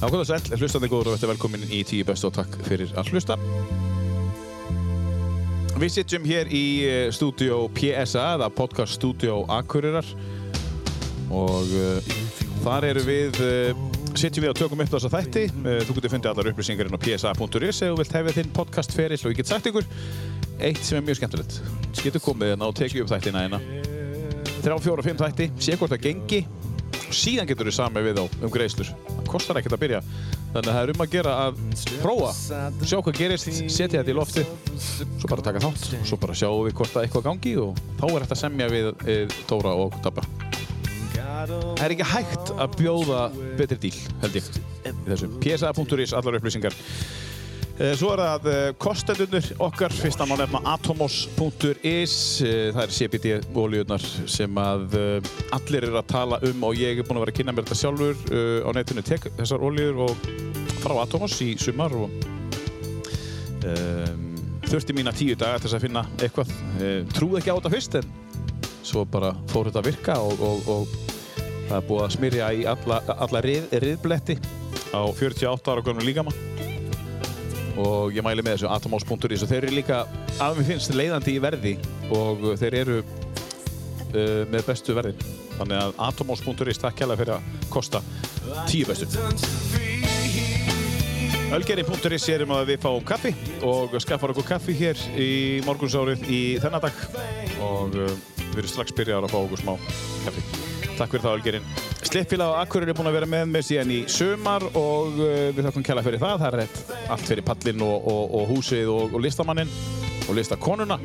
Nákvæmlega sæl, hlustandi góður og þetta er velkomin í tíu bestu og takk fyrir að hlusta. Við sitjum hér í eh, stúdíó PSA eða podcast stúdíó Akureyrar og uh, þar eru við, uh, sitjum við og tökum upp þessa þætti. Uh, þú getur fundið allar upplýsingar inn á psa.is ef þú vilt hefja þinn podcast ferill og ég get sagt ykkur eitt sem er mjög skemmtilegt. Þú getur komið hérna og tekið upp þættina hérna. Þrjá, fjóra, fimm þætti, sé hvort það gengi síðan getur þú samið við þá um greiðslur það kostar ekkert að byrja þannig að það er um að gera að prófa sjá hvað gerist, setja þetta í lofti svo bara taka þátt, svo bara sjáum við hvort það eitthvað gangi og þá er þetta semja við e, Tóra og Dabba Það er ekki hægt að bjóða betri díl, held ég í þessu, psa.is, allar upplýsingar Eh, Svo er það eh, kostendunur okkar, fyrst að má nefna atomos.is, eh, það er CBD-ólíunar sem að eh, allir eru að tala um og ég er búinn að vera að kynna mér þetta sjálfur eh, á netinu, tek þessar ólíur og frá Atomos í sumar og um, þurfti mína tíu daga til þess að finna eitthvað, Eh, trúði ekki á þetta fyrst en svo bara fór þetta að virka og, og, og það er búið að smyrja í alla, alla rið, riðbletti á 48 ára gönnum líkamann og ég mæli með þessu atomos.is og þeir eru líka að mér finnst leiðandi í verði og þeir eru uh, með bestu verðin þannig að atomos.is takk kjærlega fyrir að kosta tíu bestu Ölgerin.is er um að við fáum kaffi og skaffar okkur kaffi hér í morgunsárið í þennan dag og uh, við erum strax byrjaðar að fá okkur smá kaffi. Takk fyrir það Ölgerin. Slippfélag á Akkur er búin að vera með með síðan í sumar og uh, við þakkum kella fyrir það. Það er rétt allt fyrir pallinn og, og, og húsið og, og listamanninn og listakonuna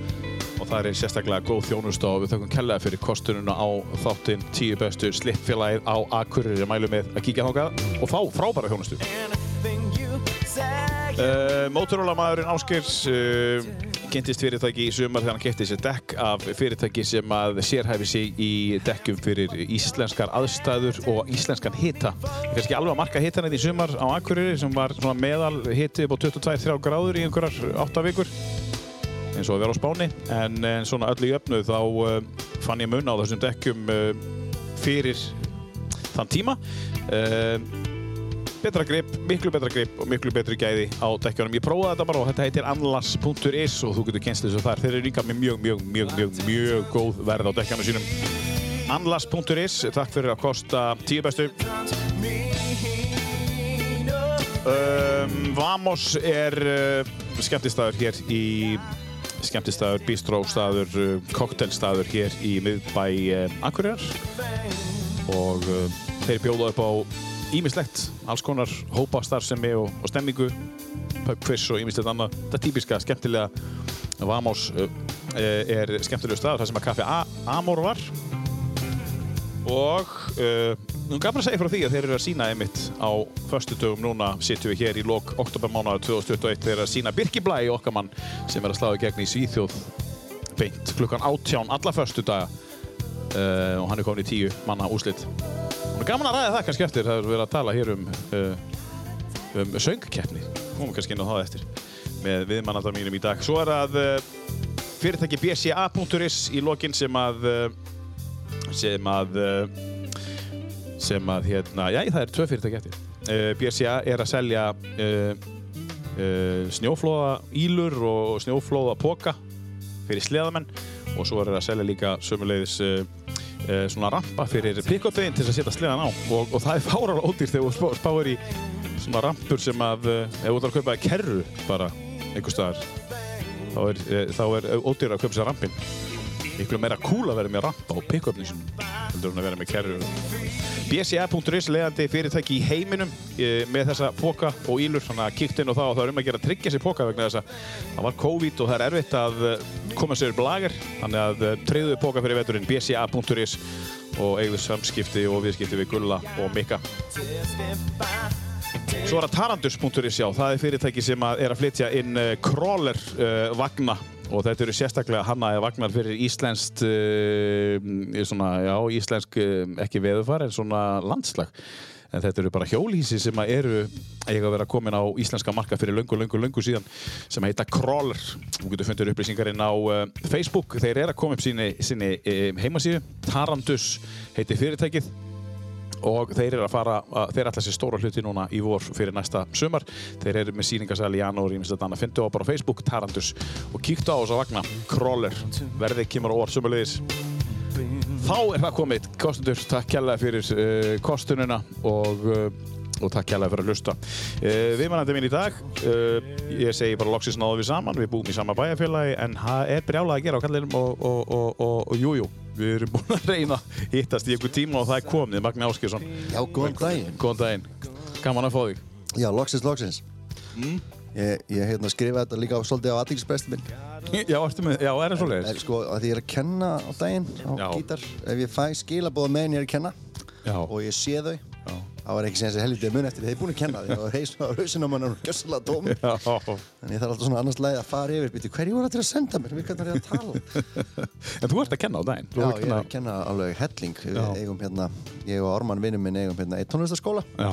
og það er sérstaklega góð þjónust og við þakkum kella fyrir kostununa á þáttinn tíu bestu slippfélagið á Akkur er mælum með að kíkja þákað og þá frábæra þjónustu. Uh, Motorola maðurinn Áskers uh, kynntist fyrirtæki í sumar þegar hann kæfti sér dekk af fyrirtæki sem að sérhæfi sig í dekkjum fyrir íslenskar aðstæður og íslenskan hita. Kanski alveg að marka hitan þetta í sumar á Akureyri sem var svona meðal hiti upp á 22-3 gráður í einhverjar 8 vikur eins og að vera á Spáni en, en svona öllu í öfnu þá uh, fann ég mun á þessum dekkjum uh, fyrir þann tíma. Uh, betra grip, miklu betra grip og miklu betri gæði á dekkjunum. Ég prófaði þetta bara og þetta heitir anlas.is og þú getur kennst þessu þar. Þeir eru líka með mjög, mjög, mjög, mjög, mjög góð verð á dekkjunum sínum. Anlas.is, takk fyrir að kosta tíu bestu. Um, Vamos er uh, skemmtistæður hér í skemmtistæður, bistróstaður, uh, koktelstaður hér í miðbæ uh, Akureyrar og uh, þeir bjóða upp á ímislegt, alls konar hópa starfsemi og, og stemmingu pub quiz og ímislegt annað, þetta típiska skemmtilega Vamos uh, eh, er skemmtilega stað, það sem að kaffi A- Amor var og uh, nú gaf mér að segja frá því að þeir eru að sína einmitt á föstudögum núna sitjum við hér í lok oktobermánaðu 2021 þeir eru að sína Birkiblæ okkar mann sem er að slá í gegn í Svíþjóð beint klukkan átján alla föstudaga uh, og hann er komin í tíu manna úslit og gaman að ræða það kannski eftir það er verið að tala hér um uh, um söngkeppni komum kannski inn á það eftir með viðmannandar mínum í dag svo er að uh, fyrirtæki bca.is í lokin sem að uh, sem að uh, sem að hérna, já það er tvö fyrirtæki eftir uh, BSA er að selja uh, uh, snjóflóða ílur og snjóflóða póka fyrir sleðamenn og svo er að selja líka sömuleiðis uh, uh, svona rampa fyrir pick-up-veginn til þess að setja sleðan á og, og það er fárar ódýr þegar þú spá- spáir í svona rampur sem að uh, ef þú ætlar að kaupa kerru bara einhvers staðar þá er, uh, þá er ódýr að kaupa sér rampinn miklu meira cool að vera með rampa og pick-upni sinum heldur hún að vera með kerrur BCA.is leiðandi fyrirtæki í heiminum eh, með þessa póka og ílur þannig að kíkt inn á það og það er um að gera að tryggja sér póka vegna þess að það var COVID og það er erfitt að eh, koma sér upp lagar þannig að eh, tryggðu póka fyrir veturinn BCA.is og eigðu samskipti og viðskipti við Gulla og Mikka Svo er það Tarandus.is, já, það er fyrirtæki sem að er að flytja inn uh, crawler uh, vagna og þetta eru sérstaklega hannaði vagnar fyrir íslenskt, uh, svona, já, íslensk, uh, ekki veðufar, en svona landslag. En þetta eru bara hjólhísi sem að eru, eiga að vera komin á íslenska marka fyrir löngu, löngu, löngu síðan, sem heita Crawler. Þú getur fundir upplýsingarinn á uh, Facebook, eh, þeir eru að koma upp síni, síni um, heimasíðu. Tarandus heiti fyrirtækið og þeir eru að fara, að, þeir ætla sér stóra hluti núna í vor fyrir næsta sumar þeir eru með síningasæli í janúar í næsta dana fyndu á bara á Facebook, Tarandus og kíktu á þess að vagna, Crawler verðið kemur á óvart sumulegis þá er það komið, kostendur takk kjærlega fyrir uh, kostununa og uh, og takk kjærlega fyrir að hlusta. Uh, Viðmannandi minn í dag, uh, ég segi bara loksins náðum við saman, við búum í sama bæjarfélagi en það er brjálað að gera á kallinum og, og, og, og, og jú, jú, við erum búin að reyna að hittast í einhver tíma og það er komið, Magni Áskjörsson. Já, góðan daginn. Góðan daginn, gaman að fá þig. Já, loksins, loksins. Mm. Ég, ég hérna, skrifaði þetta líka á, svolítið á aðtíkisbrestu minn. Já, ertu með, já, er það Er, svoleiðis? sko, að því ég er að kenna á daginn á Já. gítar. Ef ég fæ skilabóða meðan ég er að kenna Já, og ég sé þau, já, þá er ekki sem þessi helvitið mun eftir því. Þeir eru búin að kenna því og reysna á rausinu á mann og gjössalega tóm. já. Þannig ég þarf alltaf svona annars lagi að fara yfir. Býti, hverju voru þetta að senda mér? Við kannar ég að tala. En þú ert að kenna á daginn. Þú Já, ert að ég er að kenna alveg helling. Við Já. eigum hérna, ég og Ármann vinnum minn eigum hérna eitt tónlistaskóla Já,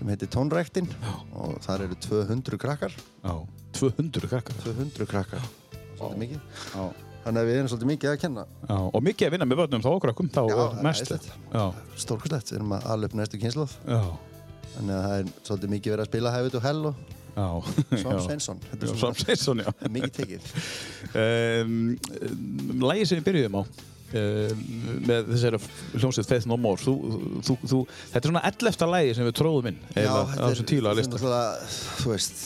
sem heitir Tónræktin og þar eru 200 krakkar. já. 200 krakkar. 200 krakkar. Svolítið mikið. Já. Þannig að við erum svolítið mikið að kenna Já, og mikið að vinna með vörnum þá okkur að þá Já, og það er mest. æðislegt. Já, stórkvæslegt, við erum að ala upp næstu kynnslóð já, þannig að það er svolítið mikið verið að spila Have It to Hell og já. Svam Já. Sveinsson þetta Já, er Sam svona Sveinsson, já. mikið tekið um, um, Lægi sem við byrjuðum á um, með þessari hljómsveit Faith No More þú, þú, þú, þetta er svona 11. lægi sem við tróðum inn eða á þetta er- þessum tíla þetta er lista náttúrulega, þú veist,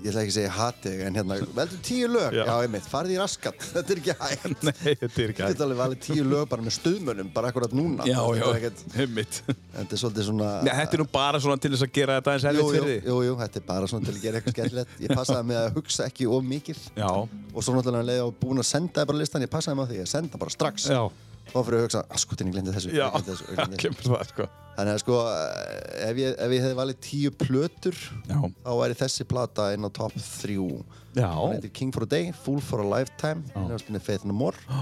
ég ætla ekki að segja hatið en hérna, veldur tíu lög Já. já, einmitt, farið í raskat, þetta er ekki hægt Nei, þetta er Þú ekki hægt getur alveg valið tíu lög bara með stuðmönnum bara akkurat núna Já, Þetta já, er ekkert- heimitt Þetta er svolítið svona Nei, þetta er nú bara svona til þess að gera þetta eins jú, erfitt jú, fyrir þig jú, jú, þetta er bara svona til að gera eitthvað skemmtilegt Ég passaði með að hugsa ekki of mikið Já, og svo náttúrulega leðið á búin að senda bara listan, ég passaði með því, ég senda bara strax já, þá fyrir ég að hugsa, að skutin ég glemdi þessu, já, ég glemdi þessu, ég það glemdi þessu. kemur það sko þannig að sko, eh, ef ég, ef ég hefði valið tíu plötur Já, þá væri þessi plata inn á top 3 já, hann heitir King for a Day, Fool for a Lifetime hann hefði spinnið Faith No More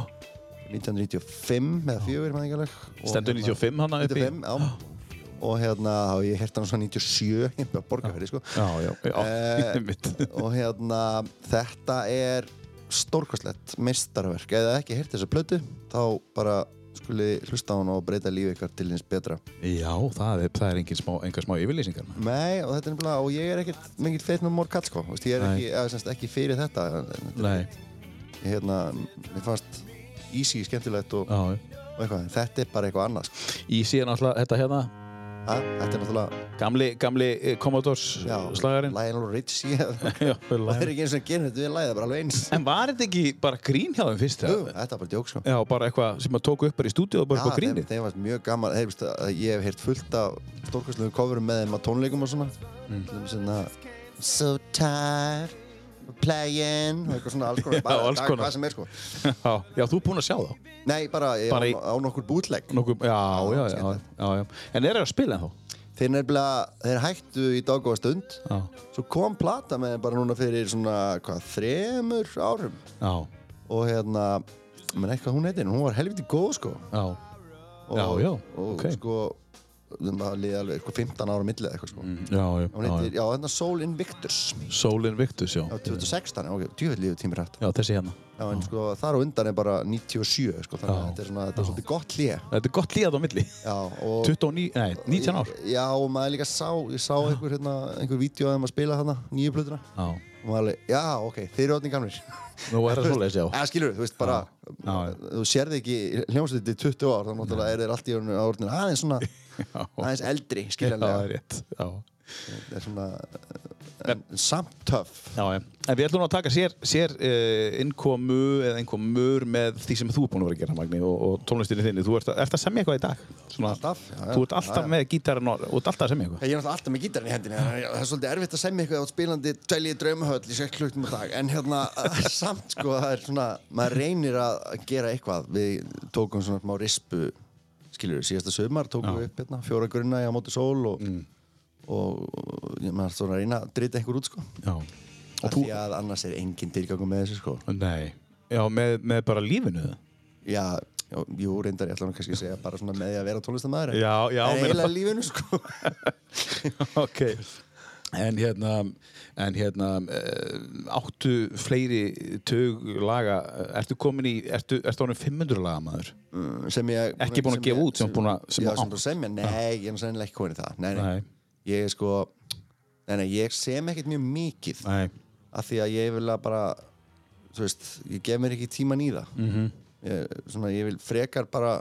1995 eða 4 maður ekki alveg hérna, stendur 95 hana upp í 95, já og hérna, þá hef ég hert hann svona 97 ég hef borgað fyrir, sko Já, já, já, Eh, heimitt og hérna, þetta er stórkvæslegt meistarverk ef það ekki heyrt þessa plötu þá bara skuli hlusta á hann og breyta lífi ykkar til hins betra Já, það er, það er engin smá, engar smá yfirlýsingar maður. Nei, og þetta er nefnilega, og ég er ekkert mikill feitnum mór kall, sko, Þú veist, ég er Nei. ekki, eða, semst, ekki fyrir þetta en- en- Nei, ég, hérna, mér fannst easy skemmtilegt og, já, já og eitthvað, en þetta er bara eitthvað annað, sko Í síðan alltaf þetta hérna Ha, þetta er náttúrulega, Gamli, gamli eh, Commodores já, slagarinn Lionel Richie það Já, Lionel. er ekki eins og að gera þetta við lagið, það er bara alveg eins En var þetta ekki bara grín hjá þeim fyrst? Jú, eða? þetta er bara djók, sko Já, bara eitthvað sem að tóku upp bara í stúdíu og bara Já, eitthvað þeim, grínið þeim varst mjög gaman, þeir, veist, að ég hef heyrt fullt af stórkvæslegum coverum með þeim á tónleikum og svona mm. svona So tired of playing og eitthvað svona alls konar, bara alls dag- konar. hvað sem er sko Já, já, þú er búinn að sjá þá Nei, bara, ég Bara á, í- á nokkur bútlegg. Nókum, já, já, já, skemmtilegt. já, já En er það að spila þá? Þeir nefnilega, þeir hættu í daggóða stund, Já, svo kom plata með þeim bara núna fyrir svona, hvað, þremur árum. já, Og hérna, menn ekki hvað hún heitir, en hún var helviti góð sko. já, Og, Já, já, Og ok. sko, þeim var liðið alveg eitthvað 15 ára millið eitthvað sko. já, já, Hún já, heitir, já, hérna Soul Invictus já. Soul Invictus, já á 2016, ok, djúvel lífið tímir hægt. Já, þessi hérna Já, en sko, þar á undan er bara 97, sko, þannig að Já. þetta er svona, þetta er svolítið gott lið. Þetta er gott líðað á milli Já, og... 29, nei, 19 ár Já, og maður líka sá, ég sá einhver, hérna, einhver vídeo að þeim að spila þarna, nýju plötuna Já, og maður alveg, já, ok, þeir eru öðning gamlir nú er það svoleiðis, já eða skilur, þú veist, bara Já, já. þú sérði ekki hljómsveit í 20 ár þá náttúrulega er þeir allt í orðinu, á orðinu aðeins svona Já, aðeins eldri, það er skiljanlega rétt, já það er svona, en, en samt töff Já, já. En við ætlum nú að taka sér, sér uh, innkomu eða innkomur með því sem þú er búin að vera að gera, Magni, og, og tónlistinni þinni. Þú ert að, ert að semja eitthvað í dag. Svona, Alltaf, já, já. Þú ert alltaf Já, já. með gítarinn og, og ert alltaf að semja eitthvað. Ég er náttúrulega alltaf með gítarinn í hendinni, þannig að það er svolítið erfitt að semja eitthvað á spilandi dvelji draumahöll í 6 klukkum á dag, en hérna samt sko, það er svona, maður reynir að gera eitthvað, við tókum svona smá rispu, skiljur, síðasta sömar tókum við upp hérna, fjóra grunna í á móti sól og, og ég maður svona að reyna að drita einhver út sko, Já. af því að annars er engin tilgangu með þessu sko. Nei. Já, með, með bara lífinu það. Já, já, jú, reyndar ég ætla nú kannski að segja bara svona með því að vera tónlistamæður, Já, já, en meina eiginlega það. lífinu sko. ok. En hérna, en hérna eh, áttu fleiri tug laga, eh, ertu komin í, ertu, ertu ánum 500 laga maður? Mm, sem ég Ekki búin að gefa út, sem búin að- sem sem já, á- sem búin að semja, nei, ég er sennilega ekki komin í það nei, nei. Nei. ég er sko nei, nei, ég sem ekkert mjög mikið Nei. af því að ég vil að bara þú veist, ég gef mér ekki tíman í það Mhm. -hmm. ég, svona, ég vil frekar bara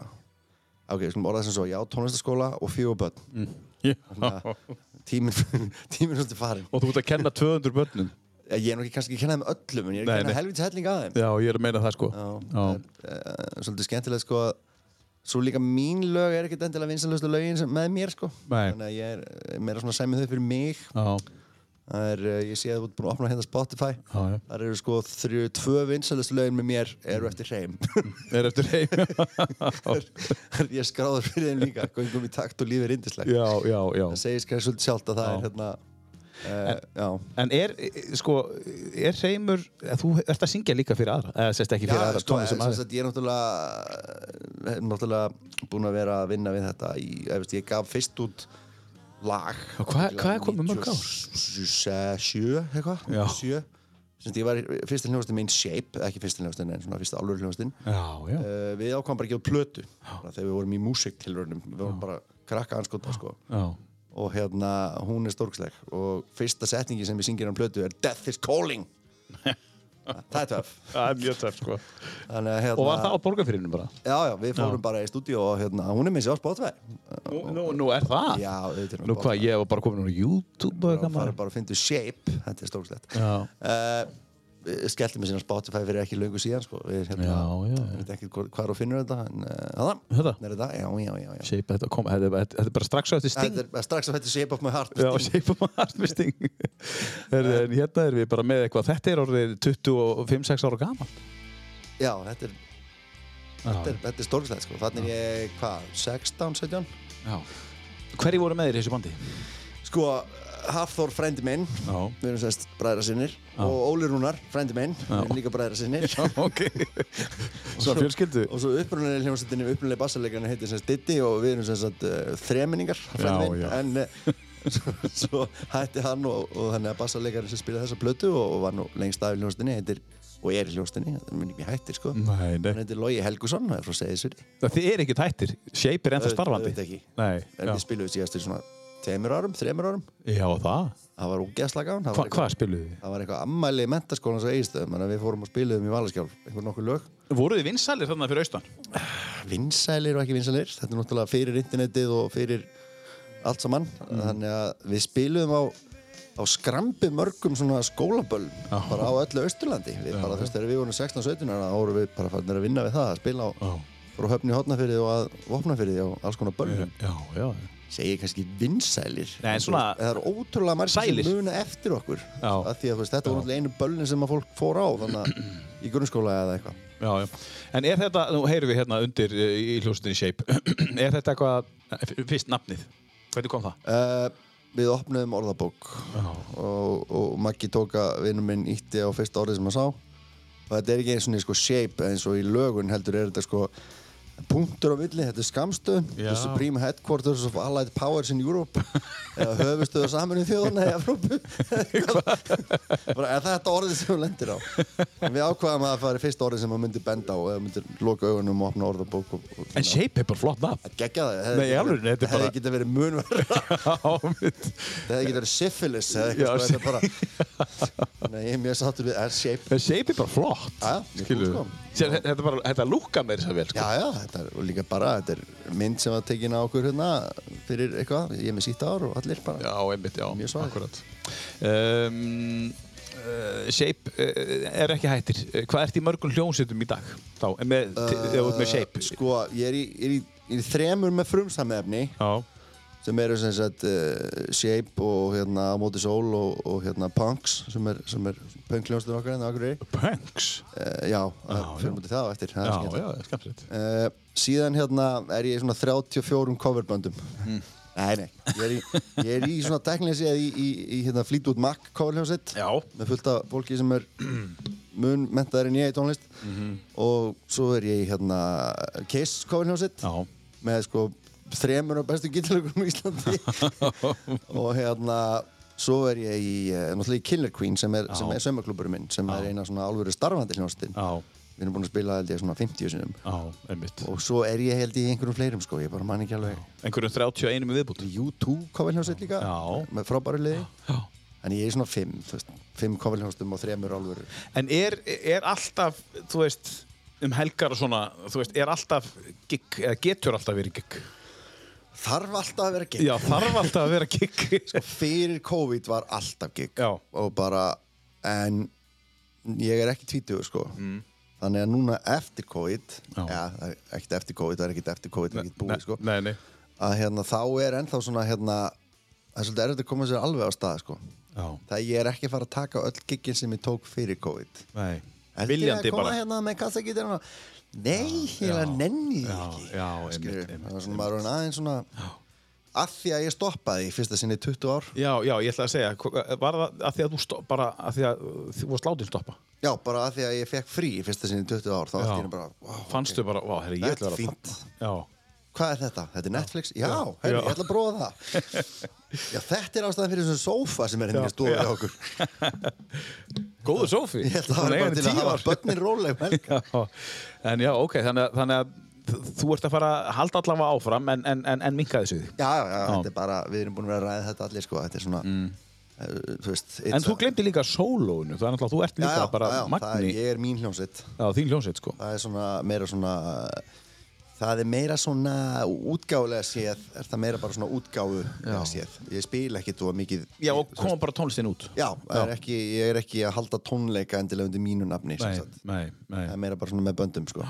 ok, við skulum orða þessum svo, ég á tónlistaskóla og fjögur börn mm. tíminn tímin svolítið farin Og þú ert að kenna 200 börnum? ég er nú ekki kannski ekki að kenna þeim öllum en ég er Nei, að kenna nei. helvítið helling að þeim Já, ég er að meina það sko. já. Það er, uh, svolítið skemmtilega sko að svo líka mín lög er ekkert endilega vinsalustu lögin sem, með mér sko Nei. þannig að ég er eh, meira svona semið þau fyrir mig Já, það er, uh, ég sé að þú ert búin að opna hérna Spotify já, já. þar eru sko þrjú, tvö vinsalustu lögin með mér eru eftir hreim Er eftir heim? ég er skráður fyrir þeim líka gungum í takt og lífið er indislegt já, já, já. það segir skræði svolítið sjálft að það Já. er hérna uh, já En er, eh, sko, er heimur, þú ert að syngja líka fyrir aðra? Eða sérst ekki fyrir aðra sko, tónum sem sem aðra? sagt, ég er náttúrulega hef náttúrulega búin að vera að vinna við þetta í, ég, veist, ég gaf fyrst út lag Já, hvað- hvað er komið mörg ár? 97 eitthvað Já. 97. Sem sagt, ég var fyrst hljóðastinn minn Shape ekki fyrst hljóðastinn en svona fyrst alvöru hljóðastinn Já, já. uh, við ákvæm bara að gefa plötu bara þegar við vorum í músiktilraunum við vorum bara krakka anskota sko Já. og hérna hún er stórksleg og fyrsta setningi sem við syngir á plötu er Death is calling það er töf Það er mjög töf, sko. hérna, Og var það á borgarfyririnu bara? Já, já, við fórum bara í stúdíu og hérna, hún er með sér á Spotify. Nú, nú, nú er það? Já, auðvitað. Ah. Nú hvað, ég var bara komin úr YouTube og Það eitthvað var maður. bara að finna shape, þetta er stórslegt. Já. Uh, skellti mig síðan á Spotify fyrir ekki löngu síðan, sko. Við, hérna, Já, já, já. Við veit ekki hvað, hvað er að finna þetta, en uh, það Þetta? er þetta, já, já, já. já. Shape, þetta kom, þetta, þetta, þetta er bara strax á eftir Sting. Þetta er bara strax að þetta shape of my heart. Já, Shape of my heart með Sting. Herðu, en hérna erum við bara með eitthvað, þetta er orðið 25-6 ára gaman. já þetta er, þetta er, þetta er stórslegt, sko. Þannig er ég, hvað, 16, 17? Já. Hverju voru með þér í þessu bandi? Sko, Hafþór frendi minn, Já. við erum sérst bræðra sinnir, og Óli Rúnar, frendi minn, við erum líka bræðra sinnir. ok. Svona fjölskyldu. og svo upprunalegi hljómsveitinni upprunalegi bassarleikarinn heitir sem sagt Diddy og við erum sem sagt uh, þreminningar frændi minn, já. en uh, svo, svo hætti hann og, og þannig að bassarleikarinn sem spilaði þessa plötu og, og var nú lengst af í hljómsveitinni heitir og er í hljómsveitinni, það mun ekki hættir sko Nei, hann nei. heitir Logi Helgusson, það er frá Seyðisvili Það þið er ekkert hættir. Shape er ennþá starfandi. auðvitað ekki. Nei. en við Já, spilum við síðast í svona tveimur árum, þreimur árum já það. það var ógeðslega gaman, það Hva, var hvað spiluðu þið? það var eitthvað ammæli í mentaskólan svo eigistöðum, þannig að við fórum og spiluðum í Valaskjálf einhver nokkur lög Voruð þið vinsælir þarna fyrir austan? vinsælir og ekki vinsælir þetta er náttúrulega fyrir internetið og fyrir allt saman Mm. þannig að við spilum á, á skrambi mörgum svona skólaböllum bara á öllu Austurlandi við bara, þú veist, þegar við vorum 16-17 ára, þá vorum við bara fannir að vinna við það að spila á Já. frá höfni hotnafyrði og að vopnafyrði og alls konar böllum Já, já. segir kannski vinsælir Nei, en svona- það er ótrúlega margir Sælir. sem muna eftir okkur Já. að því að þú veist, þetta var náttúrulega einu böllin sem að fólk fór á þannig að í grunnskóla eða eitthvað Já, já. En er þetta, nú heyrum við hérna undir eh, í hljóstinni Shape, er þetta eitthvað, eh, f- fyrst nafnið, hvernig kom það? Uh, við opnuðum orðabók og, og Maggi tók að vinnum minn ítti á fyrsta orðið sem hann sá og þetta er ekki eins og niður sko shape eins og í lögun heldur er þetta sko punktur á milli, þetta er skamstöð Já. the Supreme Headquarters of Allied Powers in Europe eða höfustöðu saminu þjóðuna í Evrópu bara er þetta orðið sem hún lendir á En við ákvaðum að það færi fyrsta orðið sem hann myndi benda á eða myndi loka augunum og opna orðabók og, og En Shape er bara flott nafn. geggja það, Nei, í alvörunni, þetta er hefði bara- geta verið munverð Já, mitt. Það hefði ekki verið syphilis eða Já, eitthvað sko, þetta bara Nei, ég er mjög sáttur við S-shape En Shape er bara flott. Já, já, mjög Skilurðu? flott, sko. Sér, þetta er bara, þetta lúka mér svo vel, Já, sko. já, þetta er og líka bara, þetta er mynd sem var tekin á okkur hérna fyrir eitthvað, ég er með sítt ár og allir bara Já, einmitt, já. Mjög svaðir. Akkurat. Um, uh, shape uh, er ekki hættir. Eh, Hvað ert í mörgum hljónsutum í dag? Þá, en með, uh, eða út með Shape? Eh, Sko, ég er í, er í, er í þremur með frumsamefni Já, sem eru sem sagt uh, shape og hérna á móti sól og, og hérna punks sem er, sem er punkljónstur okkar hérna en það okkur er Punks. Eh, Já, Já, já. fyrir mútið það á eftir, það Já, er já, skemmt það er skemmtilegt. Uh, síðan hérna er ég í svona 34 coverböndum Mm. Nei, nei, ég er í, ég er í svona teknilega séð í, í, í hérna Fleetwood Mac coverhljóðsitt Já. með fullt af fólki sem er mun mentaðar en ég í tónlist Mhm. og svo er ég í hérna Kiss coverhljóðsitt Já. með sko þremur af bestu gítalögurum í Íslandi og hérna Svo er ég í, eh, náttúrulega í Killer Queen sem er, sem Já. er saumaklúburinn minn, sem Já. er eina svona alvöru starfandi hljónstinn. Já, Við erum búin að spila held ég svona 50 sinum. já, einmitt. Og svo er ég held ég í einhverjum fleirum sko, ég bara man ekki alveg. Einhverjum 31 með viðbútt. U2 kofilhjónsett líka, Já. með frábæru liði. Já. Þannig ég er í svona 5, þú veist, 5 kofilhjónstum og 3 alvöru. En er, er alltaf, þú veist, um helgar og svona, þú veist, er alltaf gig, eða getur alltaf verið gig? Þarf alltaf að vera gig. Já, þarf alltaf að vera gig. sko, fyrir COVID var alltaf gig Já. og bara en ég er ekki tvítugur sko þannig að núna eftir COVID Mm. Já. ja, ekkert eftir COVID, það er ekkert eftir COVID það er ekkert búið sko Nei, nei. að hérna þá er ennþá svona hérna það er svolítið erfitt að koma sér alveg á stað sko Já, það ég er ekki að fara að taka öll giggin sem ég tók fyrir COVID nei. Ertu Viljandi að koma bara. hérna með kassagítarinn og nei, ég já. nenni því Já, ekki já, einmitt, Skilurðu? einmitt, það var svona maður orðinn aðeins svona af því að ég stoppaði í fyrsta sinni í 20 ár Já, já, ég ætla að segja, hva- var það að því að þú stopp, bara að því að þú varst látið stoppa? Já, bara að því að ég fekk frí í fyrsta sinni í 20 ár, þá ætti Já. ég bara, wow, Fannstu bara, vá, herri, ég ætla Þetta að er vera fínt. Já. hvað er þetta? Þetta er Netflix? Já, herri, Já. ég ætla að prófa það. Já, þetta er ástæðan fyrir þessum sófa sem er Já, henni í stofu hjá já. okkur. Góður Sofi. Ég held að hérna það var bara til að hafa börnin róleg. um helgar. Já, en já, ok, þannig að, þannig að þú ert að fara að halda allavega áfram en, en, en, en minka þessu. Já, já, já, þetta er bara, við erum búin að vera að ræða þetta allir, sko, þetta er svona, eh, þú veist, Mm. En þú glemdi líka sólóinu, það er náttúrulega, þú ert líka bara það magni, er, ég er mín hljómsveit. já, þín hljómsveit, sko. Það er svona, meira svona, það er meira svona útgáfulega séð, er það meira bara svona útgáfulega Já. séð. Ég spila ekki þú mikið Já, og koma bara tónlistin út. Já, það er ekki, ég er ekki að halda tónleika endilega undir mínu nafni sem Nei, sagt. nei, nei, Það er meira bara svona með böndum sko.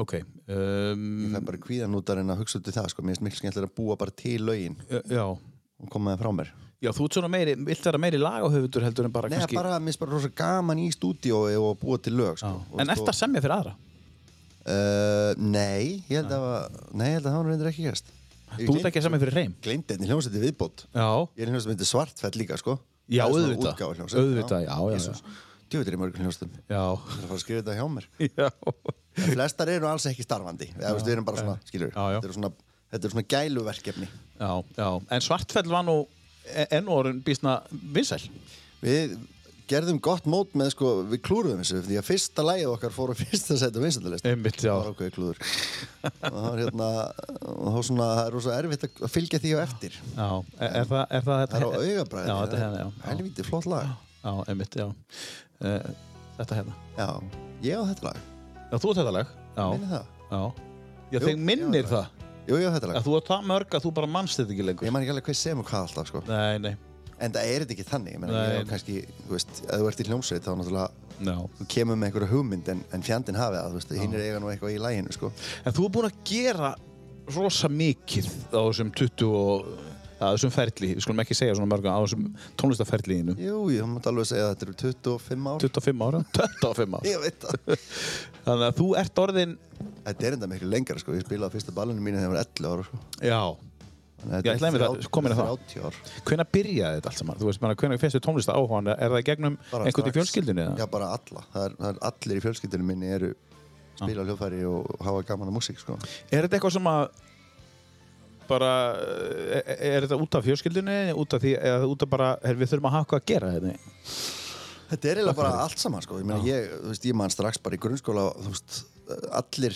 ok. Um, Það er bara kvíðanútar en að hugsa út í það sko. Mér finnst mikil skemmtilega að búa bara til lögin já, og koma það frá mér já, þú ert svona meiri, vilt vera meiri lagahöfundur heldur en bara Nei, kannski... bara, mér finnst bara rosa gaman í stúdíói og að búa til lög sko. Og En sko, ert að semja fyrir aðra? uh, Nei, ég held að Nei, ég held að það var reyndir ekki gerst Ég Þú ert ekki að semja fyrir reym? Gleimdi henni hljómsætti viðbót Já, Ég er hljómsætti myndi svartfell líka sko. já, Það er svona auðvitað, útgáfuhljómsveit, auðvitað, já, já, Jesus. Djöfull er í mörgum hljómsættum. já, Ég er að fara að skrifa þetta hjá mér já, En flestar eru alls ekki starfandi Eða, veist, við erum bara svona, skilur Já, já. Þetta, er svona, þetta er svona gæluverkefni já, já, en Svartfell var nú e- enn og orðin býstna vinsæl. Við gerðum gott mót með sko, við klúruðum þessu því að fyrsta lagið okkar fór á fyrsta sæti á vinsendalist Einmitt, já. það var ákveðið klúður og það var hérna og það var svona, það er rosa erfitt að fylgja því á eftir Já, E- er, er, það, er það það er á þetta? augabræði Já, þetta hérna, já. helvítið flott lag Já, einmitt, já. Uh, þetta hérna. já, ég á þetta lag, Já, þú ert þetta lag. Já, minni það já. Já, Jú, þeig minnir já, það. jú, ég á þetta Að lag, þú ert það mörg að þú bara mannst þetta ekki lengur. ég man ekki alveg hvað sem og hvað alltaf sko. Nei, nei. en það er þetta ekki þannig, ég meina ég Nei. á kannski þú veist, ef þú ert í hljómsveit þá náttúrulega Já. þú kemur með einhverja hugmynd en, en fjandinn hafi það, þú veist, hinn er eiga nú eitthvað í læginu, sko. En þú er búinn að gera rosa mikið á þessum 20 og að þessum ferli, við skulum ekki segja svona mörg á þessum tónlistarferliðinu. Jú, ég mátt alveg segja að þetta eru 25 ár. 25 ára? 25 ára. Ég veit það. Þannig að þú ert orðin, þetta er enda miklu lengra, sko. Ég spilaði á fyrsta ballinu mínu þegar ég var 11 ára, sko. já, Þannig Ég ætlaði mér það, komin að það. 30 ár. hvenær byrjaði þetta allt saman? Þú veist, menna, hvenær fyrstu tónlistar áhugaðan? Er það í gegnum einhvern í strax. fjölskyldinu? eða? Já, bara alla. Það er, það er allir í fjölskyldinu minni eru Ah. spila á hljóðfæri og hafa gaman að músík, sko. Er þetta eitthvað sem að bara, eh, er, er þetta út af fjölskyldinni, út af því, eða út af bara, her, við þurfum að hafa eitthvað að gera hérna? Þetta er eiginlega bara allt saman, sko. Ég meina, ég, þú veist, ég man strax bara í grunnskóla, þú veist, allir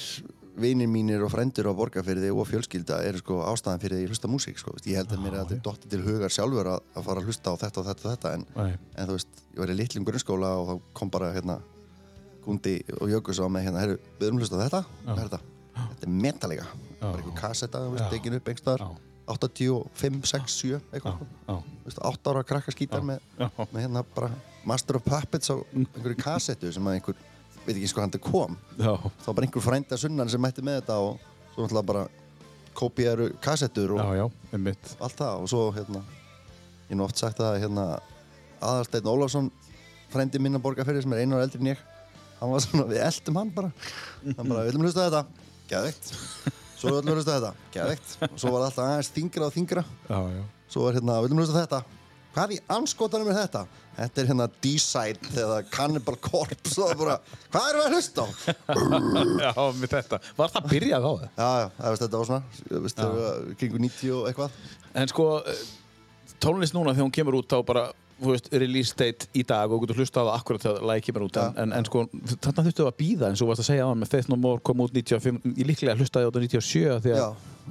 vinir mínir og frendur á borgarfyrði og fjölskylda eru sko ástæðan fyrir því ég hlusta á músík, sko. Þú veist, Ég held að mér er aldrei dottið til hugar sjálfur að, að fara að hlusta á þetta og þetta og þetta, en Nei. en þú veist, ég var í litlum grunnskóla og þá kom bara hérna Gundi og Jökus á mig hérna, herru, við erum hlust á þetta, hvað er þetta? Þetta er metalega, bara einhver kassetta, þú veist, Já. degin upp einhver staðar, Já. 85, 6, 7, eitthvað, Já, þú veist, 8 ára krakkaskítar með, já. Mm. með hérna bara Master of Puppets á einhverju kassettu sem að einhver, veit ekki eins hvað hann þetta kom, já, þá var bara einhver frænda sunnan sem mætti með þetta og svo náttúrulega bara kópíðaru kassettur og já, já, einmitt. allt það og svo hérna ég hef nú oft sagt það að hérna Aðarsteinn Ólafsson frændi minna borgarferði sem er einar eldri en ég hann var svona, við eldum hann bara hann bara, við viljum hlusta á þetta, geðveikt svo við viljum hlusta á þetta, geðveikt og svo var það alltaf aðeins þingra og þingra Já, já. svo var hérna, við viljum hlusta á þetta hvað í anskotanum er þetta? Þetta er hérna D-Side eða Cannibal Corpse og það bara, hvað erum við að hlusta á? Já, með þetta. Var það byrjað á það? Já, já, það veist, þetta var svona, veist, kringu 90 og eitthvað En sko, eh, tónlist núna þegar hún kemur út þá bara, þú veist, release date í dag og þú getur hlustað á það akkurat þegar lagi kemur út en, en, en sko, þarna þurftu að býða eins og þú varst að segja á hann með Faith No More kom út 95, ég líklega hlustaði á þetta 97 af því að Já,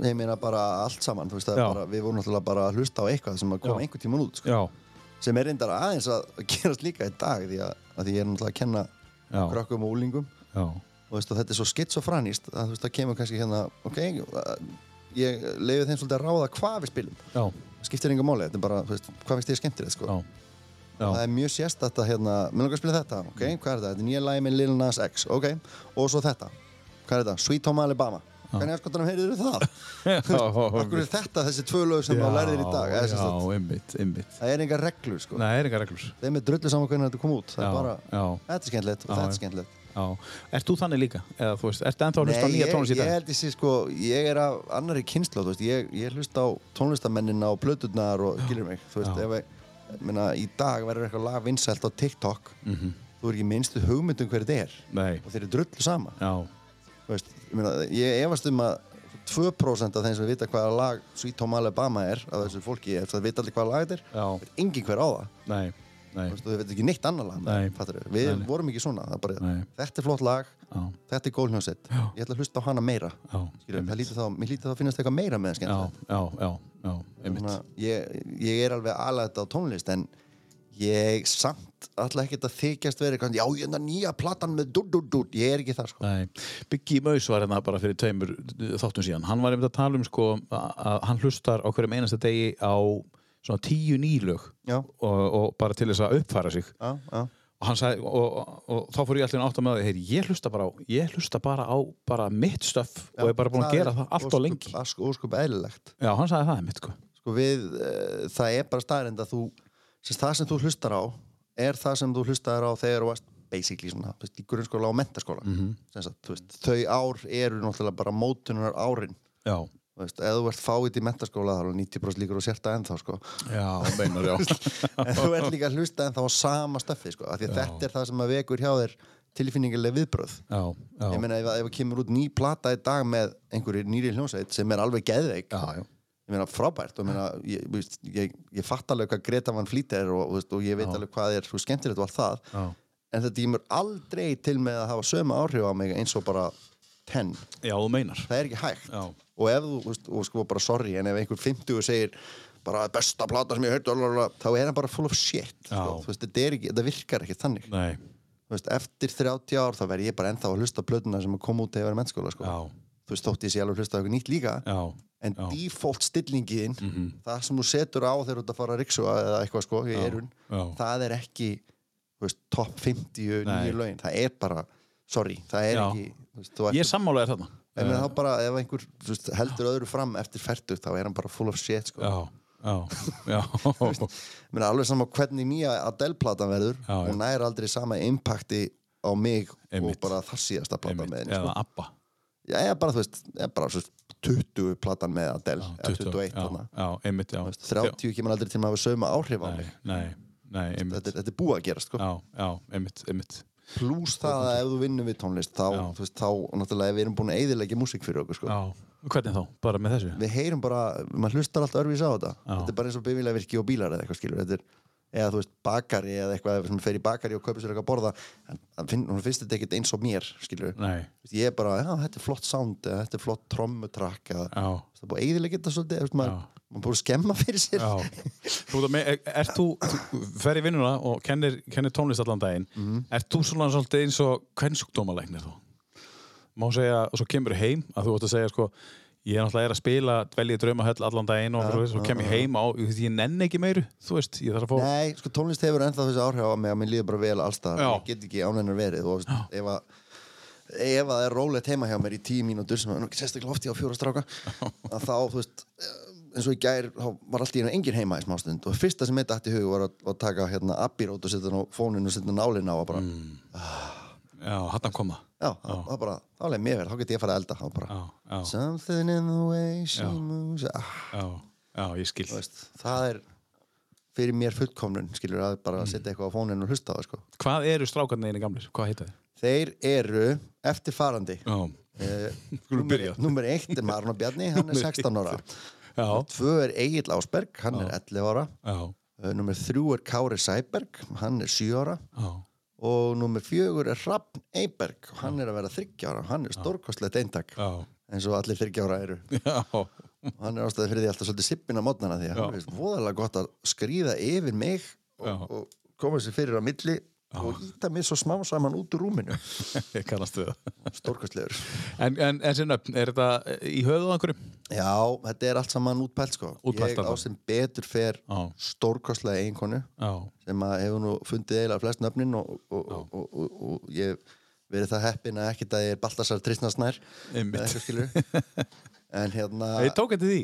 ég meina bara allt saman, þú veist, það er Já. bara, við vorum náttúrulega bara að hlusta á eitthvað sem að Já. koma einhvern tíman út, sko. Já, sem er reyndar aðeins að gerast líka í dag, því að, að því ég er náttúrulega að kenna Já. krökkum og úlingum, já, og veist, og þetta er svo skitsofranist, að þú veist, það kemur kannski hérna, ok, að- ég leiði þeim svolítið að ráða hvað við spilum, já, skiptir engum máli, þetta er bara, þú veist, hvað finnst þið skemmtir sko. já, Það já, Mm. er mjög sérstætt að hérna, mér langar að spila þetta, ok, hvað er þetta? Þetta er nýja lagi með Lil Nas X, ok, og svo þetta, hvað er þetta? Sweet Home Alabama, hvernig afskotanum heyrið þau það? Akkur já er þetta þessi tvö lög sem þú lærðir í dag? Eða, Já, sem sagt, einmitt, einmitt það er engar reglur sko, Nei, það er engar reglur þeim er drullu saman hvernig þetta kom út, það Já, er bara, já. þetta er skemmtilegt og Já, þetta já. er skemmtilegt. Já, ert þú þannig líka? Eða þú veist, ertu ennþá að hlusta á nýja ég, tónlist í ég dag? held ég sé sko, ég er af annari kynsla, þú veist, ég, ég hlust á tónlistamennina og plöturnar og gilur mig, þú veist, Já. ef ég, ég meina, í dag verður eitthvað lag vinsælt á TikTok, þú er ekki minnstu hugmynd um hver þetta er Mhm. Nei, og þeir eru drullu sama, já, þú veist, ég meina, ég efast um að 2% af þeim sem vita hvaða lag Sweet Home Alabama er, af þessu fólki, ef það vita allir hvaða lag þetta Já. er, veit engin hver á það, nei, nei þú veist, þú veit ekki neitt annað lag, Nei. fattarðu? við Nei. vorum ekki svona, það er bara, Nei. þetta er flott lag, Já, þetta er gólnjónsett, Já. ég ætla að hlusta á hana meira já, Skilur, það lítið þá, mér lítið þá að finnast eitthvað meira með það já, skemmtilegt. já, já, já, einmitt Þannig að ég, ég er alveg alætt á tónlist en ég samt alltaf ekkert að þykjast verið eitthvað, já ég er það nýja platan með dúdúdúd, ég er ekki það sko. Nei, Biggie Maus var hérna bara fyrir tveimur uh, þáttum síðan, hann var einmitt að tala um sko að að hann hlustar á hverjum einasta degi á svona tíu nýlög Já. og, og bara til þess að uppfæra sig Já, já, og hann sagði, og, og, og, þá fór ég allir átt að með því, heyr, ég hlusta bara á ég hlusta bara á bara mitt stöf og er bara búin að Það gera er það allt á óskup- lengi ask- Óskup eðlilegt. Já, hann sagði það einmitt sko Sko við, uh, það er bara staðrind að þú, sérst, það sem þú hlustar á er það sem þú hlustar á þegar þú varst basically svona, þú veist, í grunnskóla og mentaskóla. Mm Mhm. -hmm. sagt, þú veist, þau ár eru náttúrulega bara mótunar árin. Já, Þú veist, ef þú ert fáið í mentaskóla þá er alveg 90% líkur og sérta ennþá sko. já, meinar, já en þú ert líka að hlusta ennþá á sama stöffi sko. af því að þetta er það sem að vekur hjá þér tilfinningileg viðbröð Já, já, ég meina ef, ef það kemur út ný plata í dag með einhverju nýri hljómsveit sem er alveg geðveik já, já. ég meina frábært og ég, meina, ég, þú veist, ég, ég fatt alveg hvað Greta Van Fleet er og, þú veist, og ég veit alveg hvað er svo skemmtilegt og allt það Já. en þetta kemur aldrei til með að hafa sömu áhrif á mig eins og bara 10 já þú meinar það er ekki hægt Já. og ef þú, veist, og sko bara sorry en ef einhver 50 segir bara besta plata sem ég hört þá er hann bara full of shit sko. Já. Þú veist, þetta, er ekki, þetta virkar ekki þannig Nei, Þú veist, eftir 30 ár þá verð ég bara ennþá að hlusta á plötuna sem kom út þegar ég var í mennskóla sko. Já. þú veist þótt ég sé alveg að hlusta á eitthvað nýtt líka já, Mhm. en default stillingiðin það sem þú setur á þegar þú ert að fara að riksuga eða eitthvað sko í erun já. það er ekki þú veist, top Nei. 50 nýju lögin það er bara, sorry, það er Já. ekki þú veist, þú ert Ég sammála er þarna Ég meina þá bara, ef einhver þú veist, heldur öðru fram eftir færtug, þá er hann bara full of shit, sko. Já, já, já Ég meina alveg sama hvernig nýja Adele-platan verður, Já, já. hún næri aldrei sama impacti á mig Einmitt. og bara þar síðasta platan Einmitt, með henni, Eða sko. Abba Já, ég er bara, þú veist, ég er bara svo 20 platan með Adele, eða 21 já, þarna. já, einmitt, já 30 kemur aldrei til að hafa sömu áhrif á Nei, mig. nei, nei, einmitt Þetta, er- Sko. þetta er búið að gerast, sko. Já, já, einmitt, einmitt Plús það að ef þú vinnum við tónlist, þá, Já. þú veist, þá, náttúrulega, við erum búin að eyðilegja músík fyrir okkur, sko. Já, hvernig þá? Bara með þessu? við heyrum bara, maður hlustar alltaf örfís á þetta Já. þetta er bara eins og bifilega virki og bílar eða eitthvað skilur þetta er, eða þú veist, bakari eða eitthvað sem fer í bakari og kaupir sér eitthvað að borða en hann finn, hún finnst þetta ekkert eins og mér skilur, Nei, ég er bara, já, þetta er flott sound eða þetta er flott trommutrakk eða já, það er búið að eiginlega geta svolítið, þú veist, maður, Já. maður búið að skemma fyrir sér já Þú veit að, er, er þú, þú fer í vinnuna og kennir, kennir tónlist allan daginn Mhm. mm. Ert þú svona svolítið eins og kvennsjúkdómalæknir þú? Má segja, og svo kemur heim að þú vart að segja sko Ég er náttúrulega er að spila, dvelja í draumahöll allan daginn og svo, svo kem ég heim á, ég, ég nenni ekki meiru, þú veist, ég þarf að fá Nei, sko tónlist hefur ennþá þessi áhrif á mig að mér líður bara vel allstaðar, Já. ég get ekki ánægnar verið og þú veist, ef að ef að það er rólegt heima hjá mér í tíu mínútur sem er nú ekki sérstaklega oft ég á fjóra stráka að þá, þú veist, eh, eins og í gær þá var alltaf einu engin heima í smástund og fyrsta sem mitt ætti í hug var að, að taka hérna abbirót og setja hann á fóninu og setja nálinn á og bara, Mm. Já, hattan koma já, það það bara þá leið mér verið, þá get ég að fara að elda, þá bara Já, já, Something in the way she moves ah, já, já, ég skil þú veist, það er fyrir mér fullkomnun, skilur að Mm. bara setja eitthvað á fóninu og hlusta á það, sko Hvað eru strákarnir einu gamlir? Hvað heita þið? Þeir eru eftirfarandi Já, Eh, Skulum númer- byrja. Númer eitt er Marun og Bjarni, hann er 16 ára Já. Tvö er Egil Ásberg, hann er 11 ára. Já. Uh, Númer þrjú er Kári Sæberg, hann er 7 ára. Já. Og númer fjögur er Hrafn Eiberg, hann er að vera 30 ára. Hann er stórkostlegt eintak, Já. eins og allir 30 ára eru. Já. Og hann er ástæði fyrir því alltaf svolítið sippin á mótnana því að hann finnst voðalega gott að skrýða yfir mig og, og koma sér fyrir á milli og íta mig svo smá saman út úr rúminu Ég kannast við það. stórkostlegur En, en, en sem nöfn, er þetta eh, í höfuð á einhverjum? já, þetta er allt saman útpælt sko Útpælt ég á þarna. sem betur fer Já. stórkostlega eiginkonu Já. sem að hefur nú fundið eiginlega flest nöfnin og, og, og, og, og, og ég hef verið það heppin að ekkert að ég er Baltasar Tristnarsnær Einmitt. en hérna Ég tók eftir því.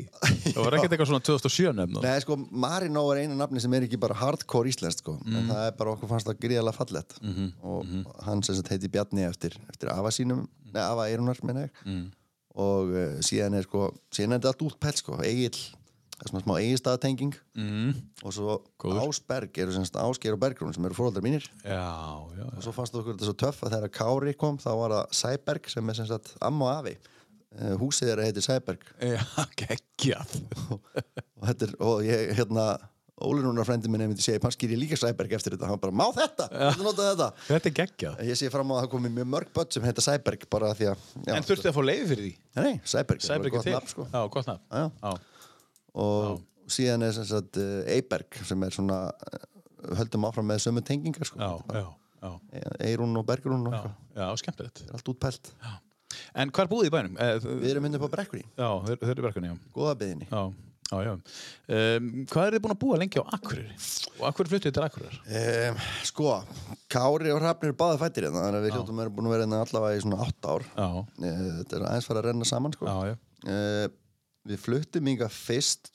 Það var ekkert eitthvað svona 2007 nöfn. Nei, sko, Marinó er einu nafni sem er ekki bara hardcore íslenskt, sko, en það er bara okkur fannst það gríðalega fallett og hann sem sagt heiti Bjarni eftir, eftir afa sínum, nei, afa Eirunar, minna ég og uh, síðan er sko síðan er þetta allt útpælt, sko, Egil það er svona smá eigistaðatenging mm. og svo Ásberg eru sem sagt Ásgeir og Bergrún sem eru fórhaldar mínir Já, já, og svo fannst okkur þetta svo töff að þegar Kári kom þá var það Sæberg sem er sem sagt amma og afi, uh, húsið þeirra heitir Sæberg já. Já, geggjað. og, þetta er, og ég, hérna Ólinunar frendi minn einmitt segi, hann skýr ég líka Sæberg eftir þetta, hann bara, má þetta, þetta nota þetta Þetta er geggjað. En ég sé fram á að það komi mjög mörg börn sem heita Sæberg bara af því að, já, En þurfti að fá leiði fyrir því? nei, Sæberg það var Sæberg er gott til. nafn, sko. Já, gott nafn. Já, já. Já. og síðan er sem sagt eh, Eyberg sem er svona, eh, höldum áfram með sömu tengingar, sko Já, já, já. E- Eyrún og Bergrún og Já, eitthvað, já skemmtilegt. þetta er allt útpælt En hvar búið í bænum? Eh, þ- Við erum myndið på brekkunni, Já, þeir, þeir eru verkunni, já. góðabiðinni Já, já, já. Um, hvað er þið búin að búa lengi á Akureyri? Og Akureyri fluttu þetta Akureyrar? Um, sko, Kári og Hrafnir er báði fættir hérna, þannig að við hljóttum að vera búin að vera hérna allavega í svona 8 ár. Já, Eh, Þetta er aðeins fara að renna saman, sko. já, já. Eh, Við fluttum yngar fyrst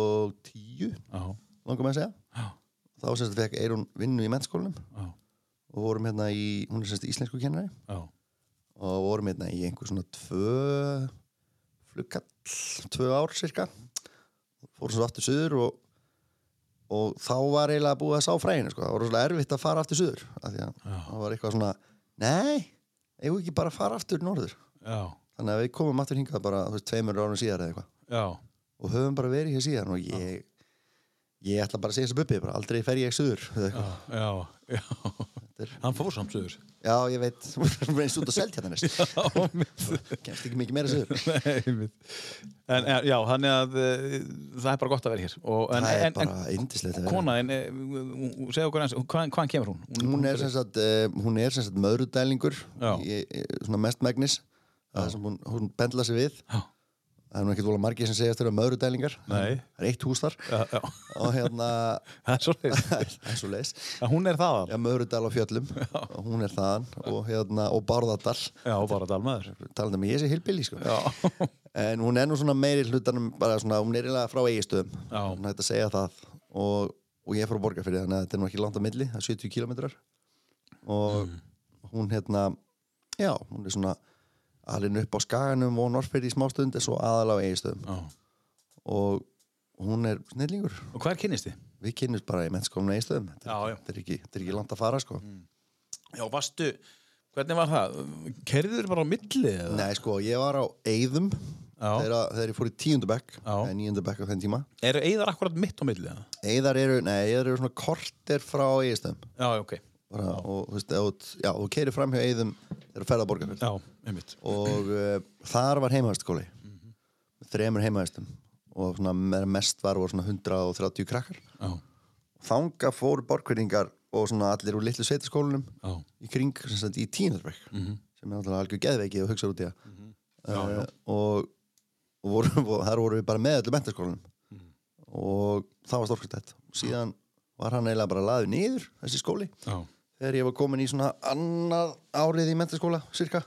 2010, já, langar maður að segja. já, Þá semst fekk Eirún vinnu í mennskólanum já, og vorum hérna í, hún er semst íslensku kennari já. og vorum hérna í einhver svona tvö flugkall, tvö ár cirka. Fórum svo aftur suður og, og þá var eiginlega búið að sá fræðinu, sko. Það var rosalega erfitt að fara aftur suður. Af því að það var eitthvað svona, nei, eigum við ekki bara að fara aftur norður. já, Þannig að við komum aftur hingað bara, þú veist, tveimur árum síðar eða eitthvað. já. og höfum bara verið hér síðan og ég ég ætla bara að segja þessu bubbi, bara aldrei fer ég suður eða eitthvað. Já, já, já. Hann fór samt sögur. já, ég veit, þú reynst út að selja hérna næst Já, mitt. kemst ekki mikið meira suður Nei, mitt. En eh, já, þannig að uh, það er bara gott að vera hér. Og, en, það er en, bara yndislegt en að vera. kona, en, uh, segja okkur eins, hvaðan hvaðan kemur hún? hún er sem sagt, eh, hún er sem sagt möðrudælingur Já. í- í- svona mestmægnis það sem hún, hún bendla sig við Já, það er nú ekkert vola margir sem segjast þeirra möðrudælingar Nei. það er eitt hús þar já, já. og hérna, Það er svolítið. það er svo leis Hún er þaðan. Já, Möðrudal á fjöllum, og hún er þaðan og, hérna, og Bárðardal Já, bara dalmaður. talandi með ég sé hilbili sko. Já. en hún er nú svona meiri hlutanum bara svona, hún er eiginlega frá eigistöðum Já. hún hætti að segja það og, og ég er frá Borgarfirði þannig að þetta er nú ekki langt á milli það er 70 kilometrar og Mm. hún hérna já, hún er svona alinn upp á skaganum og norfirði í smástund en svo aðal á eigistöðum Já. og hún er snillingur Og hvað er kynnist þið? við kynnumst bara í mennskónum eigistöðum þetta, Já, já. er- þetta, er ekki- þetta er ekki langt að fara sko Mm. Já, varstu, hvernig var það? Kerður bara á milli eða? nei sko, ég var á eigðum Já. þegar, þegar ég fór í tíundabekk Já. níundabekk á þenn tíma Eru eigðar akkurat mitt á milli eða? Eðar eru, nei, eðar eru svona kortir frá eigistöðum Já, já, ok. bara, og þú veist, ef þú- já, þú keirir fram hjá eiðum þegar þú ferð að borgarfjöld Já, einmitt. og uh, þar var heimahæstskóli þremur heimahæstum og svona, me- mest var voru svona 130 krakkar Já, þanga fór borgfyrringar og svona allir úr litlu sveitaskólinum já, í kring sem sagt, í Tínarbrekk sem er náttúrulega algjör geðveiki og hugsa út í það uh, og, og voru, og þar voru við bara með öllu mentaskólanum og það var stórkvæmstætt og síðan var hann eiginlega bara laðið niður þessi skóli já, þegar ég var komin í svona annað árið í mentaskóla cirka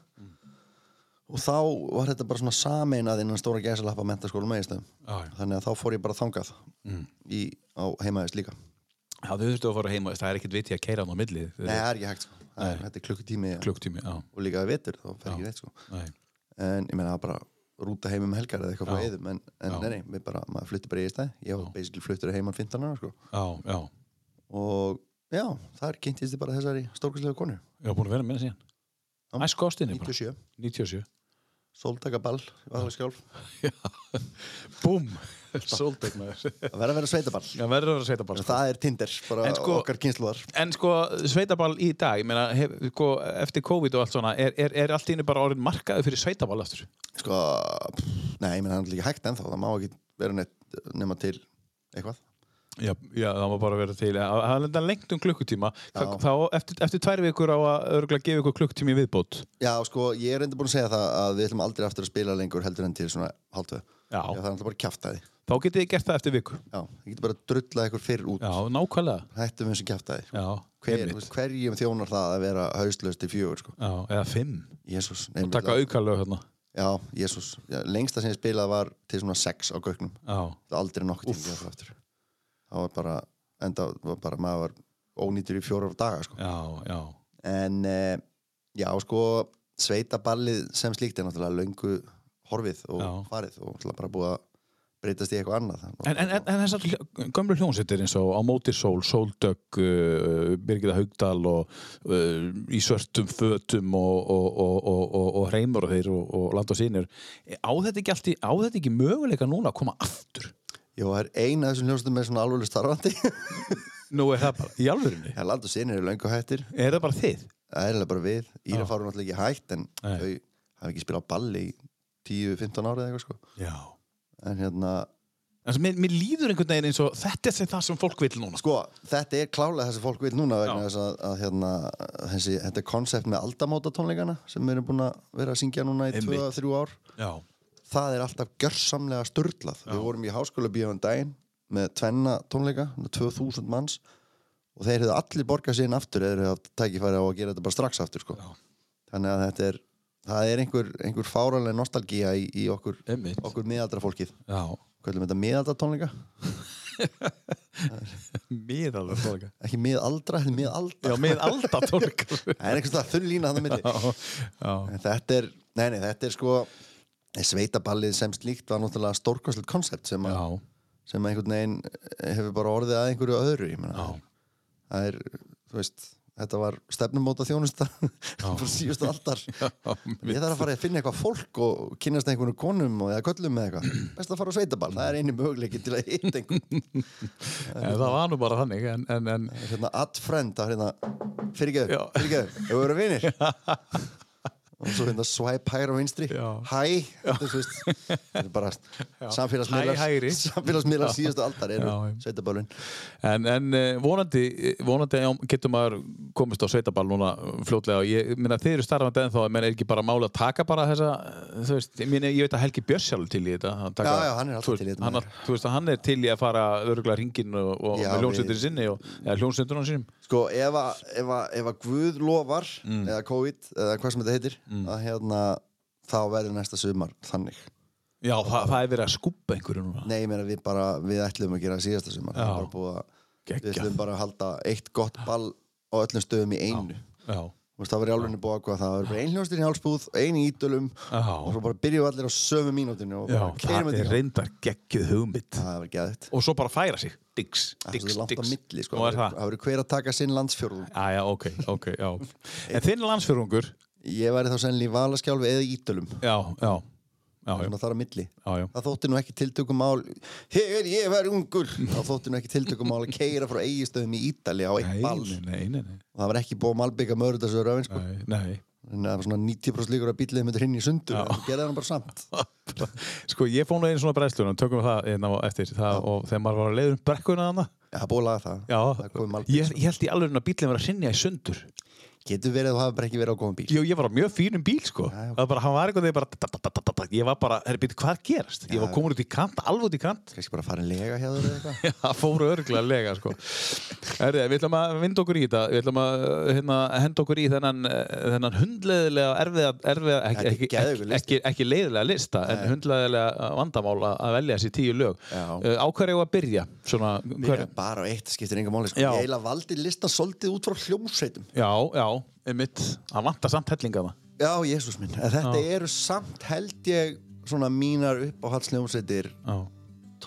og þá var þetta bara svona sameinað innan stóra gæsalappa mentaskóla með ístöðum já. já. þannig að þá fór ég bara þangað í, á heimaðist líka Já, þau þurftu að fara heima, það er ekkert vitið að keira hann á milli. Nei, það er ekki hægt sko. Það er- þetta er klukkutími Klukktími, já. og líka að vetur, þá fer ekki neitt sko. Nei. en ég meina það var bara rúta heim um helgar eða eitthvað frá eðum en, en nei, nei, við bara, maður fluttir bara í eða stæð ég var basically fluttur heim á 15 ára sko. Já, já. og já, þar kynntist ég bara þessari stórkvæslega konu Ég var búin að vera með það síðan. Æsku ástinni bara. 97, 97. Sóltakaball, Valskjálf Búm! Sóldeg maður. Það verður að vera sveitaball Það verður að sko. setja bara. Það er Tinder, bara En sko- okkar kynsluðar En sko, sveitaball í dag, ég meina, hef, sko, eftir COVID og allt svona, er, er, er allt í einu bara orðin markaði fyrir sveitaball aftur? Sko, pff, nei, menn hann er líka hægt ennþá Það má ekki vera neitt eh, nema til eitthvað Já, já, það má bara vera til. Það það er enda lengt um klukkutíma. Hva, þá, eftir, eftir tvær vikur á að örgulega gefa ykkur klukkutími í viðbót. Já, sko, ég er enda búin að segja það að við ætlum aldrei aftur að spila lengur heldur en til svona hálftöð Já. Já, það er alltaf bara kjaftaði Þá getið þið gert það eftir viku. Já, það getur bara að drulla ykkur fyrr út Já, nákvæmlega. Hættum við þessu kjaftaði Já, Hver, einmitt. þú veist, Hverjum þjónar það að vera hauslaust í fjögur, sko Já, eða fimm. Jésús Takka aukarlög hérna. Já, Jésús Lengsta sem ég spilaði var til svona sex á gögnum Já, Það var aldrei nokkuð tíma það aftur Það var bara, enda var bara maður var ónýtur í fjórar daga, sko já, já. en e, já sko sveitaballið sem slíkt er náttúrulega löngu horfið og Já. farið og náttúrulega bara búið að breytast í eitthvað annað En, en, en, en þessar hljó- gömlu hljómsveitir eins og á móti sól, sóldögg, uh, Birgitta Haugdal og uh, í svörtum fötum og, og, og, og, og, og hreimur og þeir og, og land og sínir. Á þetta ekki, allt í, á þetta ekki möguleika núna að koma aftur? Jó, það er eina af þessum hljómsveitum með svona alveg starfandi Nú er það bara í alvörunni. en land og sinni eru löngu hættir Er það bara þið? það er eiginlega bara við, Íra fáru náttúrulega ekki hætt en Nei. þau hafa ekki spilað á balli í 10-15 árið eitthvað sko Já. en hérna, En mér, mér líður einhvern veginn eins og þetta er það sem fólk vil núna. sko, þetta er klálega það sem fólk vil núna vegna Já. þess að, að hérna, þessi, þetta konsept með aldamóta tónleikana sem við erum búin að vera að syngja núna í Einmitt. 2-3 ár Já. það er alltaf gjörsamlega störlað við vorum í háskóla bíóðan daginn með tvenna tónleika, með 2000 manns og þeir hefðu allir borgað síðan aftur eða hefðu tækifæri á að gera þetta bara strax aftur sko. Já. þannig að þetta er það er einhver, einhver fáranlega nostalgía í, í okkur, Einmitt. okkur miðaldra fólkið Já. kvöldum þetta miðaldra tónleika Miðaldra tónleika. ekki miðaldra, þetta er miðalda Já, miðalda tónleika. það er einhvers það þunn lína þannig myndi já, já. En þetta er, nei, nei, þetta er sko sveitaballið sem slíkt var náttúrulega stórkostlegt koncept sem að Já, sem einhvern veginn eh, hefur bara orðið að einhverju öðru ég meina, það er, þú veist þetta var stefnumóta þjónusta frá síðustu aldar ég þarf að fara að finna eitthvað fólk og kynast einhvern konum og eða köllum með eitthvað best að fara á sveitaball, það er einu möguleiki til að hitta einhvern en það var nú bara þannig en, en, en hérna, at friend, það er hérna fyrirgeðu, Já. fyrirgeðu, hefur verið vinir og svo hérna swipe hægra og vinstri, Já. hæ þetta er, þú veist, þetta er bara samfélagsmiðlar, Hæ, hægri. samfélagsmiðlar síðustu aldar eru Já, já. sveitaballin en, en eh, vonandi, vonandi já, getur maður komist á sveitaball núna eh, fljótlega ég minna þeir eru starfandi ennþá en menn er ekki bara máli að taka bara þessa eh, þú veist, ég, minna, ég veit að Helgi Björns sjálf til í þetta hann taka, Já, já, hann er alltaf þú veist, til í þetta, hann, maður. að- þú veist, að hann er til í að fara örgulega ringin og, og Já, með við- hljónsöndurinn sinni og, eða hljónsöndurinn sinni Sko, ef að, ef að, ef að Guð lofar, Mm. eða COVID, eða hvað sem þetta heitir, að hérna, þá verður næsta sumar þannig. já, það, það er verið að skúpa einhverju núna Nei, ég meina við bara, við ætlum að gera síðasta Já. sumar. Það er bara búið að, við Geggjað. ætlum bara að halda eitt gott ball á öllum stöðum í einu. já, Þú veist, það var í álunni búið að hvað það, það var bara ein hljónstir í hálsbúð, ein í ídölum Já. og svo bara byrjuðu allir á sömu mínútinu og já bara keirum það þetta í er gang. reyndar geggjuð hugmynd Það var geðvægt. og svo bara færa sig, diggs, Það er diggs, svolítið langt á diggs milli, sko. Nú er það Það verður hver að taka sinn landsfjörðum. Æja, ok, ok, já En þinn landsfjörungur, Ég væri þá sennilega í Valaskjálfi eða í Ídölum. já, já Já, já, Þannig að það er á milli. já, já Það þótti nú ekki tiltökumál Þegar ég var ungur þá þótti nú ekki tiltökumál að keira frá eigistöðum í Ítali á eitt Nei, ball nei, nei, nei, nei, og það var ekki búið að malbygga mörðarsöður öfins sko. nei, nei. þannig að það var svona 90% líkur að bíllið myndir hinn í sundur en það gerði hann bara samt Sko, ég fór nú einu svona brennslunum, tökum við það einna eftir það, og þegar maður var að leiður um brekkuna hana Já, það er búið að laga það, það um er komið Já, malbygg ég, ég held í alveg að bílinn var að sinja í sundur Getur verið að þú hafa bara ekki verið á góðum bíl Jú, ég var á mjög fínum bíl, sko Já, ok. Það var bara, hann var eitthvað þegar bara da, da, da, da, da, da. Ég var bara, herri, býttu, hvað gerast? Ég var komin út í kant, alveg út í kant Kanski bara farin lega hjá þér eða eitthvað Það fóru örglega að lega sko. Herri, við ætlum að vinda okkur í þetta Við ætlum að uh, hérna, henda okkur í þennan, uh, þennan hundleðilega erfiða, erfiða ekki, Þetta er ekki, geðveikur ekki, listi. ekki, ekki leiðilega lista en hundleðilega vandamál að- að velja þessi tíu lög Já. uh, Á hverju eigum við að byrja? Svona, hver, Bara á eitt skiptir enga máli sko. Já. Ég eiginlega valdi listan svolítið út frá hljómsveitum já, já, einmitt Það vantar samt hellinga það Já, Jésús minn En Þetta eru samt held ég svona mínar uppáhaldsljómsveitir Já,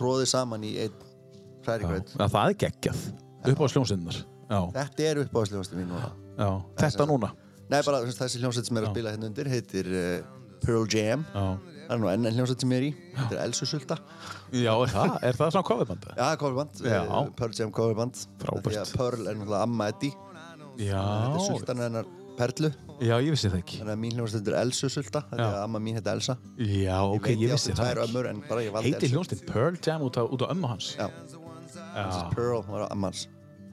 tróðið saman í einn já. hrærigraut Það er geggjað upp á sljómsinnar já, Þetta er uppáðsljóðastu mín núna já. Þetta núna Nei, bara þú veist, þessi hljómsveit sem er að spila hérna undir heitir uh, Pearl Jam Já. það er nú enn hljómsveit sem ég er í þetta er Elsu Sulta Já, er það, er það svona coverband? já, coverband, Já. eh, Pearl Jam coverband Frábært. Af því að Pearl er náttúrulega amma Eddi þetta er Já, Sultan hennar Perlu já, ég vissi það ekki. þannig að mín hljómsveit er Elsu Sulta þannig Já. að amma mín heitir Elsa Já, ok, veit ég vissi átti það tvær ekki. ömmur en bara ég valdi Heitir Elsu hljómsveit Pearl Jam út á, út á ömmu hans? já, Já, Pearl var amma hans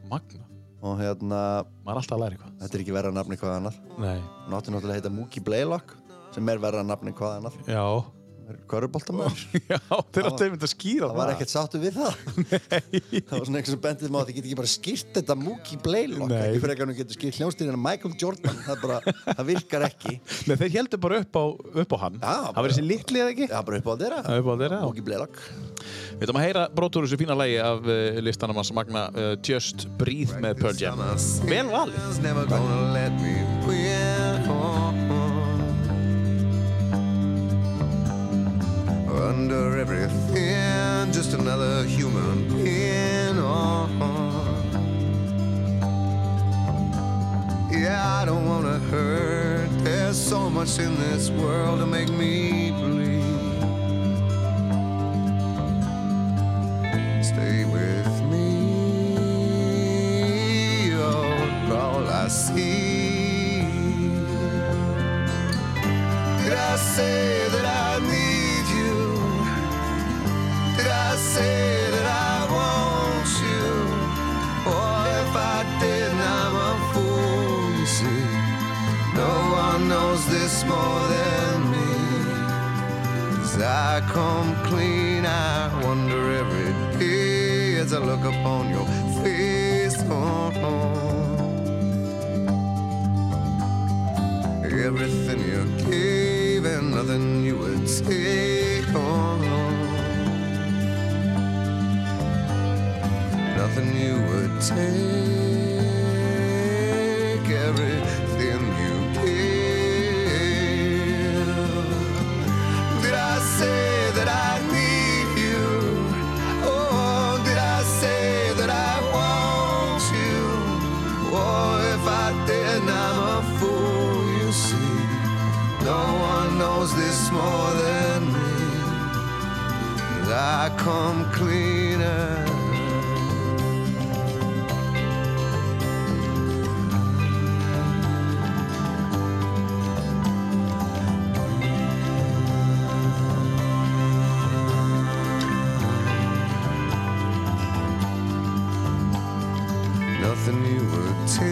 magna. og hérna, Maður er alltaf að læra eitthvað. þetta er ekki verra nafni hvað annað Nei, hún átti náttúrulega að heita Mookie Blaylock sem er verra nafni hvað annað já. Köruboltamöður Já, þeir áttu einmitt að skýra Það var ekkert sáttu við það Það var svona eitthvað sem bendið maður Þið getur ekki bara skýrt þetta Mookie Blaylock Nei. Ekki fyrir ekki að hún getur skýrt hljónstýrina Michael Jordan Það, er bara, það virkar ekki Nei, þeir heldur bara upp á, upp á hann. Já, það var þessi litli eða ekki? Það er bara upp á þeirra Það er upp á þeirra, já. Mookie Blaylock Við ætlum að heyra brotur úr þessu fína lægi af uh, listanum hans Magna uh, Just Breathe með Pearl Jam. Vel valið. It's never gonna let me win. Under everything, just another human being. Yeah, I don't wanna hurt. There's so much in this world to make me believe. Stay with me, oh, all I see. Did I say that I need you? Did I say that I want you? Or if I didn't, I'm a fool, you see. No one knows this more than me. As I come clean, I wonder every day as I look upon your face. Oh, oh. Everything you gave and nothing you would take. Oh, oh. Nothing you would take. Everything you gave. Did I say that I need you? Oh, did I say that I want you? Oh, if I didn't, I'm a fool, you see. No one knows this more than me. And I come cleaner. nothing you would take,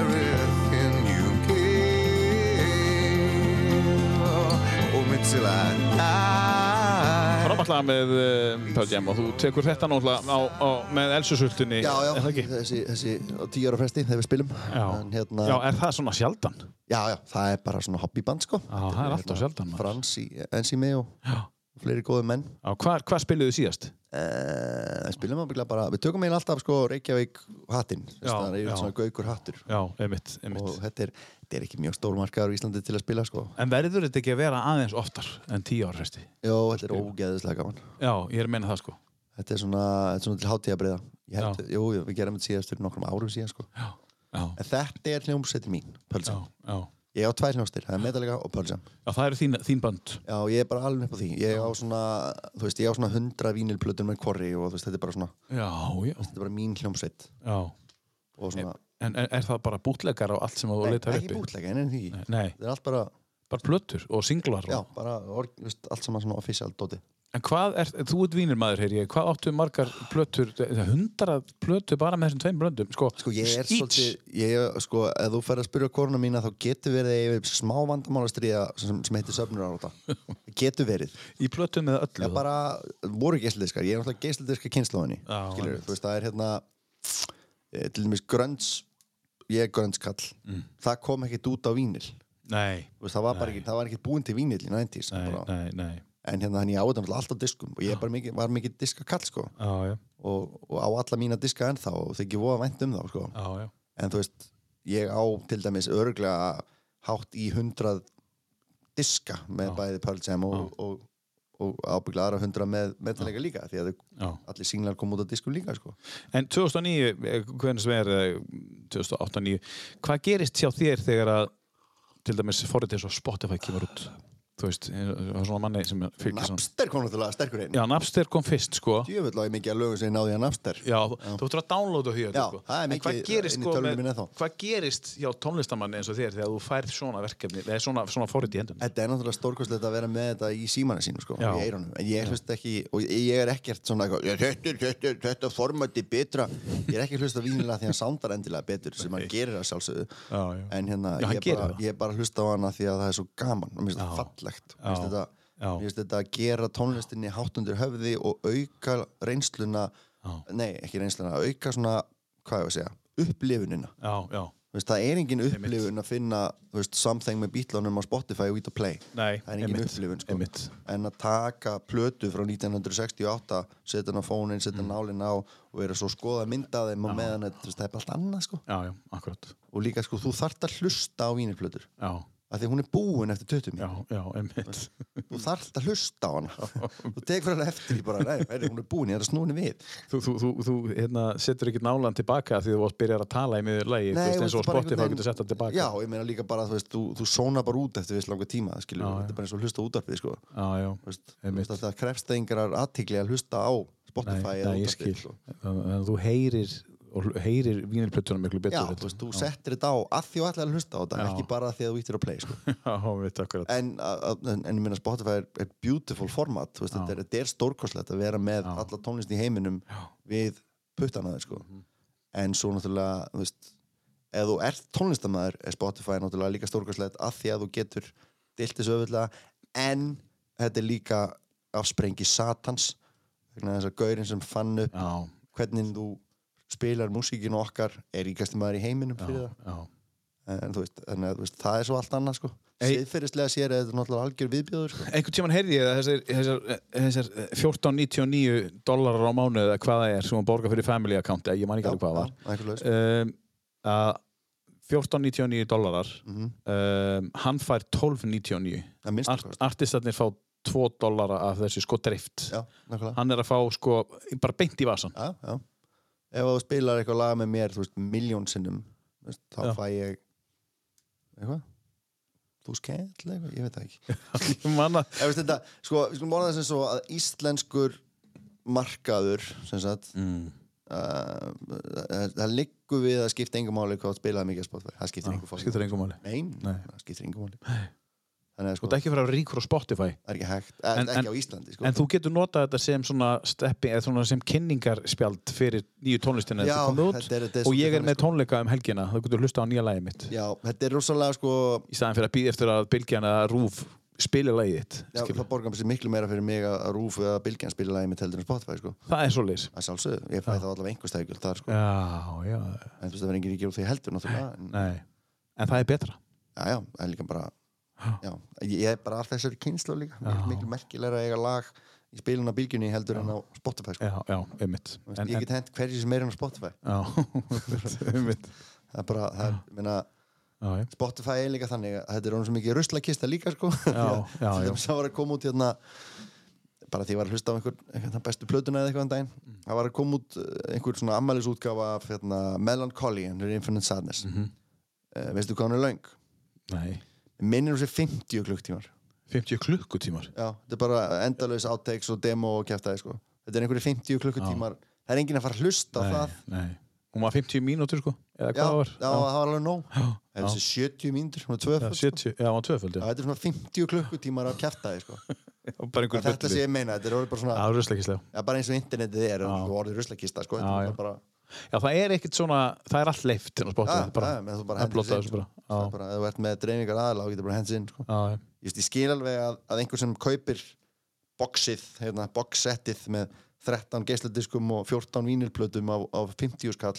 everything you give. Hold me till I die. Frábært lag með uh, Pearl Jam og þú tekur þetta náttúrulega á, á, með elsusultunni. Já, já, Er það ekki? þessi, þessi á tíu ára fresti þegar við spilum Já. En hérna, já, já. er það svona sjaldan? já, það er bara svona hobbyband sko Já, það er alltaf sjaldan, maður. Frans í Enzimi og Já. fleiri góði menn Já, hvað, hvað spiluðu síðast? uh, spilum ábygglega bara, við tökum einn alltaf sko Reykjavík hattinn, þess Já, að það er já. yfir svona gaukur hattur Já, einmitt, og einmitt. þetta er, þetta er ekki mjög stór markaður í Íslandi til að spila sko En verður þetta ekki að vera aðeins oftar en tíu ára fresti? Jó, þetta er ógeðislega gaman Já, ég er að meina það sko. Þetta er svona, þetta er svona til hátíðabriða Ég held, Já. jú, jú, við gerum þetta síðast fyrir nokkrum árum síðan sko Já, já, En þetta er hljómsveitin mín, já. Pölsam já. Ég á tvær hljómsveitir, það er Metallica og Pölsam Já, það eru þín, þín band. Já, ég er bara alveg upp á því Ég á svona, þú veist, ég á svona hundra vínilplötur með korri og þú veist, þetta er bara svona Já, já, Þetta er bara mín hljómsveit já. og svona En er, er það bara bútlegar á allt sem þú Nei, leitar ekki uppi? bútlega, en en því Nei, Þetta er allt bara, bara plötur og singlar. já, og- bara, org, þú veist, allt saman svona official dóti En hvað er, þú ert vínirmaður, heyr ég, hvað áttu margar plötur, hundra plötur bara með þessum tveim blöndum, sko, Sko ég er skíts. svolítið, ég, sko, ef þú fær að spyrja koruna mína þá getur verið að ég er smá vandamálastriða sem, sem heitir söfnur Getur verið. í plötum með öllu. Ég bara, voru geisladiskar, ég er náttúrulega geisladiska kynnslóðinni. Já, Skilur, einmitt. þú veist, það er hérna, eh, til dæmis grönns, ég er grönnskall. Það kom ekkert út á vínil. Mm. Nei, Þú Veist, það var bara ekki, það var ekki búin til vínil í 90s. nei, bara. nei, nei, En hérna, þannig ég á þetta náttúrulega allt á diskum og ég bara mikið, var mikið diskakall, sko. já, já, Og, og á alla mína diska ennþá og þykir voða vænt um þá, sko. já, já, en þú veist, ég á til dæmis örglega hátt í hundrað diska með bæði Pearl Jam og, og, og, ábygglega aðra hundrað með metallega líka því að þau, já. allir singlar kom út á diskum líka sko. En 2009, eh, hvernig sem er, eh, 2008-2009, hvað gerist hjá þér þegar að til dæmis forrið eins og Spotify kemur út þú veist, eh, það var svona manni sem fylgir svona Napster kom náttúrulega sterkur einn Já, Napster kom fyrst sko Djöfull á ég mikið að lögum sem ég náði að Napster Já, þú ættir að downloada því þetta, Já, sko. það er En mikið hvað gerist, inn í sko, tölvunni minni með, ennþá. hvað gerist hjá tónlistamanni eins og þér þegar þú færð svona verkefni eða svona, svona forrið í hendun Þetta er náttúrulega stórkostlegt að vera með þetta í símanu sínu sko, Já. í eirunum, en ég hlust ekki og ég ég er ekkert svona eitthvað "Já, þetta, þetta, þetta format er betra ég er ekki að hlusta á vínilega því að hann soundar endilega betur sem hann gerir að sjálfsögðu Já, já. en hérna, Já, hann ég, bara, gerir það. ég bara hlusta á hana því að það er svo gaman og mér finnst þetta fallegt mér finnst þetta, Já. mér finnst þetta að gera tónlistinni hátt undir höfði og auka reynsluna nei, ekki reynsluna, auka svona hvað ég að segja, upplifunina Já, já, Þú Veist, það er engin upplifun að finna þú veist, something með bítlunum á Spotify og ít að play Nei, það er engin einmitt, upplifun sko. einmitt. en að taka plötu frá 1968 setja hann á fónin, setja mm. nálin á og vera svo að skoða mynda þeim og meðan þetta, þú veist, það er bara allt annað sko. já, já, akkurat og líka sko, þú þart að hlusta á vínirplötur Já, af því hún er búin eftir 20 já, mín já, einmitt þú þart að hlusta á hana þú tekur hana eftir því bara, nei, heyrðu, hún er búin, ég er að snúa henni við Þú, þú, þú, þú hérna, setur ekki nálan tilbaka því þú átt byrjar að tala í miður lægi Nei, eins þú og veist, bara Spotify einhvern getur sett það tilbaka Já, ég meina líka bara, þú veist, þú, þú sónar bara út eftir viss langa tíma, skilur, Já, þetta er bara eins og að hlusta á útvarpið, sko, já, já, þú veist, þú einmitt veist, að það krefst engrar aðtikli að hlusta á Nei, Spotify nei, ég skil sko. Þannig að þú heyrir og hl- heyrir vínilplötunum miklu Já, betur þú veist, þú settir þetta á að því og allir að hlusta á þetta, Já. ekki bara að því að þú íttir á play, sko. Já, mitt akkurat En, að- að- en, en ég meina Spotify er, er beautiful format, þú veist, þetta er, þetta er stórkoslegt að vera með alla tónlist í heiminum við puttana þeir, sko. Mhm. En svo náttúrulega, þú veist, ef þú ert tónlistamæður er Spotify náttúrulega líka stórkoslegt að því að þú getur dilt þessu öfullega en þetta er líka afsprengi satans vegna þess að gaurinn sem fann upp Já, hvernig þú spilar músíkinu okkar er ríkasti maður í heiminum fyrir það já en þú veist, en, þú veist, það er svo allt annað sko Ei- siðferðislega sér er þetta náttúrulega algjör viðbjóður sko. einhvern tíman heyrði ég að þessar, þessar, þessar 14,99 dólarar á mánu eða hvað það er sem hún borgar fyrir family account eða ég man ekki alveg hvað það já, einhver laus. var um, að 14,99 dólarar Mhm. um, hann fær 12,99 að minnstu Art, kosti. artistarnir fá 2 dólara af þessu sko drift já, nákvæmlega hann er að fá sko bara beint í vasan já, já. ef þú spilar eitthvað lag með mér þú veist, miljón sinnum þú veist, þá Já. fæ ég eitthvað þú skell eitthvað, ég veit það ekki Manna, Ég veist þetta, sko, við skulum orða það sem svo að íslenskur markaður sem sagt mm. uh, það, það liggur við að skipta engum máli hvað þú spilaði mikið að Spotify það skiptir engum fólk skiptir engum máli Nein, Nei. það skiptir engum máli þannig að þú sko, ert ekki að fara ríkur á Spotify það er ekki hægt eh, En- en- ekki á Íslandi, sko en þú getur notað þetta sem svona, steppi, eða svona sem kynningarspjald fyrir nýju tónlistina Já, þetta komið út þetta er- þetta er og ég svolítið sko. er með tónleika um helgina þú getur hlusta á nýja lagið mitt já, þetta er rosalega sko í staðan fyrir að býða eftir að bylgjan eða rúf spila lagið þitt já, skilur. það borgar mér sér miklu meira fyrir mig að að rúfu að bylgjan spila lagi með teldur en Spotify, sko það er svo leys að sjálfsögðu, ég fæ þá allavega einhver stækjöld þar, sko já, já, en þú veist, það verður enginn ekki úr því heldur, náttúrulega en- nei en það er betra já, já, það er líka bara já, ég er bara af þessari kynslu líka miklu, miklu merkilega að eiga lag í spilun á bylgjunni heldur en á Spotify sko. já, já, einmitt Þú veist, en, ég en, get hent hverju sem er en á Spotify já, einmitt það er bara, það er, meina já, já. Spotify er líka þannig að þetta er honum svo mikið ruslakista líka sko Já, já, já. það var að koma út hérna bara því ég var að hlusta á einhver, einhver bestu plötuna eða eitthvað en daginn Mm. það var að koma út eh, einhver svona ammælisútgáfa af hérna, Melancholy and Her Infinite Sadness Mhm. mm veistu hvað hún er löng? nei minnir hún sér 50 klukktímar 50 klukkutímar Já, þetta er bara endalaus outtakes og demo og kæftæði sko. Þetta er einhverju 50 klukkutímar Það er enginn að fara að hlusta á það nei. hún var 50 mínútur sko eða Já, hvað það var já, það var alveg nóg Já, Það er þessi 70 mínútur, hún er tvöföld sko. 70, já, hún var tvöföld Já, já. Þetta er svona 50 klukkutímar af kæftæði sko. bara einhver Þetta bulli. sé ég meina, þetta er orðið bara svona Já, ruslakislega. ja, bara eins og internetið er, þetta er orðið ruslakista sko. Já, Þetta já. er bara Já, það er ekkert svona, það er allt leift hérna á Spotify, Já, það er bara, já, menn þú bara það hendir blottar þessu þessu bara. Já, Það er bara, ef þú ert með dreifingar aðalega, þú getur bara hendur inn sko. já, já. Ég veist, ég skil alveg að, að einhver sem kaupir boxið, hérna, boxsettið með 13 geisladiskum og 14 vínilplötum á, á 50 skall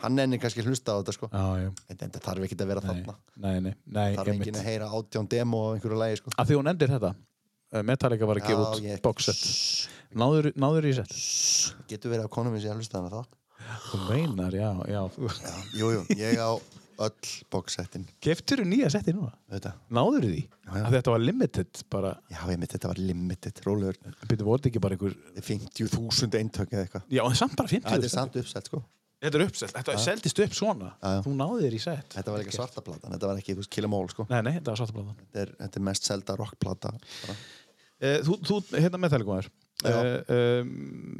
hann enni kannski að hlusta á þetta sko já, já, en þetta þarf ekki að vera nei, þarna nei, nei, nei, þarf einmitt. enginn að heyra átján demo á einhverju lægi sko Af því hún endir þetta, eh, Metallica var að gefa út ég- boxset. Náður, náður í set? getur verið að konum minn sé að hlusta á hana það Þú meinar, já, já. jú, jú, ég á öll boxsettin Keftur þú nýja seti núna? þetta Náður því? Af því þetta var limited, bara, já, ég mitt, þetta var limited, rólegur byrju, voru þetta ekki bara einhver, 50.000 eintök eða eitthvað já, en samt bara 50. þetta er samt uppsett sko Þetta er uppselt, þetta seldist upp svona. Já, já. Þú náði þér í set. Þetta var líka svarta platan, þetta var ekki, þú veist, Kill 'em All, sko. Nei, nei, þetta var svartablaðan. Þetta er, þetta er mest selda rockplata. bara. Uh, þú, þú, hérna með þelgumar. Já. Uh, um,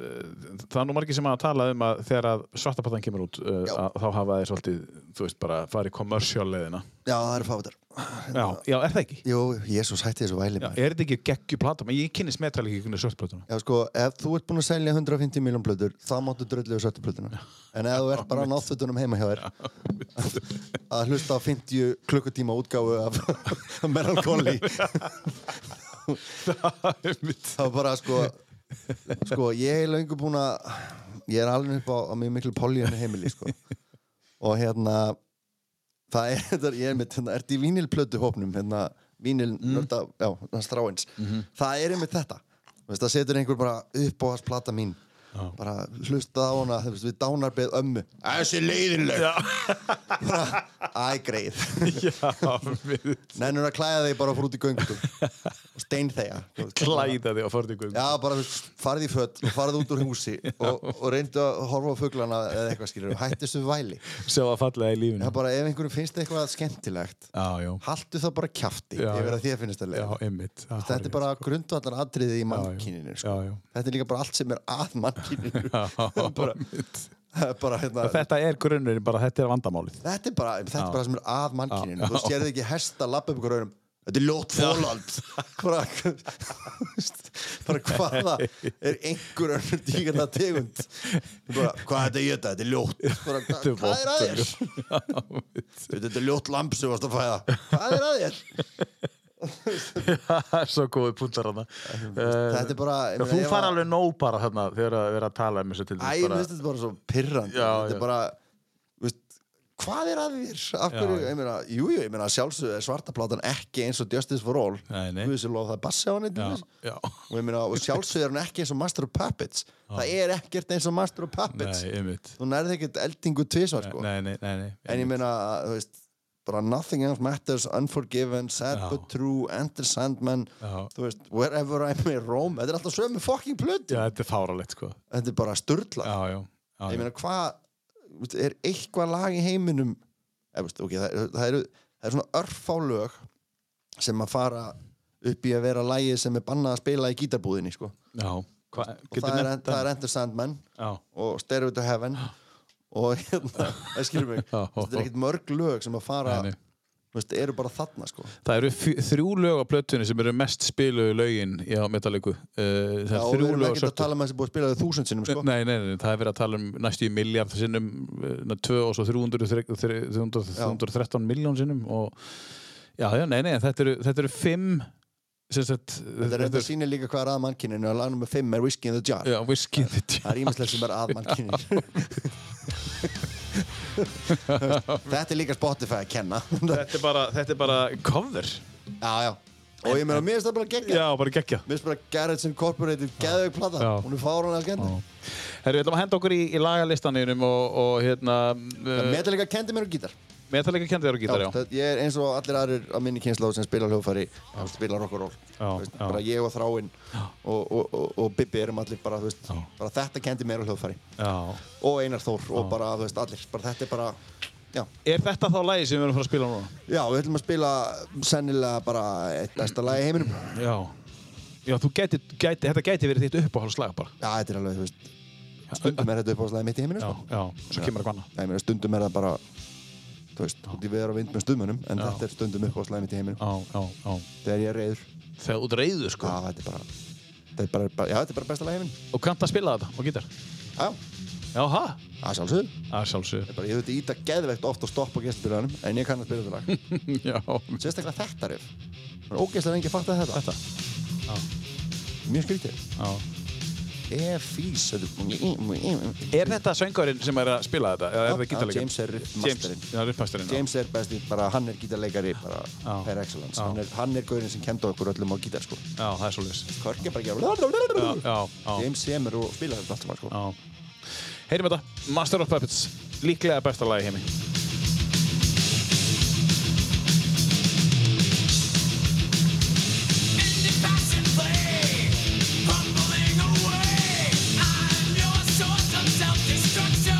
uh, það er nú margir sem að tala um að þegar að svartablaðan kemur út, uh, Já. að, þá hafa þeir svolítið, þú veist, bara farið kommersjál leðina. Já, það eru fátar. Já, já, er það ekki? Jú, Jésús, hætti þessu væli Já, maður. er þetta ekki geggjuplata? Men Ég kynni smetal ekki einhvern svartablaðuna. Já, sko, ef þú ert búinn að selja 150 miljón blöður, þá máttu dröllu við svarta blöðuna. En ef þú ert bara á náttfötunum heima hjá þér, að hlusta á 50 klukkutíma útgáfu af Meryl Conley, Það er mitt. þá bara, sko, sko, ég er löngu búinn að, ég er alveg upp á, á mjög miklu poljunni heimili, sko. Og hérna, það er, þetta er, ég er mitt, hérna, ert í vínilplötu hópnum, hérna, vínil, Mhm. nörda, já, hérna, stráins. Það er einmitt þetta. Þú veist, það setur einhver bara upp á hans plata mín. Já. Bara hlusta á hana, þú veist, við dánarbeð ömmu. Þessi leiðinleg. Já, Æ, greið. já, við Nennur að klæða þig bara og fór út í göngutum. Og steinþegja. þú veist. klæða þig á förningum. Já, bara þú veist, farið í fött og farið út úr húsi og, og reyndu að horfa á fuglana eða eitthvað skilur. Hættist við væli. Sjá að fallega í lífinu. Það er bara ef einhverjum finnst eitthvað skemmtilegt Já, já. haltu það bara kjafti Já, yfir já. að því að finnst það leið Já, einmitt. Já, þetta er hárrétt. sko. bara grundvallar atriði í já. mannkyninu sko. Já, já. þetta er líka bara allt sem er að mannkyninu Já, bara, það er bara, hérna, Og Þetta er grunnurinn bara, þetta er vandamálið. þetta er bara þetta er bara sem er að Já, mannkyninu já. þú sérði ekki hesta lappa upp ykkur raunum þetta er ljótt fólald bara, bara hvaða er einhver önnur dýgarna tegund bara, hvað er þetta ég þetta, þetta er ljótt bara, Þetta hva, hvað er að þér vottur. þetta er ljótt lamp sem varst að fæða hvað er að þér Það er svo góði puntar hana. Þetta er bara ég meina, Eh, Þú ef að- far alveg nóg bara þarna þegar að vera að tala um þessu til Æ, mér finnst þetta bara svo pirrandi Já, já. Þetta er bara þú veist, Hvað er að þér? Af Já, hverju, já. ég meina, jú, jú, ég meina sjálfsögðu er svarta plátan ekki eins og Justice for All Nei, nei. Guð sem lofa það er bassi á henni til Já, þess. já. og ég meina, og sjálfsögðu er hún ekki eins og Master of Puppets Það er ekkert eins og Master of Puppets Nei, einmitt. Þú nærði ekkert eldingu tvisvar, sko Nei, nei, nei, nei. En ég meina, þú veist bara Nothing Else Matters, Unforgiven Sad Já. But True, Enter Sandman Já. þú veist, Wherever I May Roam Þetta er alltaf sömu fucking plötu Já, þetta er fáralegt, sko. Þetta er bara Já, sturla já. já, já. ég meina hvað þú veist, er eitthvað lag í heiminum eða, veist, okay, það, það, eru, það eru svona örfá lög sem að fara upp í að vera lagi sem er bannað að spila í gítarbúðinni sko. og Já. Hva, það er, nefnt það er Enter Sandman Já, og Stairway to Heaven og hérna, það skilur mig Já. þetta er ekkert mörg lög sem að Nei, fara nei. þú veist, eru bara þarna sko. það eru fjö- þrjú lög á plötunni sem eru mest spiluðu lögin í á metalliku. Uh, það Já, er og við þrjú erum lög á ekkert að sörtu. tala um að þessi búið að spila þau þúsund sinnum sko. Nei, nei, nei, það hefur verið að tala um næstu í miljard sinnum, eh, na, tvö og svo 300, þre- þre- 300, 313 miljón sinnum og já, já, nei, nei, þetta eru, þetta eru fimm sem sagt, þetta er reynda að sína líka hvað er að mannkyninu og lag nummer 5 er Whiskey in the Jar já, whisky in the jar. Það er ímislegt sem er að mannkyninu Þetta er líka Spotify að kenna Já, Þetta er bara, þetta er bara cover já Og ég meina, mér finnst það bara geggja Já, bara geggja Mér finnst bara Garrett's Incorporated geðveik plata Já. Hún er fárun að skemmt Herru, við ætlum að henda okkur í, í lagalistaninum og, og hérna uh, Metallica kendi mér á gítar Metallica kendi þér og gítar, já, það- Ég er eins og allir aðrir á minni kynnslóð sem spila hljóðfæri spila rock og roll Já, Þú veist, já. Bara ég og Þráinn og, og, og, og Bibbi erum allir bara, þú veist, Já. bara þetta kendi mér á hljóðfæri já Og Einar Þór og bara, þú veist, allir bara, Þetta er bara, já Er þetta þá lagi sem við erum að fara að spila núna? Já, við ætlum að spila sennilega bara eitt besta lag í heiminum. Já Já, þú gæti, gæti, þetta gæti verið þitt uppáhaldslag bara Já, þetta er alveg, þú veist, stundum er þetta uppáðslega mitt í heiminum, Já, sko. já, svo kemur eitthvað annað Nei, mér, stundum er það bara, þú veist, út í veður og vind með stuðmönnum, en Já. þetta er stundum uppáðslega mitt í heiminum. Já, já, já. Þegar ég er reyður, Þegar út reyðu, já, sko. þetta er bara, þetta er bara, bara já, þetta er bara besta lag í heiminum. Og kannt að spila þetta á gítar. Já, já, Já, hæ? að sjálfsögðu. Það er sjálfsög. Þetta er Bara, ég þurfti að íta geðveikt oft og stoppa á gestbyrjanum, en ég kann að spila þetta lag. já. Sérstaklega þetta riff. Það er ógeðslega lengi að fatta þetta. Þetta. Mjög skrítið. Já. E-fís, þetta er... Er þetta söngarinn sem er að spila þetta? Eða er Já, þetta já, gítarleikar? James er riffmasterinn. James, já, riffmasterinn. James er besti, bara hann er gítarleikari bara Já. per excellence, Já. hann er, hann er gaurinn sem kenda okkur öllum á gítar sko Já, það er svolítið. Körk er bara ekki Já, já, já. James semur og spilar þetta allt saman sko já. Heyrim þetta. Master of Puppets. Líklega besta lagi í heimi. Self-destruction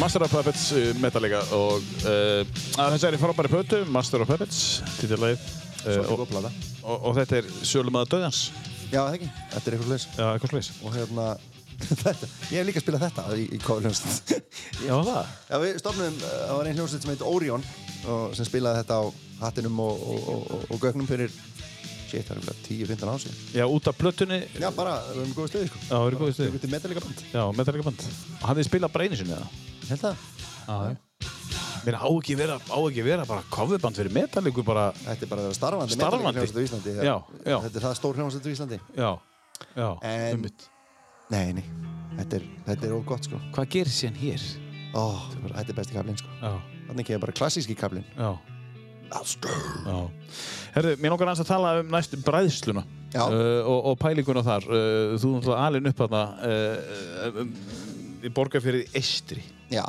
Master of Puppets uh, Metallica og uh, að þessari frábæri plötu, Master of Puppets, titillagið. Uh, Svolítið og, góð plata. og, og þetta er Sölumæða Döðans, Já, það ekki. Þetta er eitthvað hlust. eða eitthvað slags. Og hérna, þetta. Ég hef líka spilað þetta í, í kofljónst. Já, það. Já, við stopnum, uh, það var einn hljómsveit sem heit Orion og sem spilaði þetta á hattinum og, og, og, og, og gögnum fyrir, shit, það er um 10-15 ásinn. Já, út af plötunni, já, Já, bara, við erum góðið stuði, sko. það er góðið Við erum stuð. til Metallica band. Já, Metallica band. Hann þið spilað bara einu sinni eða? Ég Held það? Já, já. Mér á ekki vera, á ekki vera bara coverband fyrir Metallica bara, Þetta er bara að vera starfandi Starfandi. Metallica hljómsveit á Íslandi. hérna. Já, já. Þetta er það stór hljómsveit á Íslandi. já, já, En- einmitt. Nei, nei, þetta er, þetta er ógott, sko. Hvað gerir síðan hér? Ó, þetta er besti kablinn, sko. Já, Þannig kemur bara klassíski kablinn. já. Ástur. Já. Herðu, mér langar aðeins að tala um næst bræðsluna Já. uh, og, og pælinguna þar. Uh, þú náttúrulega alin upp þarna uh, um, í borgarfyrir Eistri. Já,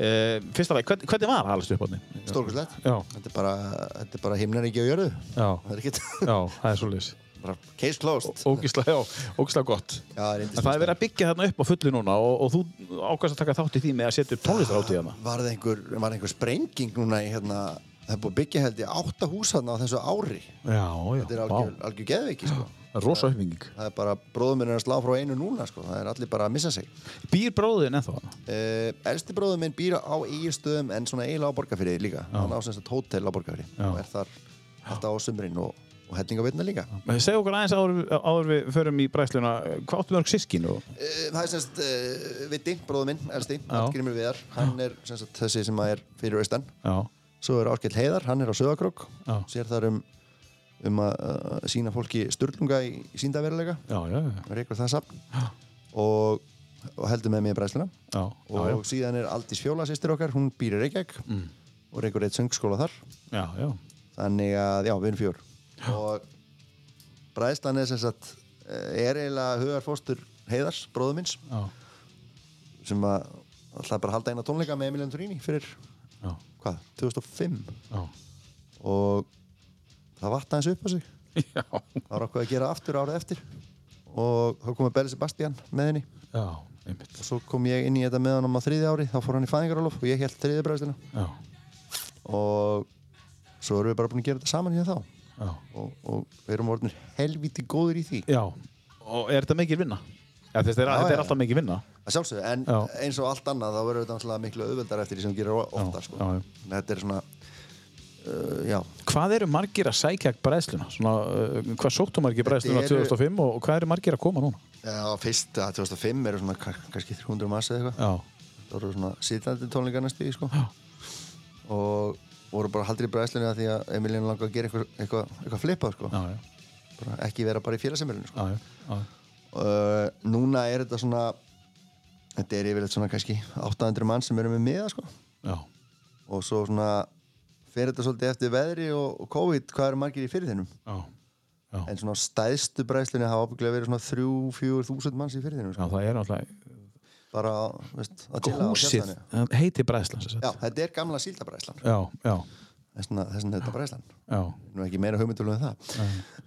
Uh, fyrsta lagi, hvern, hvernig var alast upp þarna? stórkurslegt. Já, Þetta er bara, þetta er bara himnaríki á jörðu. já, Það er ekkert, já, það er svolítið. bara case closed. Ógislega, já, ógislega gott. Já, það er En það er verið að byggja þarna upp á fullu núna og, og þú ákvæmst að taka þátt í því með að setja upp tónlistarhátíð hérna. hana. Var það einhver, var einhver sprenging núna í hérna, það er búið að byggja held ég átta hús hérna á þessu ári. Já, já, Þetta er algjör, vá. algjör geðviki, sko. Það er rosa uppbygging. Það er bara, bróðum minn er að slá frá einu núna, sko. Það er allir bara að missa sig. Býr bróðin ennþá hana? Uh, elsti bróðum minn býr á eiginstöðum en svona eiginlega á borgarfyrir líka. Hann á sem sagt hótel á borgarfyrir Já. og er þar alltaf á sumrin og, og hellingaveitna líka. Segð okkur aðeins áður, áður við förum í bræðsluna, hvað áttu mörg sískin og Uh, það er semst uh, Vitti, bróður minn, elsti, Já. Hallgrímur Viðar, hann er semst þessi sem að er fyrir austan. Já, Svo er Árkell Heiðar, hann er á Söðakrók, Já. sér þar um, um að uh, sína fólki sturlunga í, í síndaveruleika, já, já, já, reikur það safn og, og heldur með mér bræðsluna. já, Og já, Mm. síðan er Aldís Fjóla, sýstir okkar, hún býr í Reykjavík og reikur eitt söngskóla þar. já, já, Þannig að, já, við erum fjör. Og bræðslan er sem sagt, eh, er eiginlega hugarfóstur Heiðars, bróður minns já, sem að alltaf bara að halda eina tónleika með Emilian Turini fyrir, já, hvað, 2005 já, og það vatt aðeins upp á sig já, það var okkur að gera aftur árið eftir og þá kom að Belle Sebastian með henni já, einmitt, og svo kom ég inn í þetta með hann á þriði ári þá fór hann í fæðingarálof og ég held þriði bræðstina já, og svo erum við bara búin að gera þetta saman hér þá já, og, og við erum orðin helviti góður í því já, og er þetta mikil vinna? Já, þess, þetta er, Já, þetta já. er alltaf mikil vinna, að sjálfsögðu, en Já. eins og allt annað þá verður þetta náttúrulega miklu auðveldar eftir því sem þú gerir ofta Já, sko. já, já. Þannig að þetta er svona uh, já, hvað eru margir að sækja bræðsluna? Svona, uh, hvað sóttu margir bræðsluna Þetta eru- 2005 og, og hvað eru margir að koma núna? Já, fyrst að 2005 eru svona ka- kannski 300 massa eða eitthvað. Já, Það voru svona sitandi tónleikar næstu í, sko. Og voru bara haldir í bræðslunni að því að Emilín langaði að gera eitthvað, eitthvað, eitthvað flipað, sko. já, já, Bara ekki vera bara í félagsemilinu, sko. já, já, já, Uh, núna er þetta svona, þetta er yfirleitt svona kannski 800 mann sem eru með miða, sko. já, Og svo svona fer þetta svolítið eftir veðri og, og COVID, hvað eru margir í fyrirðinum. já, já, En svona á stæðstu bræðslunni hafa ábygglega verið svona 3-4 þúsund manns í fyrirðinum, sko. já, það er alltaf, Bara, á- veist, að chilla á húsið hjartanu. það heitir bræðslan, sem sagt. Já, þetta er gamla síldabræðslan já, já, þess vegna þess vegna er þetta bræðslan já, nú ekki meira hugmyndulum en það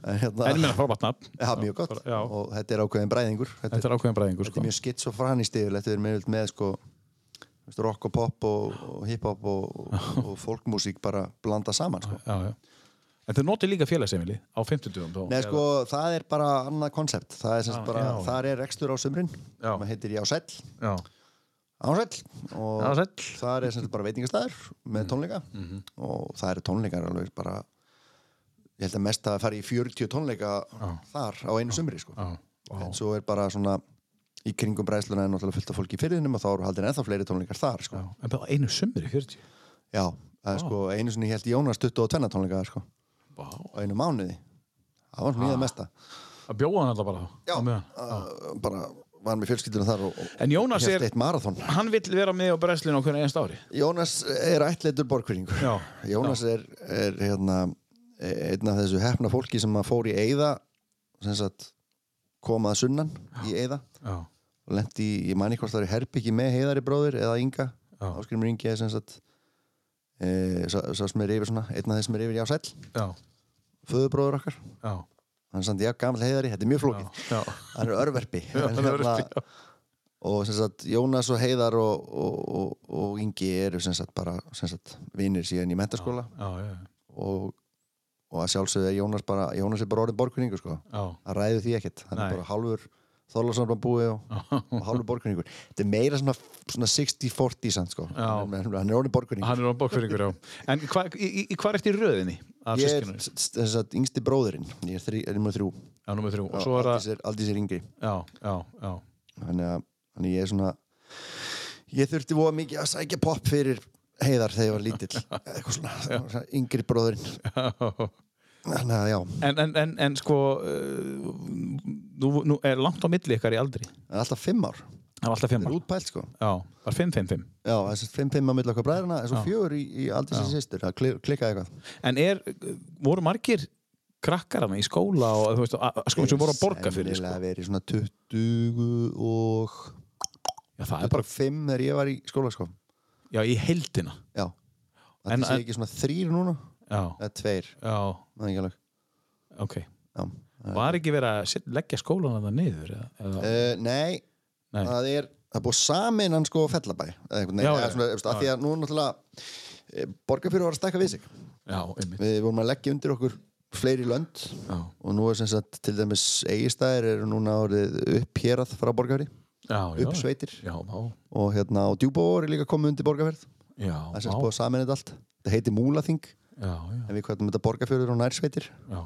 en hérna, en ég meina frábært nafn, já, mjög gott já. og þetta er ákveðin bræðingur þetta, þetta er ákveðin bræðingur, þetta sko, er mjög skits og frani stíðil þetta er meðvild með sko þú veist, rock og pop og, og hiphop og, og, og folkmúsík bara blanda saman sko. já, já. En þið notið líka félagsemili á 50 dugum þá? Nei, sko, það er bara annað konsept það er semst Já, bara, já. þar er rekstur á sumrin Já. maður heitir Já Sæll Já, Ásæll og Já, sæll. þar er semst bara veitingastæður Mhm. með tónleika og það eru tónleikar alveg bara ég held að mest að fara í 40 tónleika þar á einu sumri sko. já, já. en svo er bara svona í kringum bræðsluna er náttúrulega fullt af fólki í fyrirðinum og þá eru haldin ennþá fleiri tónleikar þar sko. Já, en bara einu sumri, 40 já, það er sko einu sinni held Jónas 22 tónleika sko, Vá. á einu mánuði það var svona í það mesta að bjóða hann alltaf bara já, á meðan. uh, bara var með fjölskyldunum þar og, og en Jónas held er, eitt marathon hann vill vera með á brennslinu á hvernig einst ári Jónas er ættleitur borgfyrringur Já. Jónas er, er hérna, einn af þessu hefna fólki sem að fór í Eyða sem sagt kom að sunnan í Eyða já, og lendi í, ég man ekki hvort það er herbyggi með Heiðari bróður eða Inga Já. Áskrimur Ingi er sem sagt e, sá, sá sem er yfir svona, einn af þessum er yfir Jásæll, já, föðubróður okkar já, hann er samt jafn gamall Heiðari, þetta er mjög flókið já, hann er örverpi Já, en, hann er örverpi, hérna, og sem sagt Jónas og Heiðar og, og, og, og Ingi eru sem sagt bara sem sagt vinnir síðan í mentaskóla Já, já, og, og að sjálfsögðu er Jónas bara Jónas er bara orðið borgrinningur sko já. hann ræður því ekkert, hann Nei. er bara hálfur Þorlason bara búið og, og hálfur borgrinningur þetta er meira svona, svona 60-40 samt sko, Já. hann er hann er orðið borgrinningur Hann er á bókfyrringur, já. En hva, í, í, í- hvað er eftir röðinni af ég er sískinunum? s- s- sem sagt yngsti bróðurinn ég er, þri, er nummer þrjú Já, nummið þrjú. Og og svo er það, Aldís er, Aldís er yngri já, já, já. þannig að þannig að ég er svona ég þurfti voða mikið að sækja pop fyrir heiðar þegar ég var lítill eitthvað svona, svona yngri bróðurinn þannig að já, En, en, en, en sko, uh, nú, nú er langt á milli ykkar í aldri. það er alltaf fimm ár Það var alltaf fimm það ár. er útpælt sko Já, var fimm, fimm, fimm. já, þessi fimm fimm á milli okkar bræðrana en svo fjögur í, í aldrei sem sýstur það kli- klikkaði eitthvað En er, voru margir krakkar hana í skóla og þú veist, að, að sko, sem voru að borga fyrir, sko. sennilega verið svona 20 og Já, það er bara, 25 þegar ég var í skóla sko já, í heildina. já, En- það sé en- ekki svona þrýr núna Já, eða tveir, já, maður ekki alveg ok. já. Var ekki verið að set- leggja skólan hana niður? Eða, eða? Uh, nei, Nei. það er það er búið samin hann sko fellabæ eða Já, einhvern veginn, eða já, svona, eftir, að því að nú náttúrulega borgarfyrir var að stakka við sig Já, einmitt. við vorum að leggja undir okkur fleiri lönd Já, og nú er sem sagt til dæmis eigistæðir eru núna orðið upphjerað frá borgarfyrir, já, já. uppsveitir Já, vá. og hérna og djúbóður er líka komið undir borgarfyrð Já, það er vá. sem sagt búið að samin þetta allt það heiti Múlaþing, Já, já, en við hvernig þetta borgarfyrir og nærsveitir já.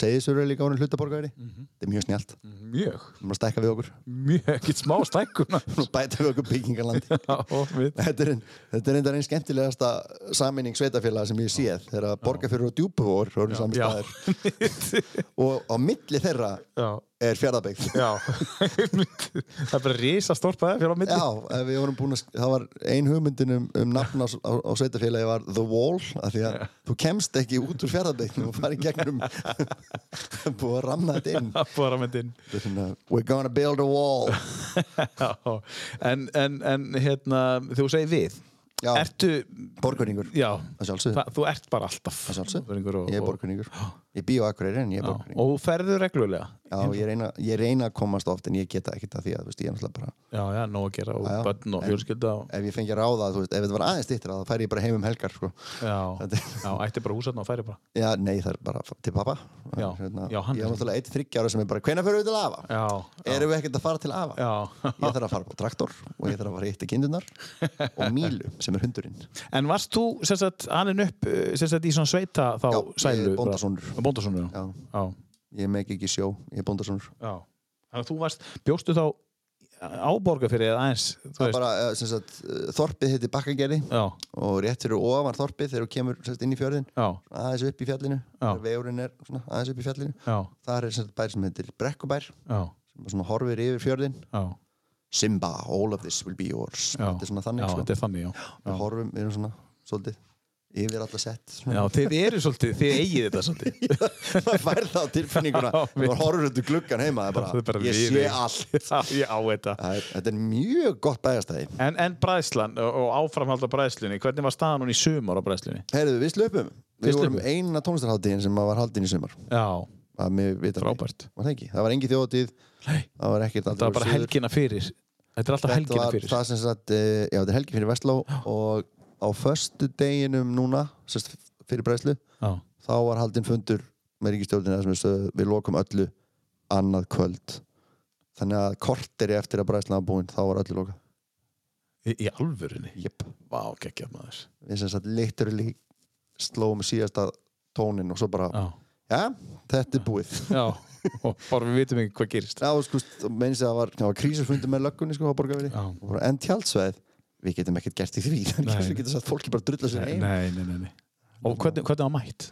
segðisur eru líka orðin hluta borgarfyrir þetta er mjög snjált, við Mjög, erum að stakka við okkur Mhm. mjög, ekkert smá stækkuna. Nú bæta við okkur byggingarlandi Já, við. Þetta er, ein- þetta er enda einn skemmtilegasta saminning sveitafélaga sem ég séð þegar borgarfyrir og djúpuvór eru saman Já. staðar og á milli þeirra Já, er fjaraðbyggð já. það er bara risa stórt bæði fyrir á milli. Já, ef við vorum búin að, sk- það var ein hugmyndin um, um nafn á, á, á sveitafélagi var The Wall, af því að þú kemst ekki út úr fjaraðbyggðinu og farið gegnum búið að ramna þetta inn Það er bara með þinn. Þetta er svona, We're gonna build a wall Já, en, en, en hérna, þú segir við. Já, Ertu, borgarningur, já, að sjálfsögðu, það, þú ert bara alltaf. að Borgungur sjálfsögðu og- Ég er og- borgarningur, ég býð á Akureyri en ég er Já, borgarningur og ferðu reglulega. Já, ég reyna, ég reyna að komast oft en ég geta ekkert að því að, þú veist, ég er náttúrulega bara Já, já, nóg að gera og Já, já. börn og fjölskylda. Og, ef ég fengi að ráða, þú veist, ef þetta var aðeins dittir þá færi ég bara heim um helgar, sko já, Þetta er- já, ætti bara húsatna og færi bara. Já, nei, það er bara til pappa Já, já, hann er Ég er svona. náttúrulega eitt þryggja ára sem er bara, hvenær fyrir við til afa? Já, Erum við ekkert að fara til afa? já. Ég þarf að fara på traktor og ég þarf að fara í eitt kindunar og Mílu, sem er hundurinn En varst þú, sem sagt, anninn upp, eh, sem sagt, í svona sveita þá Já, sælu? ég er bóndasonur. bara- Bóndasonur, já. Já, Já, ég mek ekki í sjó, ég er bóndasonur já. Þannig að þú varst, bjóstu þá áborga fyrir eða aðeins, þú Það er veist. bara, eh, sem sagt, eh, þorpið heiti Bakkagerði Já, og rétt fyrir ofan þorpið þegar þú kemur sem sagt, inn í fjörðin já, aðeins upp í fjallinu, Já. vegurinn er svona, aðeins upp í fjallinu já, þar er sem sagt bær sem heitir Brekkubær já, sem svona horfir yfir fjörðin já. Simba, all of this will be yours já. þetta er svona þannig Já, sko. þetta er þannig, já. já. við horfum, við erum svona svolítið yfir alla sett Já, svona. þið eru svolítið, þið eigið þetta svolítið. maður fær það á tilfinninguna Já, við- maður horfur út úr gluggan heima það er bara, Það er bara ég við- sé allt Já, ég á þetta. Það er, þetta er mjög gott bæjastæði En, en bræðslan og- og áframhald á bræðslunni, hvernig var staðan hún í sumar á bræðslunni? heyrðu, við slöpum Við við vorum slupum. eina tónlistarháttíðin sem var haldin í sumar Já, að mér vita frábært. var það, ekki? það var engi þjóðatíð Nei. það var ekkert Það var bara helgina fyrir. Þetta er alltaf þetta helgina var fyrir. það sem sagt eh, já, þetta er helgi fyrir Vestló og á förstu deginum núna sem sagt, fyrir bræðslu Já, þá var haldinn fundur með ríkistjórnina þar sem við sögðu við lokum öllu annað kvöld þannig að korteri eftir að bræðslan var búin þá var öllu lokað í, í alvörunni. yep. Vá, geggjað maður. við sem sagt literally slóum síðasta tónin og svo bara, Já. já, þetta er búið Já, og bara við vitum ekki hvað gerist. já, sko, meins að það var, það var krísarfundur með löggunni sko á borgarveri Já. og bara enn tjaldsveið við getum ekkert gert í því þannig Nei. að við getum sagt fólki bara drulla sér Nei, einn nei, nei, nei. Og hvernig, hvernig var mætt?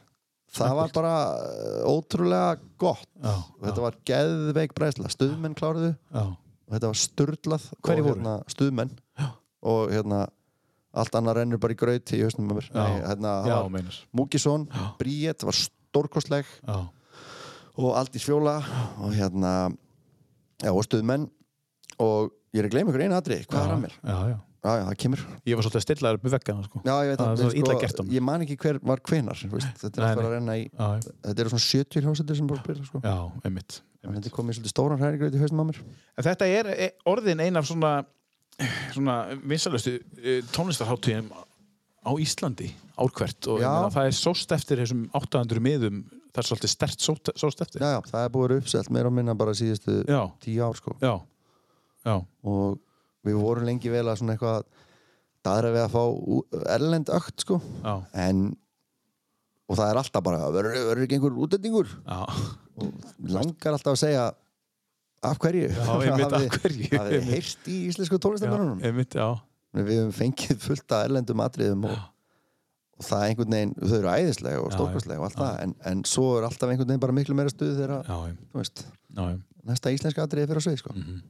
það var bara eh, ótrúlega gott Já, þetta var geðveik bræðsla stuðmenn kláruðu Já, og þetta var störlað Hverjir voru? hérna, stuðmenn og hérna allt annað rennur bara í graut í hausnum að mér Já. Nei, hérna, já, það var meinar. Múkisson, Bríett var stórkostleg Já, og Aldís Fjóla og hérna já, og stuðmenn og ég er að gleyma ykkur einu atri, hvað er að mér? já, já. Já, já, það kemur Ég var svolítið að stilla þér upp við veggana, sko. Já, ég veit Það er að, svona illa gert á mér. ég man ekki hver var hvenar veist, þetta er Nei, alltaf nei. að renna í Já, já. þetta eru svona 70 hljómsættir sem bara spila sko. já, einmitt. Þannig að þetta komið svolítið stóran hrærigröð í hausnum á mér. En þetta er e, orðin ein af svona, svona vinsalustu tónlistarháttíðum á Íslandi árkvert og ég Já. meina, það er sóst eftir þessum 800 miðum, það er svolítið stert sóst, sóst eftir. Já, já, það er búið að vera uppselt meira og minna bara síðustu Já, tíu ár, sko. já, já, Og við vorum lengi vel að svona eitthvað daðra við að fá ú- erlend ökt, sko. já, En, og það er alltaf bara, verður verður ekki einhver útlendingur? já. Langar alltaf að segja, af hverju? Já, einmitt, af hverju? Hafið þið heyrt í íslensku tónlistamörunum? Einmitt, já, við höfum fengið fullt af erlendum atriðum og, og það er einhvern veginn þau eru æðislega og Já, stórkostlega og allt það en, en svo er alltaf einhvern veginn bara miklu meira stuð þegar já, já, þú veist, já, já. næsta íslenska atriði fyrir á svið sko. Mhm.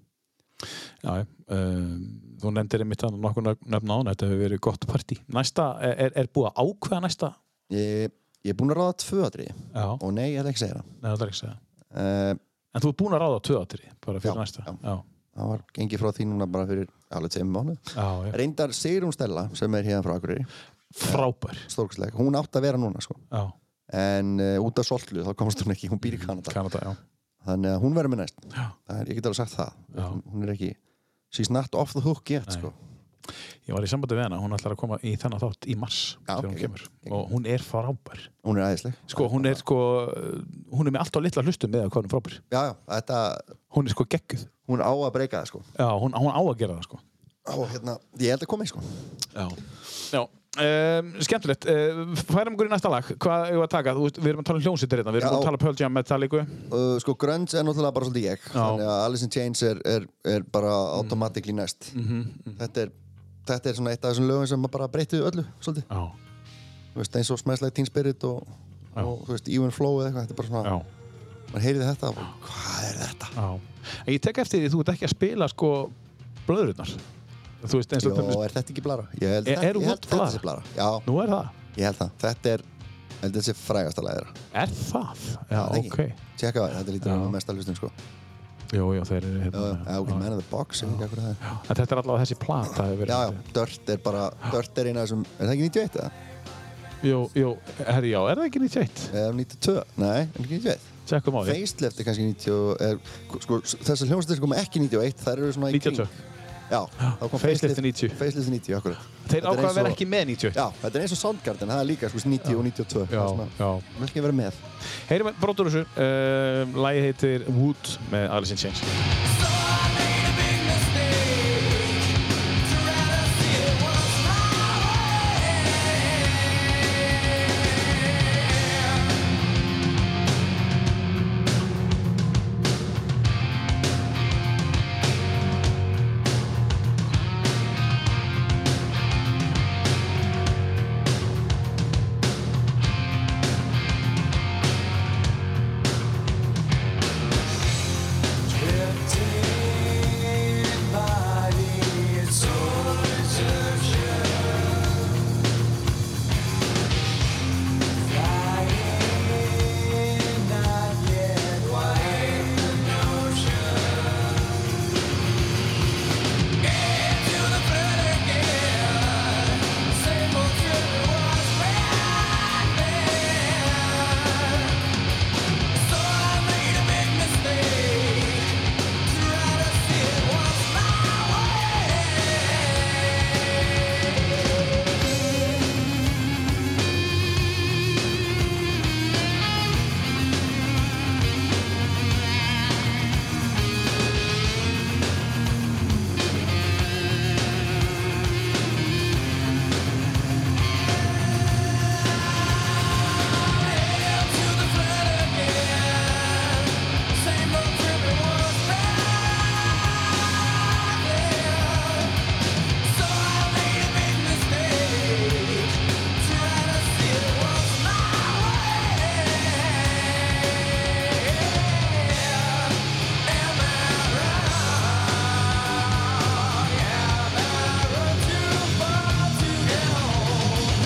Já, já. Um, þú nefndir einmitt hann nokkur nöfn án, þetta hefur verið gott partí. Næsta, er, er- er búið að ákveða næsta? ég, ég er búin að ráða tvö atriði Já, og nei, ég ætla ekki að segja það neða það er ekki að segja. uh, En þú er búin að ráða tvö átri, bara fyrir Já, næsta. já. já, það var gengið frá því núna bara fyrir alveg tveim mánu já, já. reyndar Sigrún Stella sem er hérna frá Akureyri Frábær, stórkostlega, hún átt að vera núna sko. já, en uh, út af soltlu þá komst hún ekki, hún býr í Kanada Kanada, já. þannig að hún verður með næst Já. Það er, ég get alveg sagt það Já. hún, hún er ekki she's not off the hook yet sko. Ég var í sambandi við hana, hún ætlar að koma í þennan þátt í mars Já, þegar hún ok. kemur og hún er frábær. hún er æðisleg Sko, hún er sko, uh, hún er með allt á litla hlustum með að hvað hún er frábær. já, já, þetta, Hún er sko gegguð. hún á að breyka það sko. Já, hún, hún á að gera það sko. og hérna, ég held að komi sko. Já. Já. Um, skemmtilegt, uh, færum okkur í næsta lag hvað eigum við að taka, Þú veist, við erum að tala um hljómsýttir hérna, við erum Já. að tala um Pearl Jam Metallica Uh, sko, grunge er náttúrulega bara svolítið ég þannig að Alice in Chains er, er, er bara Mm. automatically næst Mhm, þetta er Þetta er svona eitt af þessum lögum sem maður bara breytið öllu svolítið, Já, þú veist, eins og smæslega Teen Spirit og, Já. og þú veist, Even Flow eða eitthvað, þetta er bara svona, já, maður heyrði þetta og hvað er þetta? já En ég tek eftir því þú ert ekki að spila sko blöðurinnar Þú veist eins og Jó, tæmis, er þetta ekki blara? Ég Er- held, þetta- er hún ég vond held þetta blara? sé blara? Já, nú er það Ég held það. Þetta er, ég held þessi frægasta læðra. Er það? Já, það ekki. ok Tjekka það, þetta lítur Já. að vera mesta hlustun, sko. Jú, já, þeir eru Já, hérna já, ok, man in the box, ég veit ekki hvað það er. já. En þetta er allavega þessi plata hefur verið Já, já, Dirt er bara, Dirt er eina af þessum, er það ekki 91 eða? Jú, jú, herri, já, er það ekki 91? Eða 92? Nei, er ekki 91. Tjekkum á því Facelift er kannski 90, og- er, sko, s- þessar hljómsveitir sem koma ekki 91, þær eru svona í kring. 92. Já, þá kom Facelift Facelift er 90. Facelift er 90, akkurat. Þeir Þetta er ákvaða að eins vera og- ekki með 91 Já, þetta er eins og Soundgarden, það er líka, sko, 90 og 92. Já, já. Mjög ekki að vera með. Heyrum við brotur þessu uh, Lagið heitir Wood með Alice in Chains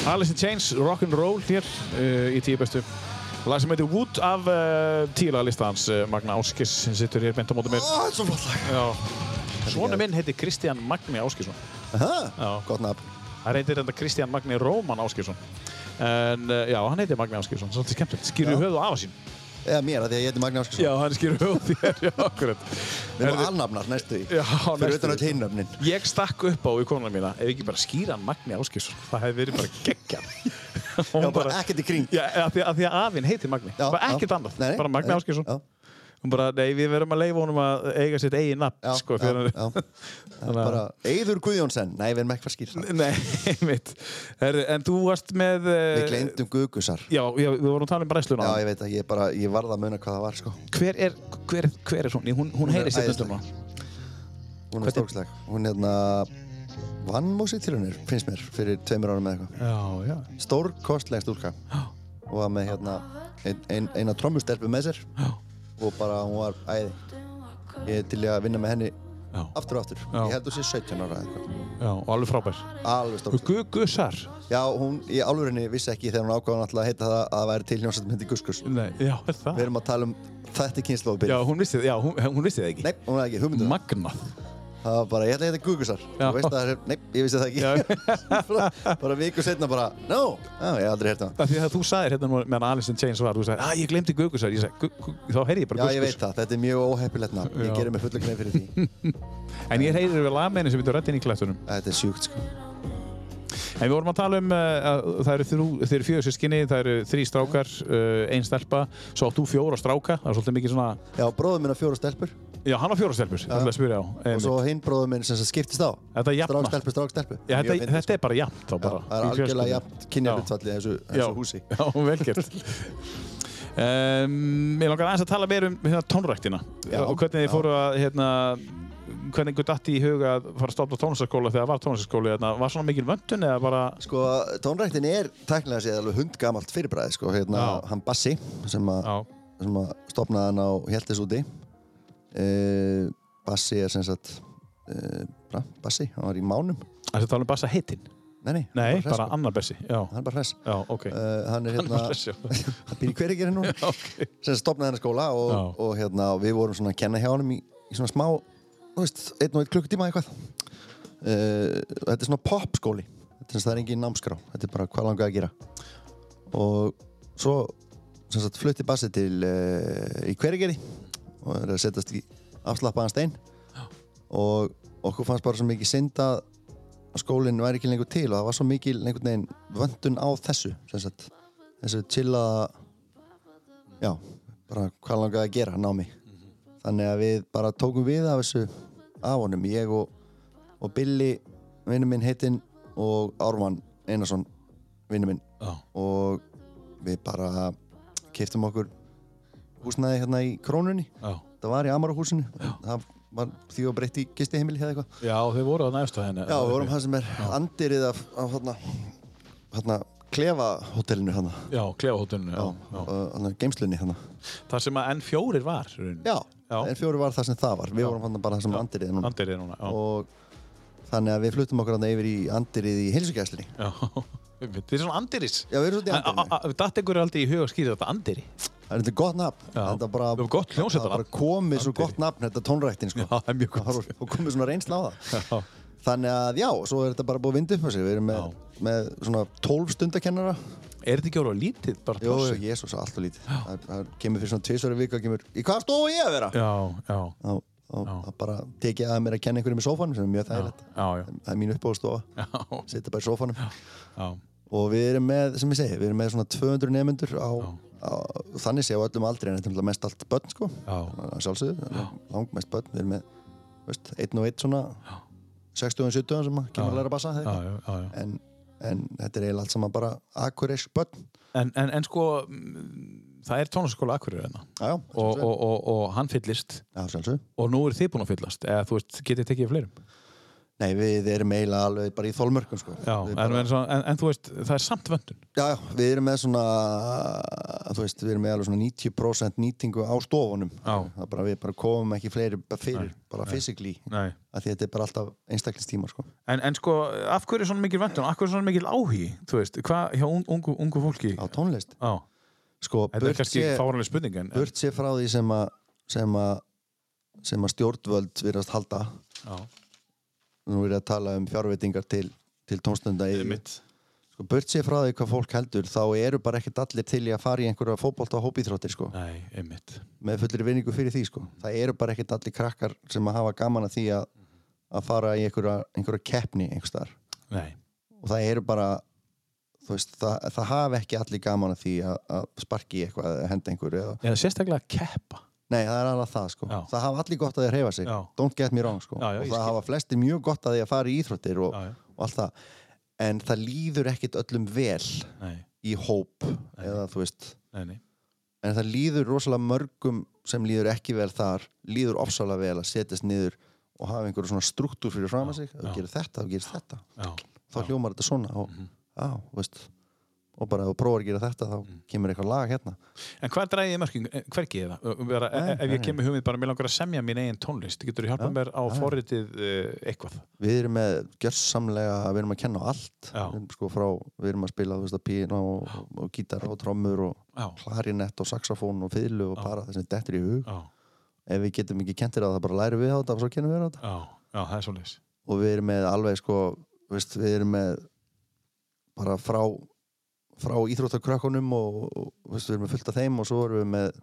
Alice in Chains, Rock'n'Roll hér uh, í tíu bestu. Lag sem heitir Wood af uh, tíla listans uh, Magna Áskis sem sittur hér bent á móti mér. Ó, þetta er svo flott lag. Svonu minn heitir Kristján Magni Áskisson. Já. Aha, gott nafn. Það heitir enda Kristján eh, Magni Róman Áskisson. En uh, já, hann heitir Magni Áskisson, svolítið skemmtilegt. Skýrðu höfuð á afa sín. Eða mér, af því að ég heiti Magni Áskarsson. Já, hann skýr hug á þér, já, akkurat. Við erum Herðu, alnafnar næstu í. Já, Fyrir næstu í. utan öll hinnöfnin. Ég stakk upp á í konuna mína, ef ekki bara skýra hann Magni Áskilsson, það hefði verið bara geggjað. Hún Já, bara ekkert í kring. Já, af því, af því að afinn heitir Magni, Já, bara já. ekkert annað, Nei, nei, bara Magni nei, Áskilsson. já. Hún bara, nei, við verum að leifa honum að eiga sitt eigin nafn, Já, sko, já, fyrir já. Það er Þannig að- Bara, Eyður Guðjónsson. Nei, við erum ekki fara skýrt. það. Nei, mitt. Herru, en þú varst með... eh, Við gleymdum Guðgusar. Já, já, við vorum að tala um brennsluna. Já, ég veit að ég bara, ég varð að muna hvað það var, sko. Hver er, hver, hver er hún? Hún, hún, hún er heyrist þetta stundum æðisleg. á. Hún er stórksleg. Hún hérna vann músið til hennir, finnst mér, fyrir tveimur árum eða eitthvað. Já, já. Stórkostleg stúlka. Og var með hérna ein, ein, eina trommustelpu með sér. Já, Og bara, hún var æði. Ég er til í að vinna með henni já, aftur og aftur. Já. Ég held þú sé 17 ára eða eitthvað. já, og alveg frábær. Alveg stórksleg. Guðgusar? Já, hún í alvörinni vissi ekki þegar hún ákvaða náttúrulega að heita það að það væri til hljómsveit myndi Guskus. Nei, já, er það? Við erum að tala um þetta kynnslóðbyrð. Já, hún vissi það, já, hún, hún vissi það ekki. Nei, hún er ekki, hugmyndu það. Magnað. Það var bara, ég ætla að heita Gugusar. Já. Þú veist að það er, nei, ég vissi það ekki. bara, bara viku setna bara, no, já, ég hef aldrei hert það. Af því að þú sagðir hérna nú meðan Alice in Chains var, þú sagðir, að ég glemdi Guðgusar, ég sagði, "Gu- gu- þá heyrði ég Já, bara ég veit Guðgus. það, þetta er mjög óheppilegna. Já. Ég gerir mig fulla grein fyrir því. En ég heyrði við lagmenni sem við þú rættin í klættunum. þetta er sjúkt, sko. En við vorum að tala um uh, að það eru, þrjú, þeir eru fjögur sískinni, það eru þrý strákar, uh, ein stelpa, svo átt þú fjóra stráka, það er svolítið mikið svona, Já, bróður minn á fjóra stelpur já, hann á fjóra stelpur, það er að spyrja á. og Einmitt. svo hinn bróður minn sem sagt skiptist á. Þetta er Strák jafna. stelpu, strák stelpu. Já, Mjög þetta, fyndið, þetta er bara jafnt þá sko. bara. Já, Það er í algjörlega fjölskyldunni. jafnt kynjahlutfallið í þessu, Já, þessu húsi. já velgjört. Um, ég langar aðeins að tala meir um hérna, tónræktina Já, og hvernig þið já. fóru að, hérna, hvernig ykkur datti í huga að fara að stopna tónlistaskóla þegar var tónlistaskóli, hérna, var svona mikil vöndun eða bara, Sko, tónræktin er tæknilega séð alveg hundgamalt fyrirbræði, sko, hérna, Já. hann Bassi, sem, a, já, sem að stopnaði hann á Hjeltis úti. E, Bassi er sem sagt, e, bra, Bassi, hann var í mánum. þess að tala um bassa hittin? Nei, nei, Nei, hann er bara hress, bara annar bessi, já, sko. hann er bara hress. já, ok. E, hann Annar er hérna, bessi, já. hann býr í hverjegirinn núna, ok. sem sagt stopnaði hann skóla og, Já. og hérna, og við vorum svona að kenna hjá honum í, í svona smá, þú veist, einn og einn klukkutíma eitthvað. E, þetta er svona popskóli, þetta er, sem sagt- það er engin námskrá, þetta er bara hvað langaði að gera. og svo sem sagt, flutti Bassi til uh, í hvergeri og er að setjast í afslappaðan stein og okkur fannst bara svo mikið synd að að skólinn væri ekki lengur til og það var svo mikil einhvern veginn vöndun á þessu sem sagt, þessu til að já, bara hvað langaði að gera námi þannig að við bara tókum við af þessu af honum, ég og, og Billy vinnum minn heitinn og Ármann Einarsson vinnum minn Já, og við bara keiftum okkur húsnaði hérna í krónunni já. það var í Amarahúsinu það var því að breytti gisti heimili hefði eitthvað Já, þau voru að næstu henni. já, við vorum hann sem er andirið af, af hérna, hérna klefa hótelinu hérna Já, klefahóttuninu, já. já. hérna geimslunni hérna Það sem að N4 var, rauninni. já, Já. en fjóri var það sem það var við vorum hérna bara það sem andirið núna Andir er núna, já. og þannig að við fluttum okkur hérna yfir í andirið í heilsugjæslinni Já, einmitt. þið er svona andiris. já, við erum svolítið í andirinu Datt einhverju aldrei í huga að skýra þetta andiri? Það er þetta gott nafn Já. Þetta bara, Það er gott hljómsveitarnafn. það bara komið svo gott nafn Þetta tónræktin sko Já, það er mjög gott. var- Og komið svona reynsla á það Já. Þannig að já, svo er þetta bara búið að vinda upp á sig Við erum með, með svona 12 stundakennara Er þetta ekki orðið lítið bara Jó, plássið? jésus, allt og lítið það, það kemur fyrir svona tvisvara vika kemur, Í hvað stofu ég að vera? Já, já, Þá þá- þá bara tekið að mér að kenna einhverjum í sófanum sem er mjög þægilegt já, já, Það er mín uppáðstofa, já, sitja bara í sófanum já, og við erum með, sem ég segi, við erum með svona 200 nefnendur á, á þannig séu öllum aldrei en þetta er náttúrulega mest allt börn sko já, að sjálfsögðu, langmest börn við erum með, veist, einn og einn svona 60 og 70 sem að kemur að læra bassa já, já. já, já, já. En, en þetta er eiginlega allt saman bara akureysk börn En, en, en sko, mm, það er tónlistaskóla Akureyri hérna já, já, og, sjálfsögðu. og, og, og hann fyllist já, sjálfsögðu og nú eru þið búin að fyllast eða þú veist, getið tekið fleirum nei, við erum eiginlega alveg bara í þólmörkum sko. Já, Við en, bara, en, svo- en, en þú veist, það er samt vöndun já, já, við erum með svona þú veist, við erum með alveg svona 90% nýtingu á stofunum Já. Það er bara, við bara komum ekki fleiri bara fyrir, bara physically Nei að því þetta er bara alltaf einstaklingstímar sko. En, en sko, af hverju er svona mikil vöndun? Af hverju er svona mikil áhugi? Þú veist, hvað hjá un- ungu, ungu fólki? á tónlist Já, sko, þetta er kannski burtséð- fáranlega spurning en, en, burt sér frá því sem að sem að sem að stjórnvöld virðast halda Já, nú er ég að tala um fjárveitingar til, til tónstunda mitt sko, sko, bört sér frá því hvað fólk heldur þá eru bara ekkert allir til í að fara í einhverja fótbolta og hópíþróttir sko, Nei, einmitt. með fullir vinningu fyrir því sko. það eru bara ekkert allir krakkar sem að hafa gaman að því að, að fara í einhverja, einhverja keppni einhvers þar Nei. og það eru bara þú veist, það, það hafa ekki allir gaman að því að, að sparki í eitthvað eða henda einhverju eða, Eða sérstaklega að keppa. nei, það er alveg það sko Já. það hafa allir gott að því að reyfa sig, Já. don't get me wrong sko. Já, já, og ég það skil. hafa flestir mjög gott að því að fara í íþróttir og, Já, já. og allt það en það líður ekkit öllum vel Nei, í hóp eða þú veist nei, nei. en það líður rosalega mörgum sem líður ekki vel þar líður ofsalega vel að setjast niður og hafa einhverju svona struktúr fyrir fram að sig ef þú já. gerir þetta, ef þú gerir þetta Já. Mhm. þá hljómar þetta svona og, á, þú veist, og bara ef þú prófar að gera þetta þá Mhm. kemur eitthvað lag hérna En hver dræði ég mörkin, eh, hvergi eða? Vera, Nei, ef ég nei. kemur hugmynd bara með langar að semja mín eigin tónlist, getur þú hjálpað mér á forritið uh, eitthvað? við erum með gjörsamlega við erum að kenna á allt Já. við erum, sko, frá, við erum að spila þú veist, að pína og, og gítar og trommur og Já. klarinett og saxofón og fiðlu og bara þessi dettur í hug Já, ef við getum ekki kentir að það bara læri við á þetta og svo kennum við á þetta já, já, það er svolítið. og við erum með alveg sko veist, við erum með bara frá, frá íþróttakrökkunum og, og veist, við erum með fullt af þeim og svo erum við með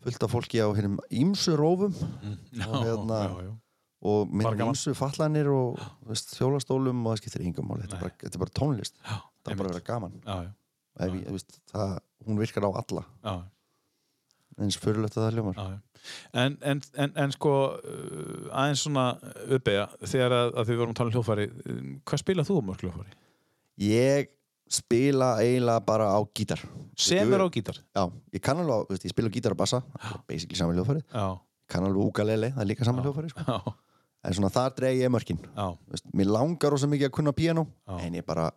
fullt af fólki á hinnum ímsu rófum Mm. Já, Og hérna- já, já. og Bara með gaman. ímsu fallanir og veist, hjólastólum og það skiptir engum máli þetta, er bara- þetta er bara tónlist, Já, það er bara að vera gaman Já, já, ef, ég, veist, það, hún virkar á alla já, já. eins fyrirlögt að það hljómar Já, já. En, en, en, en sko uh, aðeins svona uppeyja þegar að, að við vorum að tala um hljófari hvað spilað þú á mörg hljófari? ég spila eiginlega bara á gítar Sem er á gítar já, ég kann alveg, á- veist, ég spila á gítar og bassa basically saman hljófari Já, kann alveg ukulele, það er líka saman hljófari sko. já, en svona þar dreg ég mörkin já, veist, mér langar rosa mikið að kunna piano Já. en ég bara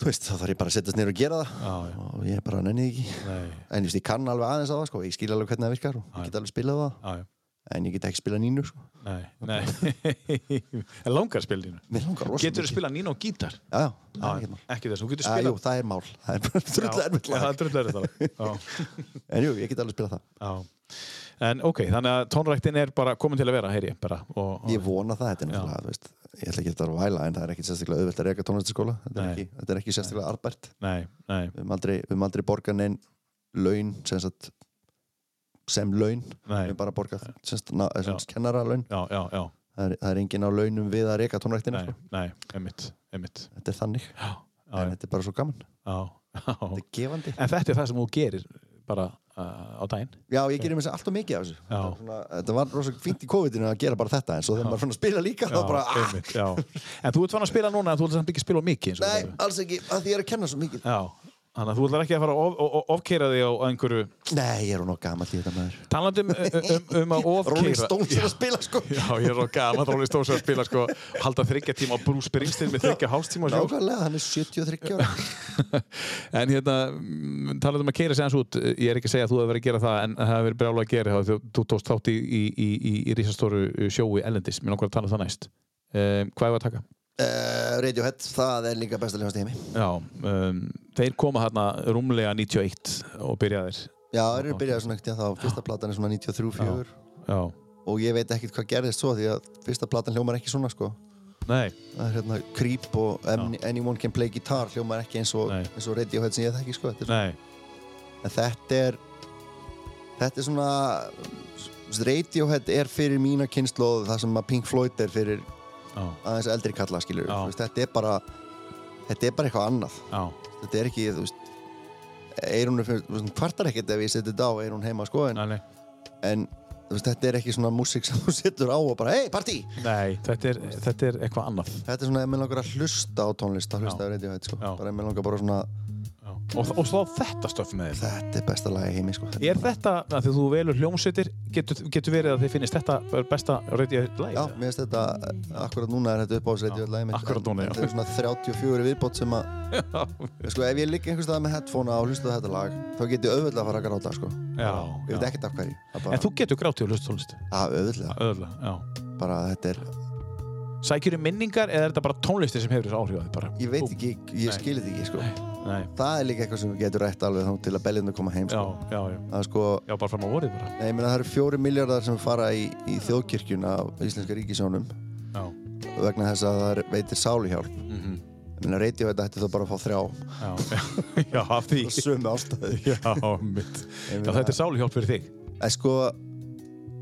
þú veist, þá þarf ég bara að setjast neyra og gera það já, já. og ég bara nenni því ekki Nei, en ég, veist, ég kann alveg aðeins á það, sko. ég skil alveg hvernig það virkar og ég get alveg spilað það, já, já en ég get ekki spilað nínu sko. Nei, nei En langar spilað nínu mér langar rosa Getur þú mikið spilað nínu á gítar? já, já, það er ekki mál Ekki þess, þú getur Já, jú, spilað það er mál, það er bara Já, drullar erfitt Það lag. er drullar þetta en jú, ég get alveg spilað það Já En ok, þannig að tónræktin er bara komin til að vera, heyri ég bara og, og, ég vona það, þetta er náttúrulega, þú veist ég ætla ekki að þetta að væla, en það er ekki sérstaklega auðvelt að reyka tónlistaskóla, þetta er Nei. ekki, þetta er ekki sérstaklega arbært Nei, nei, við höfum aldrei, við höfum aldrei borgað neinn laun sem, sagt, sem laun við nei höfum bara borgað sem, sagt, na, sem sagt, kennara laun Já, já, já, það er, það er engin á launum við að reyka tónræktina nei, sko. nei, einmitt, einmitt þetta er þannig, Já, já, en þetta er bara svo gaman já, já. þetta er gefandi En þetta er það sem þú gerir bara uh, á daginn. já, ég gerir mér sér alltaf mikið af þessu Já. þetta, var svona, þetta var rosa fínt í COVID-inu að gera bara þetta en svo þegar maður fann að spila líka þá bara, ah, einmitt, já. En þú ert fann að spila núna en þú ert samt ekki að spila of mikið. eins og nei, þú sagðir. alls ekki að því ég er að kenna svo mikið Já, þannig að þú ætlar ekki að fara að of, of, ofkeira þig á einhverju nei, ég er nú gaman í þetta maður talandum um, um, um að Rolling ofkeira. Stones er að spila sko Já, ég er á gaman Rolling Stones er að spila sko halda þryggja tíma á Bruce Springsteen með þryggja hástíma sjálf. Nákvæmlega, hann er 73 ára En hérna, mm, talandi um að keira sig hans út, eh, ég er ekki að segja að þú hefur verið að gera það en það hefur verið brjála að gera það þegar þú tókst þátt í, í, í, í, í risastóru eh, sjói Ellendis, mér langar að tala um það næst. Um, hvað er að taka? uh, Radiohead, það er líka besta ljónast í heimi Já, um, þeir koma hérna rúmlega 91 og byrjaðir Já, þeir eru byrjað svona ekkert þá, fyrsta platan er svona 93-4 Já, og ég veit ekkert hvað gerðist svo því að fyrsta platan hljómar ekki svona sko nei, það er hérna Creep og Any, Anyone Can Play Guitar hljómar ekki eins og, Nei. eins og Radiohead sem ég þekki sko þetta er, nei svona- en þetta er þetta er svona Radiohead er fyrir mína kynnslóð það sem að Pink Floyd er fyrir Já, aðeins eldri kalla skilur Já. þetta er bara þetta er bara eitthvað annað já, þetta er ekki, þú veist Eirún er fyrir, þú veist, hún kvartar ekkert ef ég seti þetta á Eirún heima sko en, nei, nei, en þú veist, þetta er ekki svona músík sem þú setur á og bara, hei, partí! nei þetta, er, þetta er eitthvað annað Þetta er svona, ef mér langar að hlusta á tónlist þá hlusta Já. á Radiohead, sko, Já. bara ef mér langar bara svona já. Og, og þá þetta stöf með þeir þetta er besta lagi heimi, sko Er þetta, af því að þú velur hljómsveitir getur, getur verið að þið finnist þetta er besta reytið læg? Já, mér finnst þetta, eh, akkurat núna er þetta uppáhalds Radiohead lagi mitt akkúrat núna, já. Þetta er svona 34 viðbót sem að, sko, ef ég ligg einhvers staðar með headphone á og hlusta á þetta lag þá get ég auðvöldlega að fara að gráta, sko já, Ég veit já. ekkert af hverju, það En bara, þú getur grátið og hlust tónlist að auðvöldlega, Öðurlega, já bara þetta er Sækjur í minningar eða er þetta bara tónlistin sem hefur þessu áhrif á þig bara? Ég veit ekki, Nei. ég skil þetta ekki, sko Nei, það er líka eitthvað sem við getum rætt alveg þá til að beljum að koma heim já, sko. já, já að sko, Já, bara fram á vorið bara nei, ég meina það eru fjóri miljardar sem fara í, í þjóðkirkjun af íslenska ríkisjónum Já, vegna þess að það er- veitir sáluhjálp mm Minna radio þetta hætti þó bara að fá þrjá Já, já, af því. og sömu ástæðu. Já, mitt. Já, þetta er sáluhjálp fyrir þig. En sko,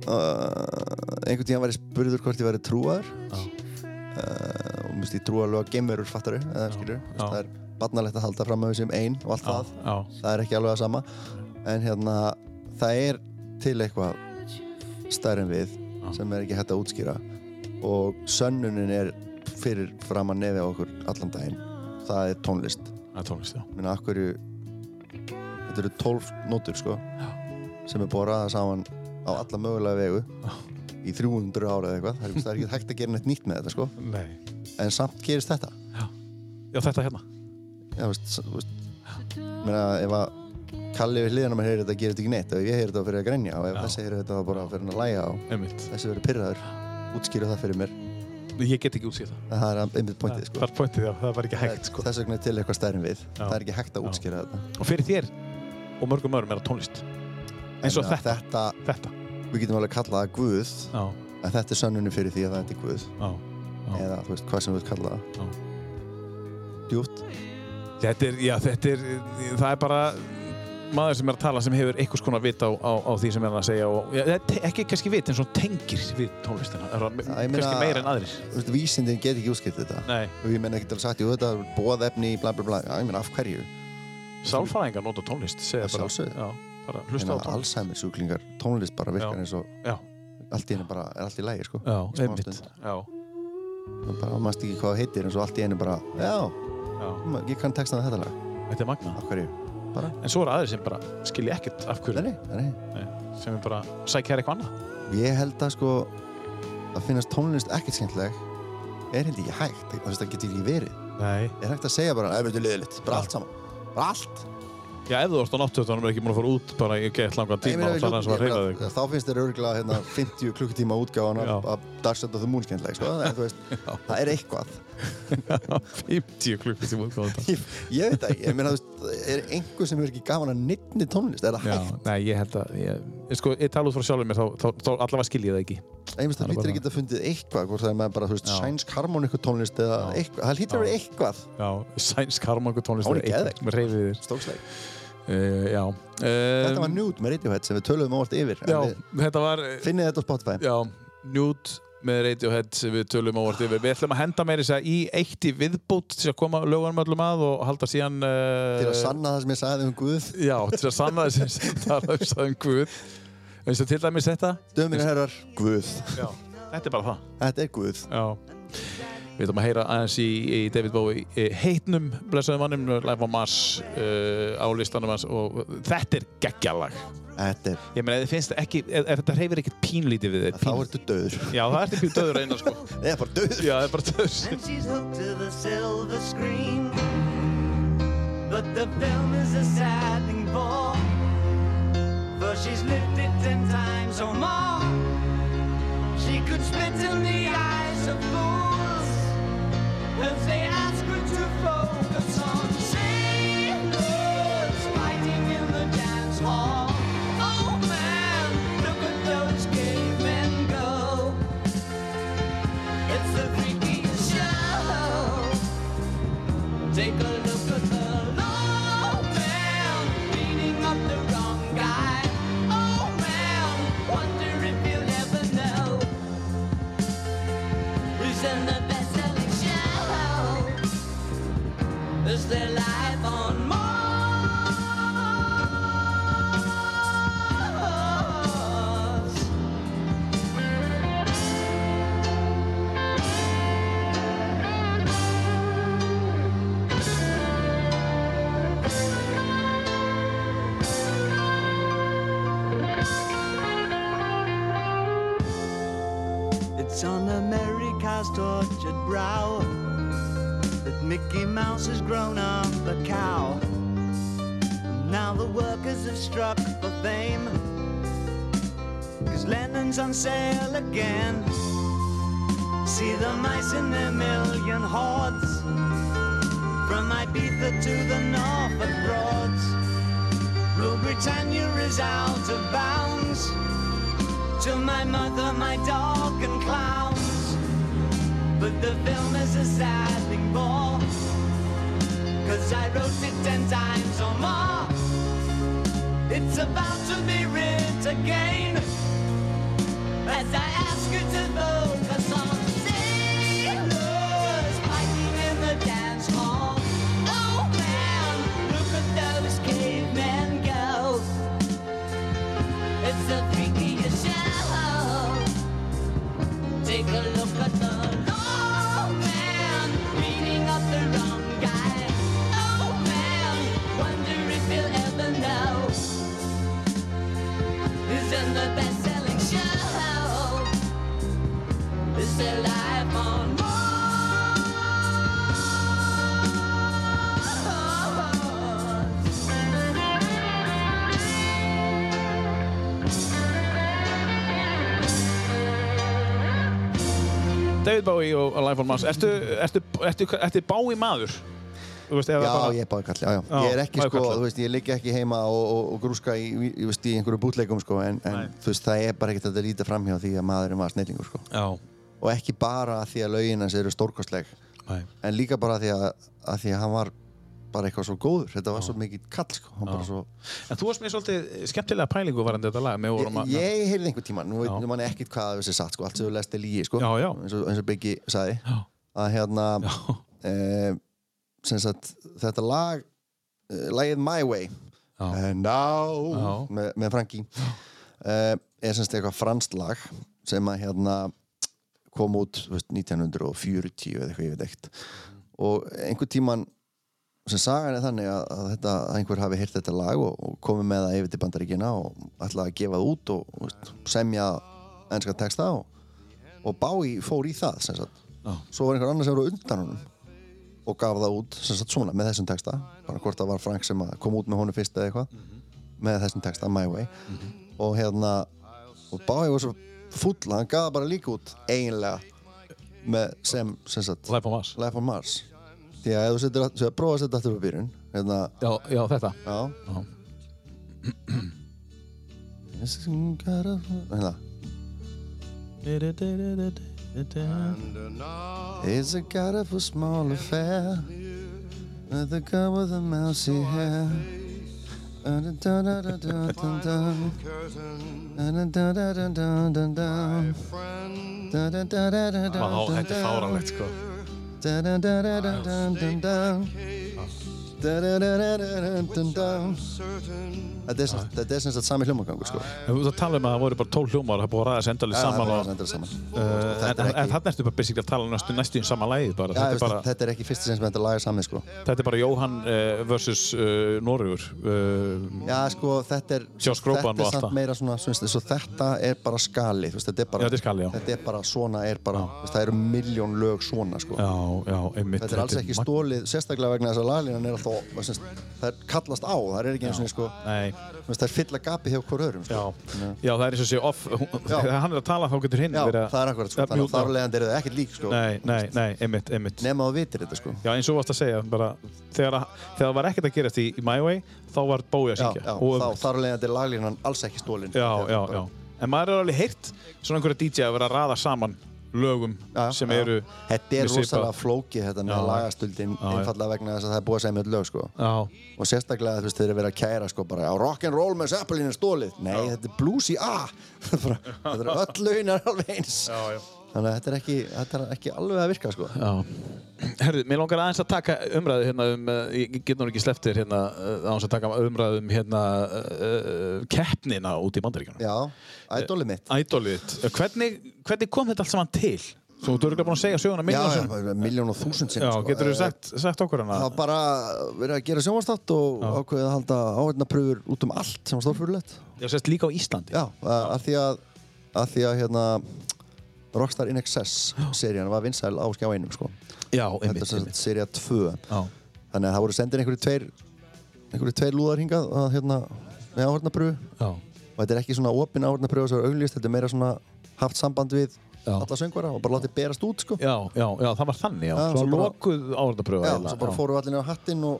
uh, einhvern tíðan var ég spurður hvort ég væri trúar Já. uh, og misti ég trúarlega gemurur fattaru, eða skilur. Já. Það er barnalegt að halda fram með þessum ein og allt það. Já, það er ekki alveg að sama en hérna, það er til eitthvað stærri en við sem er ekki hægt að útskýra og sönnunin er fyrir fram að nefi á okkur allan daginn það er tónlist það er tónlist, já. minna af hverju þetta eru 12 nótur sko Já. sem er búið að ræða saman á alla mögulega vegu í 300 ára eða eitthvað það er- það er ekki hægt að gera neitt nýtt með þetta sko Nei. en samt gerist þetta Já, þetta hérna. Já, þú veist, s- þú veist, meina, ef að Kalli við hliðina mér heyrir þetta gerir þetta ekki neitt og ef ég heyrir þetta þá fyrir að grenja og ef Já. þessi heyrir þetta þá bara fyrir hann að læja og Einmitt. þessi verður pyrraður útskýru það fyrir mér Ég get ekki útsýð það. en það er einmitt pointið Það sko er pointið, já. Það var ekki hægt, sko. þess vegna er til eitthvað stærn við það er ekki hægt Já. að útskýra þetta Og fyrir þér og mörgum öðrum er það tónlist. Eins og En að þetta. þetta, Þetta. við getum alveg kallað það Guð Já, en þetta er sönnunni fyrir því að það er Guð já, já. eða þú veist hvað sem við kallað Já. það djúpt Þetta er, já, þetta er, það er bara maður sem er að tala sem hefur einhvers konar vit á, á, á því sem er hann að segja og já, þetta er ekki kannski vit en svona tengir við tónlistina, er það Já, ég meina- kannski meira en aðrir. Þú veist, vísindin get ekki útskýrt þetta Nei, og ég menna ekki til að sagt jú þetta er bóðefni bla bla bla já, ég menna af hverju sálfræðingar nota tónlist, segja Að bara. sjálfsögðu. Já, bara Meina, hlusta á tónlist. Hérna Alzheimer sjúklingar, tónlist bara virkar Já. eins og Já, allt í henni bara er allt í lægi sko já, Í einmitt. smástund. Já, Það bara maður ekki hvað það heitir eins og allt í henni bara já, já, ma- ég kann textan þetta lag þetta er magnað. af hverju, bara, En svo eru aðrir sem bara skilja ekkert af hverju, nei, nei, nei Nei, sem er bara sækja eitthvað annað. ég held að sko að finnast tónlist ekkert skemmtileg er held ekki hægt, það veist það getur ekki verið Nei. er hægt að segja bara, ef þetta er liðlitt, bara Já. allt saman bara allt Já, ef þú ert á náttöðunum er ekki múin að fara út bara í gett langan Ég meina, tíma og það við er eins og að reyna hljótum- þig. þá finnst þér örgulega hérna, 50 klukkutíma útgáðan Já. af Darkset of the Moon skemmtileg sko, en þú veist, það er eitthvað 50 klukkutíma út á þetta. ég, ég veit það ekki, ég meina, þú veist, er einhver sem er ekki gaman að nynni tónlist, er það Já, hægt? nei, ég held að, ég, ég sko, ég tala út frá sjálfur mér, þá, þá, þá allavega skil ég það ekki. Ég finnst Það er það hlýtur bara- ekki að fundið eitthvað, hvort það er með bara, þú veist, Já. sænsk harmoniku tónlist eða Já. eitthvað, það hlýtur að vera eitthvað, Já, sænsk harmangu tónlist Hún er geðveik. með reyfið þér. stóksleg. Uh, já. Um, Þetta var Nude með Radiohead sem við töluðum á allt yfir, en Já, við þetta var, eh, finnið þetta á Spotify. já, Nude með Radiohead sem við tölum ávart yfir. Við ætlum að henda meira þess að í eitt í viðbót til að koma lögunum öllum að og halda síðan... Uh, Til að sanna það sem ég sagði um Guð, Já, til að sanna þess sem það er um Guð. Eins og til dæmis þetta. döminu herrar, Guð. Já. Þetta er bara það. Þetta er Guð. Já. Við ætlum að heyra aðeins í, í David Bowie eh, heitnum, blessaðum mannum, Life on Mars uh, á listanum hans og þetta er geggjalag. Þetta er, Ég meina, ef þið finnst ekki, ef, ef þetta hreyfir ekkert pínlítið við þið, þá ertu döður. Já, það ertu pín döður einar, sko. Nei, bara döður. Já, það er bara döður. and she's hooked to the silver screen. But the film is a sad thing for, for she's lived it ten times or more. She could spit in the eyes of fools if they ask her to focus on sailors fighting in the dance hall. Oh man, look at those cavemen go. It's the freaky show. Take a look at the low man beating up the wrong guy. Oh man, wonder if you'll ever know who's in the best-selling show. Is their life on Mars? It's on America's tortured brow that Mickey Mouse has grown up a cow. And now the workers have struck for fame. Cause Lennon's on sale again. See the mice in their million hordes. From Ibiza to the Norfolk Broads. Rule Britannia is out of bounds to my mother, my dog, and clowns. But the film is a sad thing for, Cause I wrote it ten times or more. It's about to be writ again. As I ask you to vote for some sailors fighting in the dance hall. Oh man, look at those cavemen go. It's the freakiest show. Take a look at the old man beating up the wrong guy. Oh man, wonder if he'll ever know. He's in the best-selling show. Is there life on Mars? David Bowie og Life on Mars, ertu, ertu, ertu, ertu Bowie maður? Þú veist, eða Já, bara... ég er báðkall, já, já. Já, Ég er ekki, sko, báðkall. þú veist, ég ligg ekki heima og, og, og grúska í, í, í, veist, í einhverju bútleikum, sko, en, Nei. en þú veist, það er bara ekkert að líta framhjá því að maðurinn var snillingur, sko. Já, Og ekki bara af því að lögin hans eru stórkostleg, nei. en líka bara af því að, að því að hann var bara eitthvað svo góður. Þetta var svo mikið kall, sko. Hann bara svo... En þú varst með svolítið skemmtilega pælingu varandi þetta lag með vorum Ég, um að... ég heyrði einhver tíma, nú veit Já. mann ekkert hvað þessi satt, sko, allt sem þú lest er lígi, sko. Já, já. Eins og, eins og Biggi sagði. Já. Að hérna, Já, eh, sem sagt, þetta lag, eh, lagið My Way, já, And now Já. með, með Franki uh, er semst eitthvað franskt lag sem að hérna kom út þú veist, 1940 eða eitthvað ég veit ekkert og einhver tíman sem sagan er þannig að, að, þetta, að einhver hafi heyrt þetta lag og, og komið með það yfir til bandaríkina og ætlaði að gefa það út og þú veist, semja ennska texta og, og Bái fór í það sem sagt Já. svo var einhver annars sem var á undan honum og gaf það út sem sagt svona með þessum texta bara hvort það var Frank sem að kom út með honum fyrst eða eitthvað með þessum texta My Way og hérna og Bái var svo fulla, hann gaf það bara líka út eiginlega með, sem, sem sagt, Life on Mars. Life on Mars því að ef þú setur að prófa að setja aftur upp í byrjun hérna, Já, já, þetta. já Já. hérna It's a god of a small affair With a girl with a mousy hair Da-da-da-da-da-da-da. Da-da-da-da-da-da-da. Da-da-da-da-da-da-da. Vá, þetta er fáralegt, sko. Da-da-da-da-da-da-da. Da-da-da-da-da-da-da. Þetta er sem- þetta er sem sagt sami hljómagangur sko En Þú ert að tala um að það voru bara 12 hljómar, það er búið að ræða þessu endalið saman og... Þetta er saman Uh, en Þetta en- er en ekki- þarna ertu bara basically að tala næstu, næstu í sama lagið bara. Já, þetta, veist, er bara þetta er ekki fyrsta sem þetta laga saman sko þetta er bara Jóhann uh, versus uh, Noregur. Uh, Já, sko, þetta er Sjá skrópan Þetta og er allt samt það. meira svona, svona, svona Þetta er bara skali, þú veist, þetta er bara Já, þetta er skali, já. Þetta er bara, svona er bara, þú veist, það eru miljón lög svona, sko já, já, einmitt. Þetta er alls ekki mag- stólið, sérstaklega vegna þess að laglínan er alltaf þú veist, Það er kallast á, það er ekki eins og sko Nei, þú veist, Það er fylla gapi hjá hver öðrum, já, sko já, það er eins og sé off, hún- Já. þegar hann er að tala þá getur hinn Já, verið að... það er akkurat, sko, að þannig að mjúta. þar leðandi eru það ekkert lík, sko Nei, nei, nei, einmitt, einmitt. Nema þú vitir þetta, sko Já, eins og þú varst að segja, bara, þegar, að, þegar það var ekkert að gerast í, í My Way, þá var Bói að Já, syngja. já, Og- þá þar leðandi er laglínan alls ekki stólin já, Þetta er já, bara- já. En maður er alveg heyrt svona einhverja DJ að vera að raða saman lögum Já, sem já. eru... Þetta er með svipað- rosalega flókið þetta með Já. lagastöldin Já, já. einfallega vegna þess að það er búið að segja mjög lög sko. Já, og sérstaklega þú veist þeir eru verið að kæra sko bara á rock'n'roll með Zeppelin er stólið nei þetta er blues í A Bara, þetta eru öll lögin er alveg eins já, já. þannig að þetta er ekki, þetta er ekki alveg að virka sko Já. Herðu, mér langar aðeins að taka umræðu hérna um, eh, ég get nú ekki sleftir hérna eh, aðeins að taka umræðu um hérna uh, keppnina út í bandaríkjunum. já, ædolið mitt Ædolið þitt. Eh, Hvernig, hvernig kom þetta allt saman til? Svo þú eru ekki búin að segja söguna já, milljón já, sinnum. miljón og þúsund Já, sinni sko. getur þú Eh, sagt, sagt okkur hana? Það var bara verið að gera sjónvarstátt og ákveðið að halda áhengnapröfur út um allt sem var stórfyrirlegt Já, sérst líka á Íslandi. Já, að af því að, að, því að hérna, Rockstar in Excess serían var vinsæl á skjá einum sko. já Þetta einmitt, er sem sagt einmitt. sería 2 Já. Þannig að það voru sendir einhverju tveir einhverju tveir lúðar hingað að, hérna, með áhörnapröfu Já. og þetta er ekki svona opin áhörnapröfu sem er auglýst, þetta er meira svona haft samband við Já. alla söngvara og bara látið berast út sko. Já, já, já, það var þannig, já. Já, svo svo bara- lokuð áhörnapröfa. Já, eiginlega, svo bara já. fóru allir á hattinn og,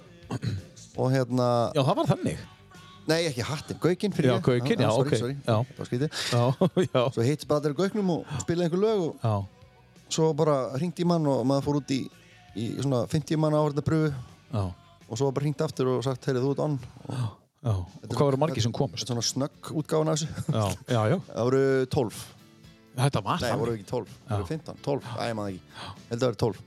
og hérna Já, það var þannig. Nei, ekki hattinn, gaukinn fyrir Já, ég. Gaukinn, já, sorry, ok. sorry. Já. Það var skrítið. Já, já, Svo hitt bara þeirra gauknum og spilaði einhver lög og já. svo bara ringdi í mann og maður fór út í, í svona 50 manna áhörnapröfu Já, og svo var bara hringt aftur og sagt, heyrðu þú ert on og Já. Og hvað voru margir sem komust? þetta er svona snögg útgáfan af þessu Já, já, já. það voru 12 Þetta var Ah, nei, það þannig. voru ekki 12, það voru 15, 12 Æ, ég maður ekki, Ég held að það voru 12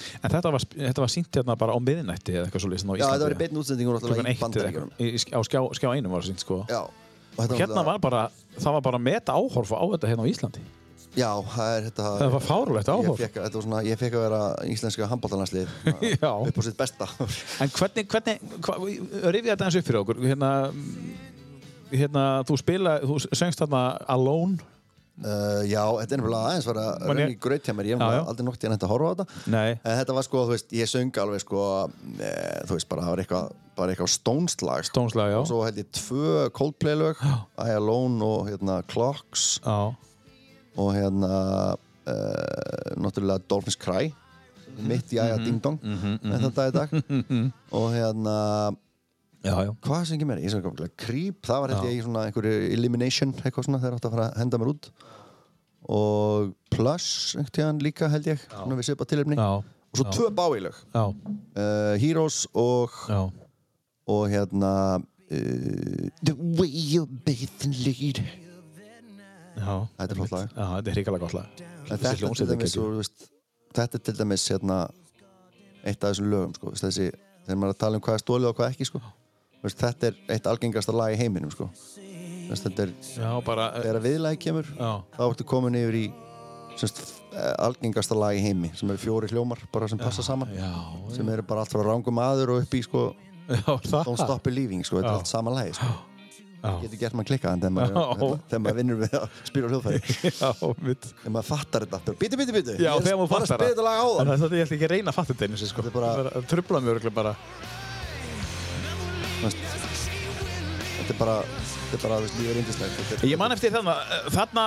En þetta var, þetta var sínt hérna bara á miðinætti eða eitthvað svo lýst á Íslandi. já, þetta var í beinn útsendingur klukkan náttúrulega í eitt eða bandaríkjum eitthvað. Í- í- Á skjá, skjá einum var það sínt sko. já, og þetta Hérna var bara, það var bara meta áhorfa á þetta hérna á Íslandi. já, það er þetta Það var fárulegt ég áhorf. fekk, þetta var svona, ég fekk að vera íslenska handbóltanarslið Já. upp á sitt besta En hvernig, hvernig, hva, rifið þetta eins upp fyrir okkur. Hérna, hérna þú spila, þú söngst þarna Alone. uh, já, þetta er nefnilega aðeins var að Man raun ég- í graut hjá mér, Já, ég já. hef aldrei nokt í að horfa á þetta Nei. En þetta var sko, þú veist, ég söng alveg sko, e, þú veist, bara það var eitthvað, bara eitthvað stónslag. Stónslag, já. Og svo held ég tvö Coldplay-lög, I Alone og hérna Clocks Já. og hérna, e, náttúrulega Dolphins Cry, mitt jæja Mhm, Ding Dong, en þetta er í dag. og hérna, Já, já. hvað sem ekki meira, ég sem ekki Creep, það var held ég í svona einhverju Elimination, eitthvað svona, þeir áttu að fara að henda mér út. Og Plus, einhvern tíðan líka held ég, svona við séum bara tilöfni. Já. Og svo tvö Bowie-lög Já. uh, Heroes og, Já. og hérna uh, The way you bathe and lead Já. Þetta er flott Já, lag. þetta er hrikalega gott lag. En þetta er til dæmis og, þú veist, þetta er til dæmis hérna, eitt af þessum lögum sko, veist, þessi, þegar maður er að tala um hvað er stólið og hvað ekki sko. Þú veist, þetta er eitt algengasta lag í heiminum sko. Þú veist, þetta er Já, bara, þegar að viðlagi kemur já. þá ertu komin yfir í semst, algengasta lag í heimi sem eru fjóri hljómar bara sem passa saman Já. sem eru bara allt frá rangum aður og upp í sko, Já, það. Don't Stop Believing sko, þetta er allt sama lagi sko. Já. getur gert maður klikkað en þegar maður, Já. þegar maður vinnur við að spila á hljóðfæri Já, mitt. þegar maður fattar þetta aftur bíti, bíti, bíti Já, þegar maður fattar það bara að spila þetta lag á En það það ég ætla ekki að reyna að fatta þetta einu sinni, sko. Þetta er bara- Það að trubla mjög örgulega bara. þetta er bara þetta er bara þú veist, lífið er indislegt þetta er Ég man eftir þarna, eh, þarna,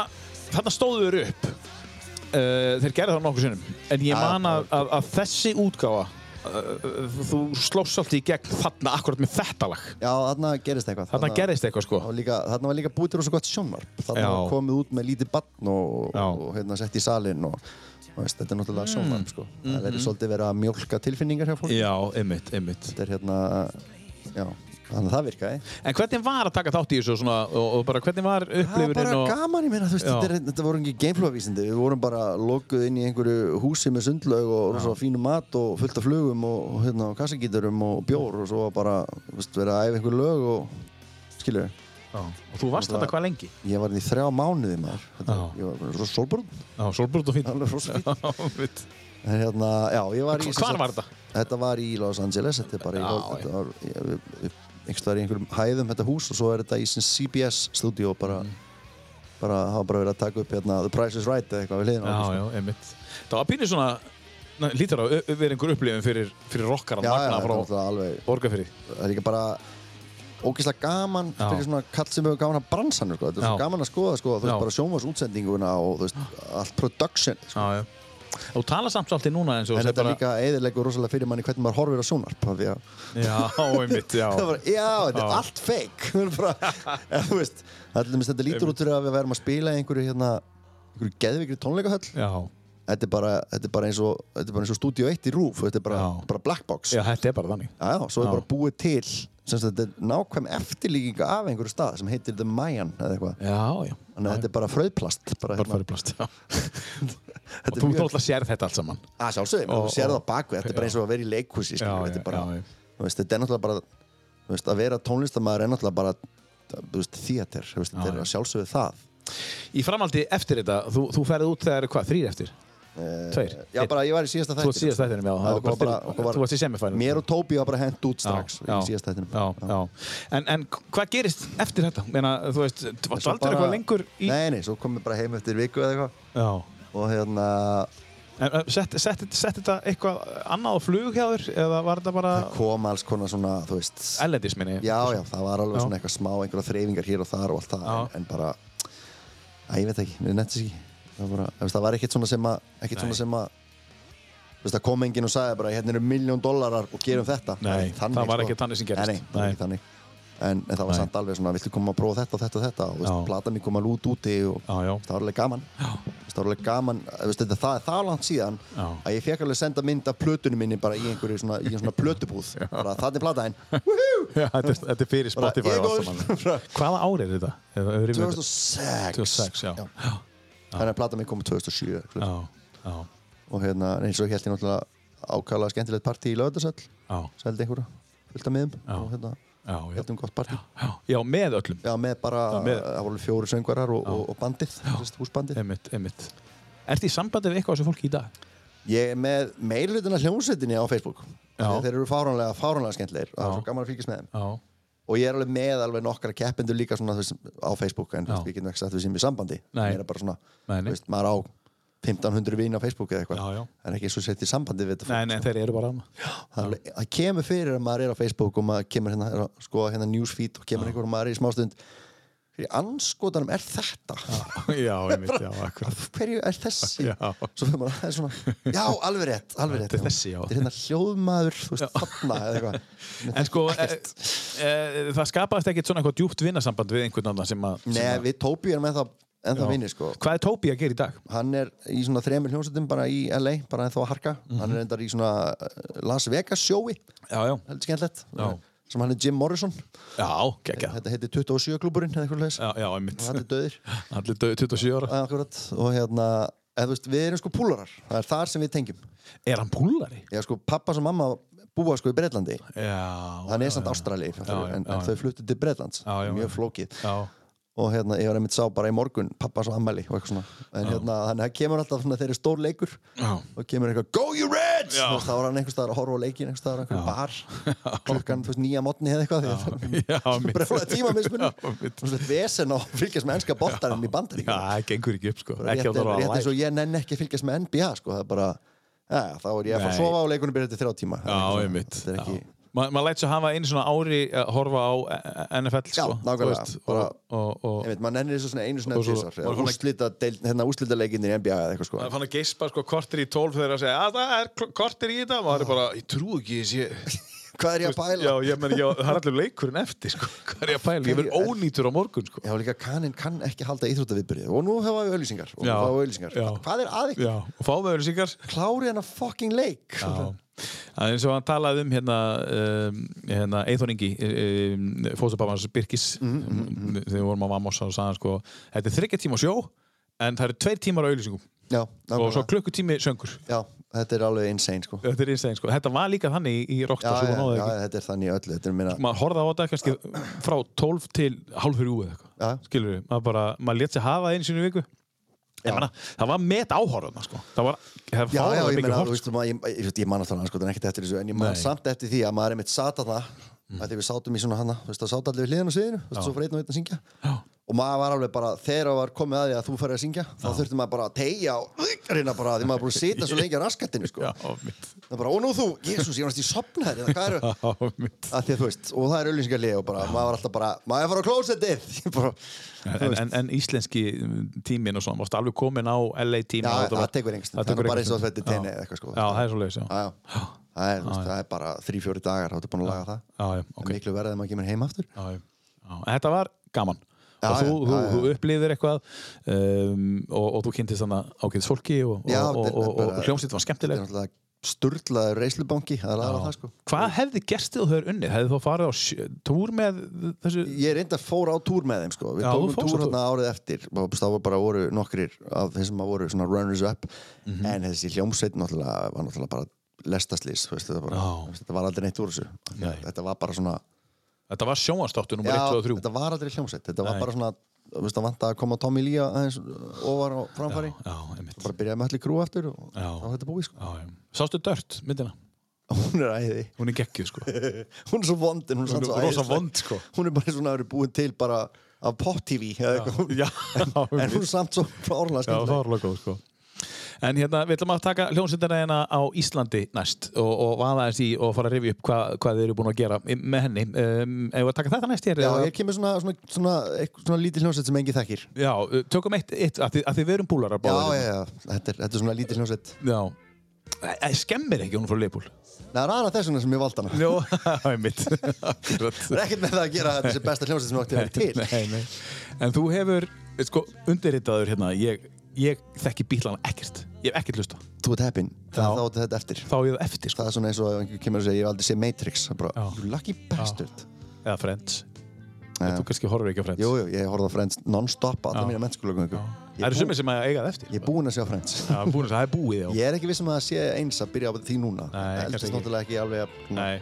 þarna stóðu þeir upp. Uh, þeir gerðu það nokkuð sinnum. En ég Já, man já. að, að, að þessi útgáfa, uh, þú slóst svolítið í gegn þarna akkurat með þetta lag. já, þarna gerist eitthvað Þarna gerðist eitthvað, sko. og líka, þarna var líka búið til rosa gott sjónvarp þarna Já. var komið út með lítið barn og, Já. Mm. og hérna sett í salin og og veist, þetta er náttúrulega sjónvarp sko. það Mm-hmm. verður svolítið verið að mjólka tilfinningar hjá fólk Já, einmitt, einmitt. þetta er hérna já, þannig að það virkaði En hvernig var að taka þátt í þessu svona, og, og bara hvernig var Það var bara upplifunin og... gaman, ég meina, þú veist, Já. þetta, er, þetta voru ekki gameflóðvísindi, við vorum bara lokuð inn í einhverju húsi með sundlaug og rosa fínu mat og fullt af flugum og, og hérna, og kassagíturum og bjór og svo var bara, þú veist, verið að æfa einhver lög og, skilur, Já. Og þú varst þetta hvað lengi? ég var inn í þrjá mánuði maður, þetta, Já. ég var rosa sólbrunn, Já, solbrútt og fín. alveg rosa fín, Já, mitt. en hérna, já, ég var í, sem Hvar sagt- var þetta? Þetta var í Los Angeles, þetta er bara í, Já, Hol- já. þetta var, ég, við- við- einhvers staðar í einhverjum hæðum þetta hús og svo er þetta í sem CBS stúdíó bara, Mm. bara, hafa bara verið að taka upp hérna The Price is Right eða eitthvað við hliðina Já, á okkur, sko. já, einmitt. Það var pínir svona, na, lítur á, ö- ö- verið einhver upplifin fyrir, fyrir rockaran Já, já, Magna þetta er frá náttúrulega alveg, Borgarfyrir. það er líka bara ógeðslega gaman Já. fyrir svona kall sem hefur gaman að bransanum sko. þetta er svo Já. gaman að skoða sko, þú Já. veist bara sjómas útsendinguna og þú veist allt production sko. Já, já. Þú tala samt svolítið núna eins og en sé þetta líka eðilegur rosalega fyrir manni hvernig maður horfir á sjónarp af því að Já, einmitt, já. það var, já, þetta er Já. allt fake Það er bara, eða, þú veist, allir minnst þetta lítur út fyrir að við værum að spila í einhverju hérna, einhverju geðvikri tónleikahöll Já, þetta er bara, þetta er bara eins og þetta er bara eins og Studio 1 í Roof, þetta er bara, Já. bara black box, já, þetta er bara þannig. já, já, svo Já. er bara búið til sem sagt, þetta er nákvæm eftirlíkinga af einhverju stað sem heitir The Mayan eða eitthvað, Já, já. þannig að þetta er bara fröðplast bara, Bara hérna, farið plast, já. Og þú þetta er mjög, náttúrulega sér þetta allt saman. að sjálfsögum, Og- þú sér það og- á bakvið þetta er bara eins og að vera í leikhúsi, skilur, Já, þetta já, er bara já, já. þú veist, þetta er náttúrulega bara þú veist, að vera tónlistamæður er náttúrulega bara þú veist, theater, þú veist, þetta er að sjálfsögðu það Í framhaldi eftir þetta, þú, þú ferðið út þegar, hvað, þrýr eftir? Tveir? Eh, Já, Einn. bara ég var í síðasta Þú varst þættinum. síðast þættinum, já. Það Já, var bara okkur var til- okkur var- þú varst í semifinal. Mér og Tóbi var bara hent út strax já, í síðasta þættinum já, já. En, en hvað gerist eftir þetta? Meina, þú veist, þú varst Svo aldrei bara- eitthvað lengur í... Nei, nei, svo komum við bara heim eftir viku eða eitthvað Já. og hérna, En uh, sett, sett, sett þetta eitthvað annað á flug hjá þér eða var þetta bara kom alls konar svona, þú veist ellendis minni? Já, já, það var alveg Já. svona eitthvað smá einhverja þreyfingar hér og þar og allt það, en, Já. en bara Æ, ég veit ekki, við nettis ekki Það var, bara, þú veist, það var ekkert svona sem að ekkert Nei. svona sem að þú veist, það kom enginn og sagði bara, hérna eru miljón dollarar og gerum þetta Nei, það var ekki þannig sem gerist. sko. Nei, nei, það var Nei. ekki þannig En, en það var Nei. samt alveg svona, viltu koma að prófa þetta og þetta og þetta og þú veist, Já. plata mér koma lút úti og Já, já. það var alveg gaman já. Það var alveg gaman, eh, veistu, þetta, það er það langt síðan Já. að ég fekk alveg senda mynd af plötunum minni bara í einhverju svona, í svona plötubúð bara þannig plataðin Já, þetta, er- þetta er fyrir Spotify ég er og allt góður. saman. Hvaða ár er þetta? Eða erum við- 2006 2006, já. já. Þannig að platan mín kom 2007 klukkan. Já, já, sko. og hérna eins og held ég náttúrulega ákala skemmtilegt partí í lögðarsöll já, seldi einhverja fullt af miðum Já. og hérna já, já, heldum gott partí já, já, með öllum. Já, með bara, Já, það með- voru alveg fjóru söngvarar og, og, og bandið, sérst, húsbandið. Einmitt, einmitt. Ertu í sambandi við eitthvað af þessu fólki í dag? Ég er með meirlutina hljómsveitinni á Facebook. Já. Þeir eru fáránlega, fáránlega skemmtilegir og það er Já. svo gaman að fylgjast með þeim. Já, Og ég er alveg með alveg nokkra keppendur líka svona, þú veist, á Facebook en þú veist, Já. við getum ekki sagt við sem í sambandi. Nei. Mér er bara svona, Nei, nei. þú veist, maður á 1500 vinn á Facebook eða eitthvað. Já, já. En ekki svo sett í sambandi við þetta nei, nei, þeir eru bara hana. Það, er alveg, það kemur fyrir að maður er á Facebook og maður kemur hérna, er að skoða hérna newsfeed og kemur einhver og maður er í smástund. Fyrir anskotanum er þetta? Já, einmitt, já, akkurat. Hverju er þessi? Já. Svo fyrir maður aðeins svona, já, alveg rétt, alveg rétt. Þetta er þessi, já. Þetta er hérna hljóðmaður, þú veist, þarna eða eitthvað. Mér En þekki sko, e, ekkert. e, það skapaðist ekkert svona eitthvað djúpt vinnasamband við einhvern annan sem að... sem Nei, að- við Tóbi erum ennþá, ennþá Já. vinnir, sko. Hvað er Tóbi að gera í dag? Hann er í svona þremur hljómsveitum bara í LA, bara ennþá að harka. Mhm. Hann er endar í svona eh, Las Vegas sjói, Já, já. heldur skemmtilegt. Já. Sem hann er Jim Morrison. Já, geggjað. Þetta heitir 27 klúburinn, eða eitthvað leis. Já, já, einmitt. Hann er döðir. Allir döðu 27 ára. Akkurat. Og hérna, eða, þú veist, við erum sko púlarar. Það er þar sem við tengjum. Er hann púlari? Já, sko, pappa sem mamma búa sko í Breitlandi. Já. hann er samt ástrali já, en, já, en já. þau fluttu til Breitlands Já, já, mjög já. flókið Já, og hérna, ég var einmitt sá bara í morgun pappas og ammæli og eitthvað svona en hérna, þannig að það kemur alltaf svona þeir eru stór leikur já. og kemur eitthvað, go you Reds Já. Þú veist, þá var hann einhvers staðar að horfa á leikin einhvers staðar, á einhverjum bar klukkan, þú veist, nýja mótni eða eitthvað því Já, að mitt. brjóla tíma mismunum Já, mitt. og svona vesen á að fylgjast með ennska boltarinn í Já, bandaríkjum það gengur ekki upp, sko. Ekki á rétt það að rétt eins læra. og ég nenn ekki að fylgjast með NBA sko, það er bara, ja, þá er ég að fara Nei. að sofa á leikunum byrja til þrjá tíma Það er Já, eitthvað- einmitt. þetta er ekki, Ma- Maður læt svo hafa einu svona ári að horfa á eh, NFL, Já, sko. nákvæmlega. Þú veist, og, Bara- og, og, Ég veit, maður nennir þessu svona einu svona Og svo- tísar maður fann að- úrslita, deil, hérna, úrslita leikinir í NBA eða eitthvað sko maður fann að geispa sko kortir í tólf þegar að segja að það er kl- kortir í þetta maður er bara, ég trú ekki þessi Hvað er ég að já, bæla? ég meni, já, það er allir leikurinn eftir sko. hvað er ég að pæla, ég verð ónýtur á morgun sko. Já, líka kaninn kann ekki halda íþróttaviðbyrði og nú hefa við ölýsingar og Já. nú fáum við ölýsingar Já. Hvað er aðeins? já, og fá með öllisíkar Klári hennar fucking leik Það er eins og hann talaði um hérna, um, hérna Eithorningi um, fóðsababans Birkis Mm, þegar við vorum á Vamos og sagði hann sko þetta er þryggja tíma sjó en það eru tveir tímar á auðlýsingum Já, og svo nákvæmlega klukkutími söngur Já, þetta er alveg insane sko Já, þetta er einstaklega sko, þetta var líka þannig í, í já, Rockstar já, svo náðu ekki þetta er þannig í öllu Þetta er minna maður horfði á þetta kannski frá 12 til hálfur úr eða Já. eitthvað skilur við, maður bara, maður létt sér hafa það einu sinni í viku ég menna, það var met áhorðuna sko. það var, það Já, já, var ég mikið meina, þú hort veist, maður- ég, ég, ég, ég man alltaf hann sko, ekkert eftir þessu, en ég man Nei. Mm. samt eftir því að maður er mitt sat að það, þegar við sátum í svona hana, þú veist, það sátum allir við hliðin og sviðinu, þú veist, svo fyrir einn og einn að syngja. Já. Og maður var alveg bara, þegar það var komið að því að þú færði að syngja, þá þurfti maður bara að tegja og reyna bara, því maður er búin að sitja svo lengi á raskattinu, sko. já, mitt, Það er bara, og nú þú, jésús, ég var næst í sopnaðir, eða hvað eru? já, mitt. Að því að þú veist, og það er auðlýsingarlega og bara, maður var alltaf bara, maður er að fara á klósettið. Ég bara- En, en, en íslenski tímin og svona, varst alveg komin á LA tímin Já, og þetta það var- tekur einhvers það stund, það er tekur einhvers bara eins og stund. þetta er tenni Já. eða eitthvað, sko. já, það er svo leiðis, já. Já, já. Það er, þú veist, það er bara þrý-fjóri dagar, þá ertu búin að laga það. Já, já, okay. ok. en miklu verðið að maður kemur heim aftur já, já. Já, en þetta var gaman Já, og þú, já, þú, já, já. þú upplýðir eitthvað um, og, og þú kynntist þannig ákveðis fólki og, Já, og, og, þetta er og, og bara- hljómsýtt var þetta er skemmtileg náttúrulega sturlaður reyslubanki það er aðra það sko Hvað hefði gerst þegar þú hefur unnið? Hefði þú farið á sjö- túr með þessu? ég reynda fór á túr með þeim sko við Já, þú tókum fórst á túr túr. hérna árið eftir og þá var bara voru nokkrir af þeir sem að voru svona runners up Mhm. en þessi hljómsveit náttúrulega var náttúrulega bara lestaslýs þetta, bara, Já. þú veist, þetta var aldrei neitt úr þessu Nei. þetta var bara svona Þetta var sjónvastáttu nummer 1, 2 og 3 þetta var aldrei hljómsveit þetta var Nei. bara svona þú veist, það vant að koma Tommy Lee aðeins ofar á framfæri Já, einmitt bara byrjaði með allir krú aftur og Já. þá var þetta búið sko Já, já. Sástu Dört, myndina? hún er æði Hún er geggjuð, sko hún er svo vond en hún er Hún samt er svo rosa æðisleg. vond, sko. hún er bara svona að vera búin til bara af pop-tv eða eitthvað Já, en hún er samt svo klárlega Já, það skemmtileg var alveg góð, sko En hérna, við ætlum að taka hljónsindina hérna á Íslandi næst og, og vaða þess í og fara að rifja upp hva, hvað þið eru búin að gera í- með henni um, Eða að taka þetta næst hér? já, eða- ég kemur svona, svona, svona, eitthvað svona lítið hljómsveit sem engi þekkir já, já uh, tökum eitt, eitt að, þið, að þið verum búlarar já, báðir. já, þetta er, þetta er svona lítið hljómsveit já. Æ, æ, Skemmir ekki hún er frá Leipúl Nei, það er aðra þess vegna sem ég vald hana Jó, það er mitt það er ekkert með það að gera að þetta sé besta hljómsveit sem ég átti að vera til nei, nei. En þú hefur, sko, undirritaður hérna, ég ég þekki bílana ekkert ég hef ekkert hlusta Þú ert heppinn, það Já. þá áttu þetta eftir þá er ég það eftir sko. Það er svona eins og ef einhver kemur og segir ég hef aldrei séð Matrix það er bara, Já. You lucky bastard eða Friends en þú kannski horfir ekki á Friends Jú, jú, ég horfði á Friends non-stop alla Já. mína mennskólagöngu það eru sumir sem að eiga það eftir Ég er búinn að sjá Friends Já, búin að það er búið já. Ég er ekki viss um að það sé eins að byrja á því núna Nei, kannski Það eldist ekki. náttúrulega ekki alveg að- Nei.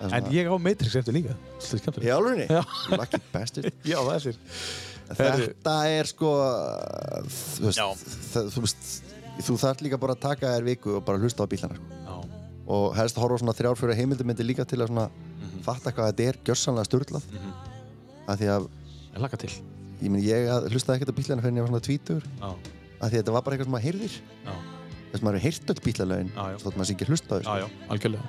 það er en svona- ég á Matrix eftir líka Svolítið skemmtilegt. Í alvörinni? Já. You lucky bastard já, það eftir Heyrðu. Þetta er sko Þú Já. veist, það, þú, veist þú þarf líka bara að taka þér viku og bara hlusta á bílana sko. já, og helst horfa á svona þrjárfjóra heimildumindi líka til að svona Mhm. fatta hvað þetta er gjörsanlega störtlað mm af því að ég laka til ég, meni, ég að- hlustaði ekkert á bílana fyrir en ég var svona tvítur já, af því að þetta var bara eitthvað sem maður heyrðir já, þess að maður hefur heyrt öll bílalögin Já, já. þótt maður sé ekki hlusta á sko. þessu já, já, algjörlega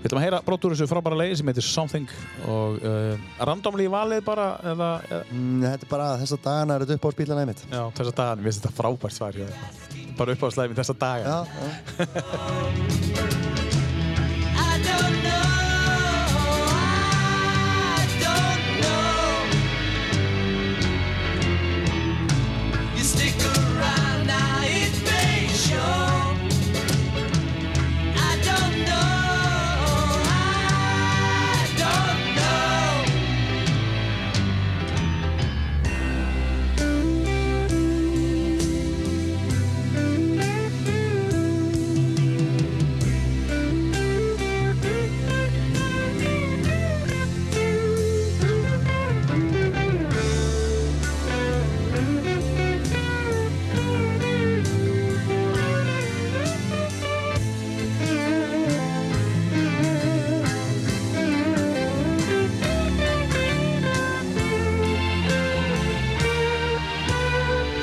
Við ætlum að heyra brot úr þessu frábæra leiði sem heitir Something og uh, randomli valið bara eða, eða Mm, þetta er bara að þessa dagana er þetta upp á bílalögin mitt já, þessa dagana, mér finnst þetta frábært svar hjá þér. bara upp á slæmi þessa dagana já, já. I don't know, I don't know You stick around, I it may show I don't know, I don't know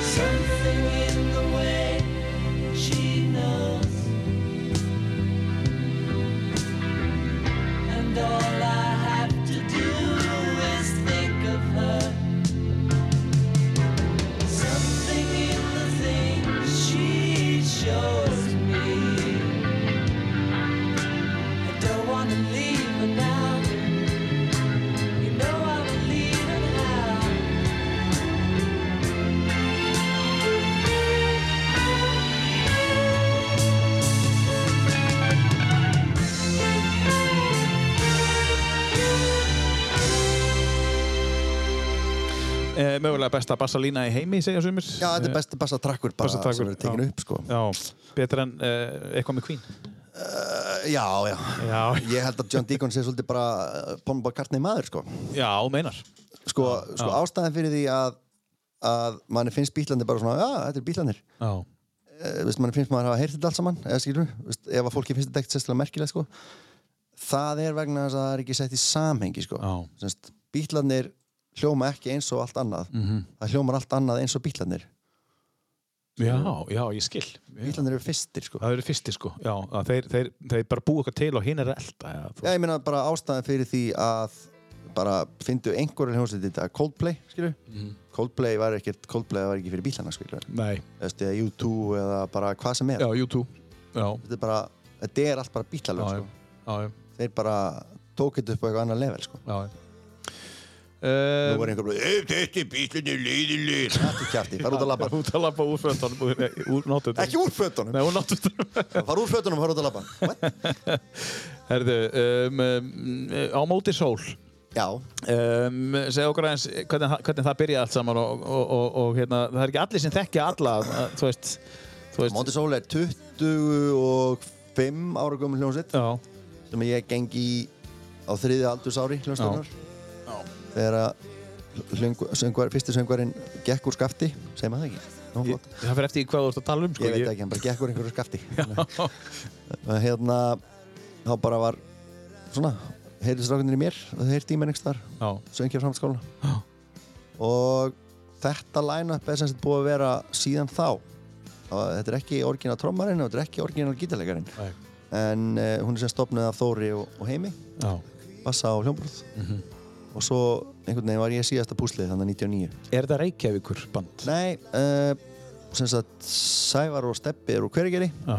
Something in the way she knows. And all I have to do is think of her. Something in the things she shows me. I don't want to leave her now. You know I will leave her now. Eh, mögulega besta bassalína í heimi, segja sumir. já, þetta er besti besta trakkur bara Bassa trakkur, sem er tekin já. upp sko. Já, betur en eh, eitthvað með Queen. já, já, Já, ég held að John Deacon sé svolítið bara Pomba Kartney maður sko. já, meinar. sko, sko já. ástæðan fyrir því að að manni finnst bílandi bara svona já, þetta er bílandir Já, uh, manni finnst maður að hafa heyrt þetta allt saman eða skilur, veist, ef að fólki finnst þetta ekkert sérstaklega merkilegt sko. það er vegna þess að það er ekki sett í samhengi sko. Já. Semst, bílandir hljóma ekki eins og allt annað Mhm. -hmm. það hljómar allt annað eins og bílandir já, já, ég skil. Já. bílandir eru fyrstir sko. Það eru fyrsti sko, já, að þeir, þeir, þeir bara búa eitthvað til og hinn er að elda. Já, já, ég meina bara ástæðan fyrir því að bara fyndu einhverjum hljómsveit þetta Coldplay, skilur Coldplay var ekkert, Coldplay var ekki fyrir bílana skilur, Nei, Eftir, U2 eða bara hvað sem er já, YouTube. Já, þetta er bara, þetta er allt bara bílalög já, sko. já, já, þeir bara tók þetta upp á eitthvað annar level sko. já. nú Uh, var einhver bara, "Ey, þetta er bílunni leiðileg hættu kjæfti, fara út að labba út að labba úr fötunum, úr, úr náttúrulega. ekki úr fötunum, Nei, úr náttúrulega. fara úr fötunum, fara út að labba What? Herðu, um, um, á móti sól. já, um, segja okkur aðeins hvernig, það- hvernig það byrja allt saman og, og, og, og hérna, það er ekki allir sem þekkja alla að- þú veist, þú veist Monty Soul er 25 ára gömul hljómsveit já, sem ég geng í á þriði aldursári hljómsveitar þegar að hlöngu- söngvar, fyrsti söngvarinn gekk úr skafti segir maður það ekki, nú ég, flott það fyrir eftir í hvað þú ert að tala um sko. ég veit ekki, hann bara gekk úr einhverju skafti og hérna þá bara var svona, heyrðist rákunir í mér og þau heyrði í mér einhvers þar, já, söngja framhaldsskóla og þetta line-up er sem sagt búið að vera síðan þá Og þetta er ekki orginal trommarinn og þetta er ekki orginal gítarleikarinn nei, en uh, hún er sem stopnuð af Þóri og, og Heimi já, bassa á hljómbrúð Mhm. og svo einhvern veginn var ég síðasta púslið þannig að 99 er þetta Reykjavíkur band? nei, uh, sem sagt Sævar og Steppi eru hvergeri já,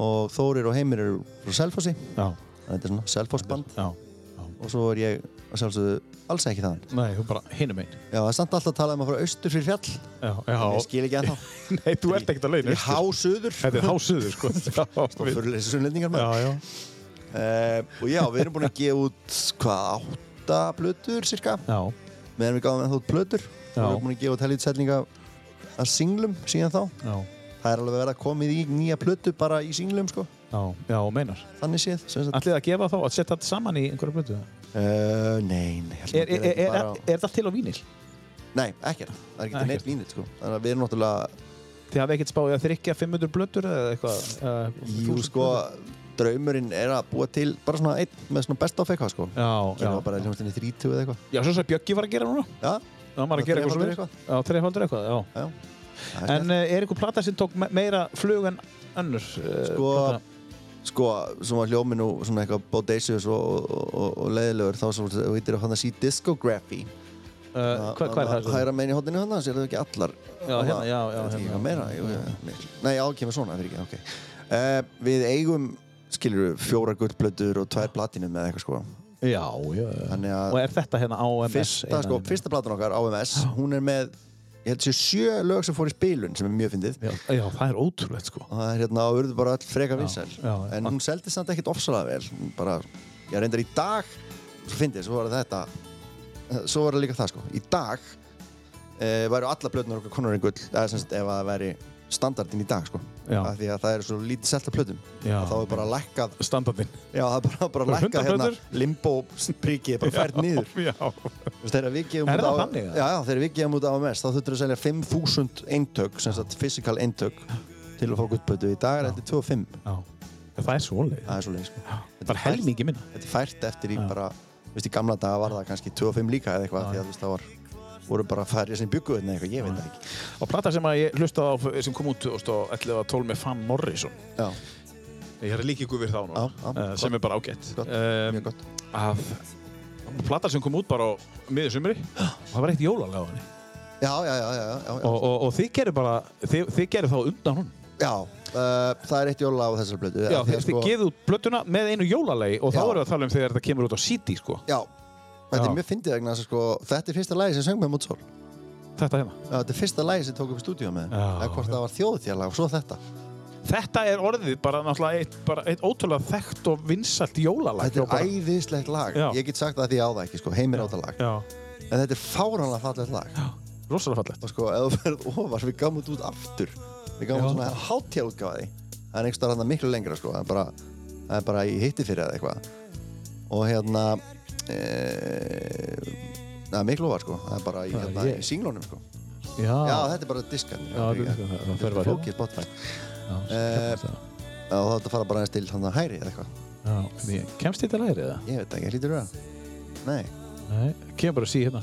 og Þórir og Heimir eru frá Selfossi já, þannig að þetta er svona Selfossband já, og svo er ég að sjálfsögðu alls ekki þann. Nei, þú bara hinum einn. Já, það er samt alltaf að tala um að fara austur fyrir fjall. Já, já. Ég skil ekki ennþá. Nei, þú ert ekkert að leiðin. Ég er hásuður. Þetta er hásuður, sko. Já, Og við- fyrir þessu sunnlendingar já, maður. já. Uh, og já, við erum búin að gefa út, hvað, átta plötur cirka. Já, Meðan við gáðum ennþá út plötur. Já. Við erum búin að gefa út helgjutsellinga að singlum síðan þá. já, Það er alveg verið að komið í nýja plötu bara í singlum, sko. já, já, meinar. Þannig séð, sem sagt. Ætlið þið að gefa þá, að setja þetta saman í einhverju blötu? Uh, nei, nei, ég Ah. Er, held að gera er, er, þetta er, bara á- er þetta til á vínil? Nei, ekkert. Það er ekki Ekkert. neitt vínið, sko. Þannig að við erum náttúrulega, Þið hafið ekkert spáðið að þrykja 500 blötur eða eitthvað? Uh, jú, sko, draumurinn er að búa til bara svona einn með svona best of eitthvað, sko. Já, Það já. var bara hljómsdæni 30 eða eitthvað. Já, svo sem Bjöggi var að gera núna. Já, Það var að gera eitthvað Þrefaldur svona. Já, þreifaldur eitthvað, já. já. Það er En snjallt. uh, er einhver plata sem tók me- meira flug en önnur? Uh, Sko, sko, sem var hljóminn og svona eitthvað bodacious og, og, og, og leiðilegur, þá sem þú veitir að hann að sí discography. uh, hvað hva er það? Hæra meina í hodinu hann, sér það ekki allar. Já, hérna, já, já, Það er hérna. ekki meira, jú, jú, miklu. Nei, já, kemur svona, það er ekki, ok. Uh, við eigum, skilur við, fjóra guttblöður og tvær platinum eða eitthvað, sko. Já, já, já. Þannig að Og er þetta hérna AMS? fyrsta, sko, fyrsta platan okkar, AMS, hún er með ég held sér sjö lög sem fór í spilun sem er mjög fyndið Já, já, það er ótrúlegt, sko. og það er hérna og urðu bara all freka vinsæl já, já. en hún seldi samt ekkert ofsalega vel Hún bara, ég reyndar í dag svo fyndið, svo var þetta svo var það líka það sko, í dag e, væru alla blöðnur okkar konurinn gull eða sem sagt ef að það væri standardin í dag sko, Já. af því að það eru svo lítið selta plöðum, Já. þá er bara lækkað Standardinn. já, það er bara, bara Bara lækkað hérna, 100 limbo prikið, bara fært niður Já. Þú veist, þegar við gefum Er út það á- þannig, eða? Já, já, þegar við gefum út AMS þá þurftur að selja 5.000 eintök sem sagt physical eintök til að fá guttbötu í dag er þetta 2.5 já. Það er svoleið. það er svo leið sko Það er helmingi minna. þetta er fært eftir í bara þú veist, í gamla daga var það kannski 2.5 líka eða eitthvað því að þú veist, það var voru bara færið sem byggu eða eitthvað, ég veit það ekki Og plata sem að ég hlustaði á f- sem kom út 2011 og 12 með Van Morrison. já, Ég er líka ykkur við þá núna. Já, já, eh, sem er bara ágætt. Gott, Um, mjög gott að plata sem kom út bara á miður sumri og það var eitt jólalag á henni. já, já, já, já, já, já. Og, og, og þið gerir bara, þið, þið gerir þá undan hún. já uh, það er eitt jóla á þessari blötu Já, af því þið, að, sko, þið gefið út blötuna með einu jólalagi og þá Já. erum við að tala um þegar þetta kemur út á CD, sko. já, þetta Já. er mjög fyndið vegna þess að, sko, þetta er fyrsta lagi sem söng með Mútsól Þetta hérna. Já, þetta er fyrsta lagi sem tók upp í stúdíu með Já, þeim. Eða hvort já. það var þjóðutjálag og svo þetta. Þetta er orðið bara náttúrulega eitt, bara eitt ótrúlega þekkt og vinsalt jólalag. Þetta Og bara- er æðislegt lag. Já. Ég get sagt það því ég á það ekki, sko. Heimir á það lag. Já, En þetta er fáránlega fallegt lag. rosalega fallegt. Og sko, ef þú ferð ofar, við gáum þetta út aftur. Við gáum Já. út svona hátja útgáði. Það er einhvers staðar hann miklu lengra, sko. Það er bara, það er bara í hitti fyrir eða eitthvað. Og hérna, e... það er miklu ofar, sko. Það er bara í, Það er hérna, ég. í singlónum, sko. Já, Já, þetta er bara diskan. Ah, Já, þetta er diskan, það- það fer bara hérna. Fókið Spotify. já, eh, Já, þá þetta fara bara aðeins til hann hægri eða eitthvað. já, já. Kemst þetta lærið það? Ég veit ekki, hlýtur það? Nei. Nei, kemur bara að sí hérna.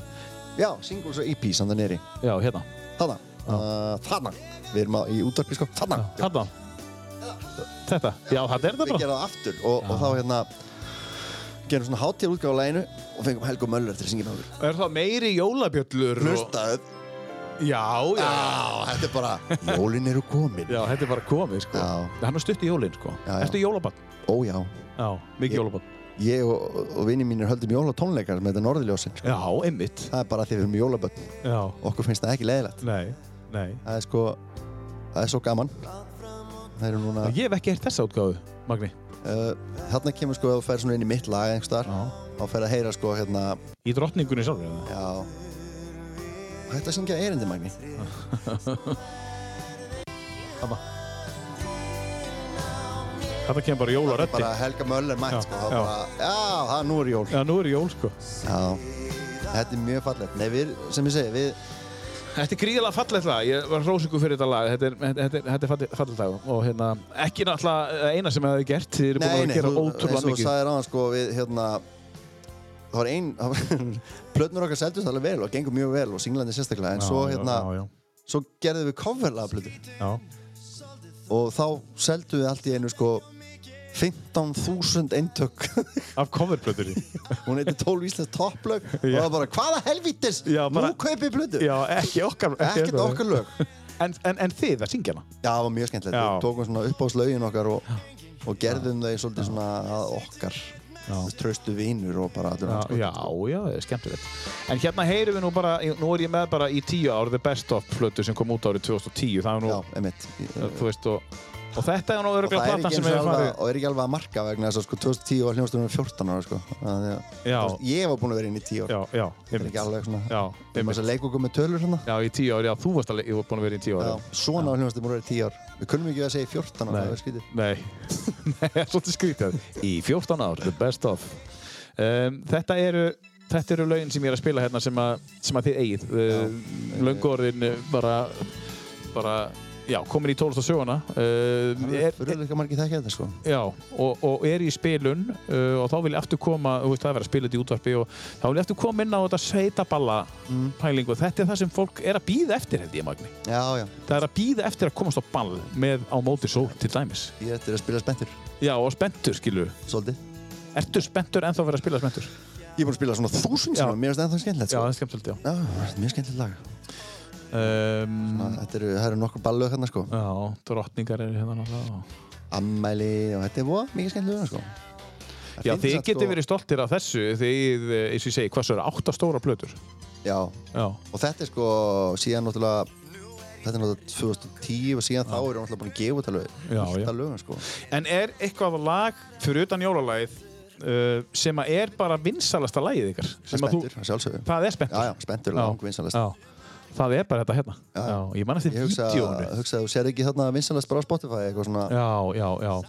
Já, singles og EP samt að neyri. Já, hérna. Þarna. Uh, þarna. Við erum á, í útvarpi sko. Þarna. Þarna. Þetta. Já, þetta er þetta Við bara. gerum það aftur og, og þá hérna gerum svona hátíðar útgáð á læginu og fengum Helga Möller til að syngja með okkur. Er það meiri jólabjöllur? Hlustaðu. Og... Já, já. Já, þetta er bara, jólin eru komin. Já, þetta er bara komið, sko. Já. Hann er stutt í jólinn, sko. Já, já. Ertu jólabann? Ó já. Já, mikið Ég- jólabann. Ég og, og vinnir mínir höldum jólatónleikar með þetta norðiljósin. Sko. Já, einmitt. Það er bara því við erum jólaböll. Já. Okkur finnst það ekki leiðilegt. Nei, nei. Það er sko, það er svo gaman. Það eru núna, Ég hef ekki heyrt þessa útgáðu, Magni. uh, þarna kemur sko að þú fer svona inn í mitt lag einhverstaðar Já. og fer að heyra sko hérna Í drottningunni sjálfur. eða? Já Hætti að syngja erindi, Magni Þetta kemur bara jól og röddi. Bara Helga Möller Já, mætt, sko já. Já, bara, já það, nú er jól Já, nú er jól, sko. Já Þetta er mjög fallegt Nei, við, sem ég segi, við Þetta er gríðilega fallegt lag, ég var hrósingu fyrir þetta lag, þetta er, þetta er, þetta er falleg- fallegt lag og hérna, ekki náttúrulega eina sem hefði gert, þið eru búin að gera ótrúlega eins og þú mikið. sagðir á sko, við, hérna Það var ein það var- Plötnur okkar seldust alveg vel og gengur mjög vel og singlandi sérstaklega En svo, Já, hérna, já, já, svo gerðum við coverlega plötur já. Og þá seldum við allt í einu, sko 15.000 eintök Af coverblöður Hún heitir 12 Íslands topplög Og það var bara, hvaða helvítis, Já, bara- nú kaupið plötu Já, ekki okkar. ekkert okkar lög En, en, en þið að syngja hana? já, það var mjög skemmtilegt, Já. við tókum svona upp á slögin okkar og, og gerðum þau svolítið svona að okkar tröstu vinur og bara allir Já, hans sko. já, já, það er skemmtilegt. En hérna heyrum við nú bara, nú er ég með bara í tíu ár The Best Of plötu sem kom út árið 2010. Það er nú, já, emitt þú veist, og, og þetta er nú og það öruglega er platan ekki, sem eins og hefur alveg, farið. og er ekki alveg að marka vegna þess að sko 2010 var hljómsdóðunum 14 ára sko að, ja. Já. ég var búinn að vera inn í 10 Já, ára já, það er einmitt. ekki alveg svona Já, við erum einmitt. að leika okkur með tölur hérna Já, í tíu ár, já, þú varst alveg, ég var búin að vera í tíu ár. Já, svona var hljómsdóðunum búinn að vera í 10 ár við kunnum ekki að segja 14 ára það er Nei, skrítið nei, nei, það er svolítið skrítið. Í 14 ár, The Best Of. Um, þetta eru, þetta eru lögin sem ég er að spila hérna sem að, sem að þið eigið. Uh, Löngorðin bara, bara, já, komin í tónlistasöguna. Uh, er, það eru líka margir þekkja þetta sko Já, og, og er í spilun uh, og þá vil ég aftur koma, þú veist það er verið að spila þetta í útvarpi og þá vil ég aftur koma inn á þetta sveitaballa pælingu. Þetta er það sem fólk er að býða eftir, held ég, Magni. já, já Það er að býða eftir að komast á ball með á móti sól til dæmis. ég ætti að spila spenntur Já, og spenntur, skilur. svolítið Ertu spenntur en þá verið að spila spenntur? ég er búinn að spila svona þúsund Já. sem mér finnst ennþá skemmtilegt Já, sko það er skemmtilegt, já. já, þetta er mjög skemmtilegt lag Um, þetta eru, það eru nokkur ballöð hérna sko já, drottningar eru hérna náttúrulega. og- ammæli og þetta er voða mikið skemmtilega sko Það Já, finnst þið samt, getið sko- verið stoltir af þessu þið, eh, eins og ég segi, hvað svo eru átta stóra plötur? já, Já, og þetta er sko síðan náttúrulega þetta er náttúrulega 2010 og síðan þá er hann náttúrulega búin að gefa út alveg Já, fullt já. af lögum sko En er eitthvað lag fyrir utan jólalagið uh, sem að er bara vinsalasta lagið ykkar? sem Sem að spenntur, að sjálfsögðu Það er spenntur? já, já, spenntur, Já, lang vinsalast já. Það er bara þetta hérna. Já, ég man eftir ég hugsa, vídjónu. hugsa að þú sér ekki þarna vinsalast bara á Spotify eitthvað svona, Já, já, já.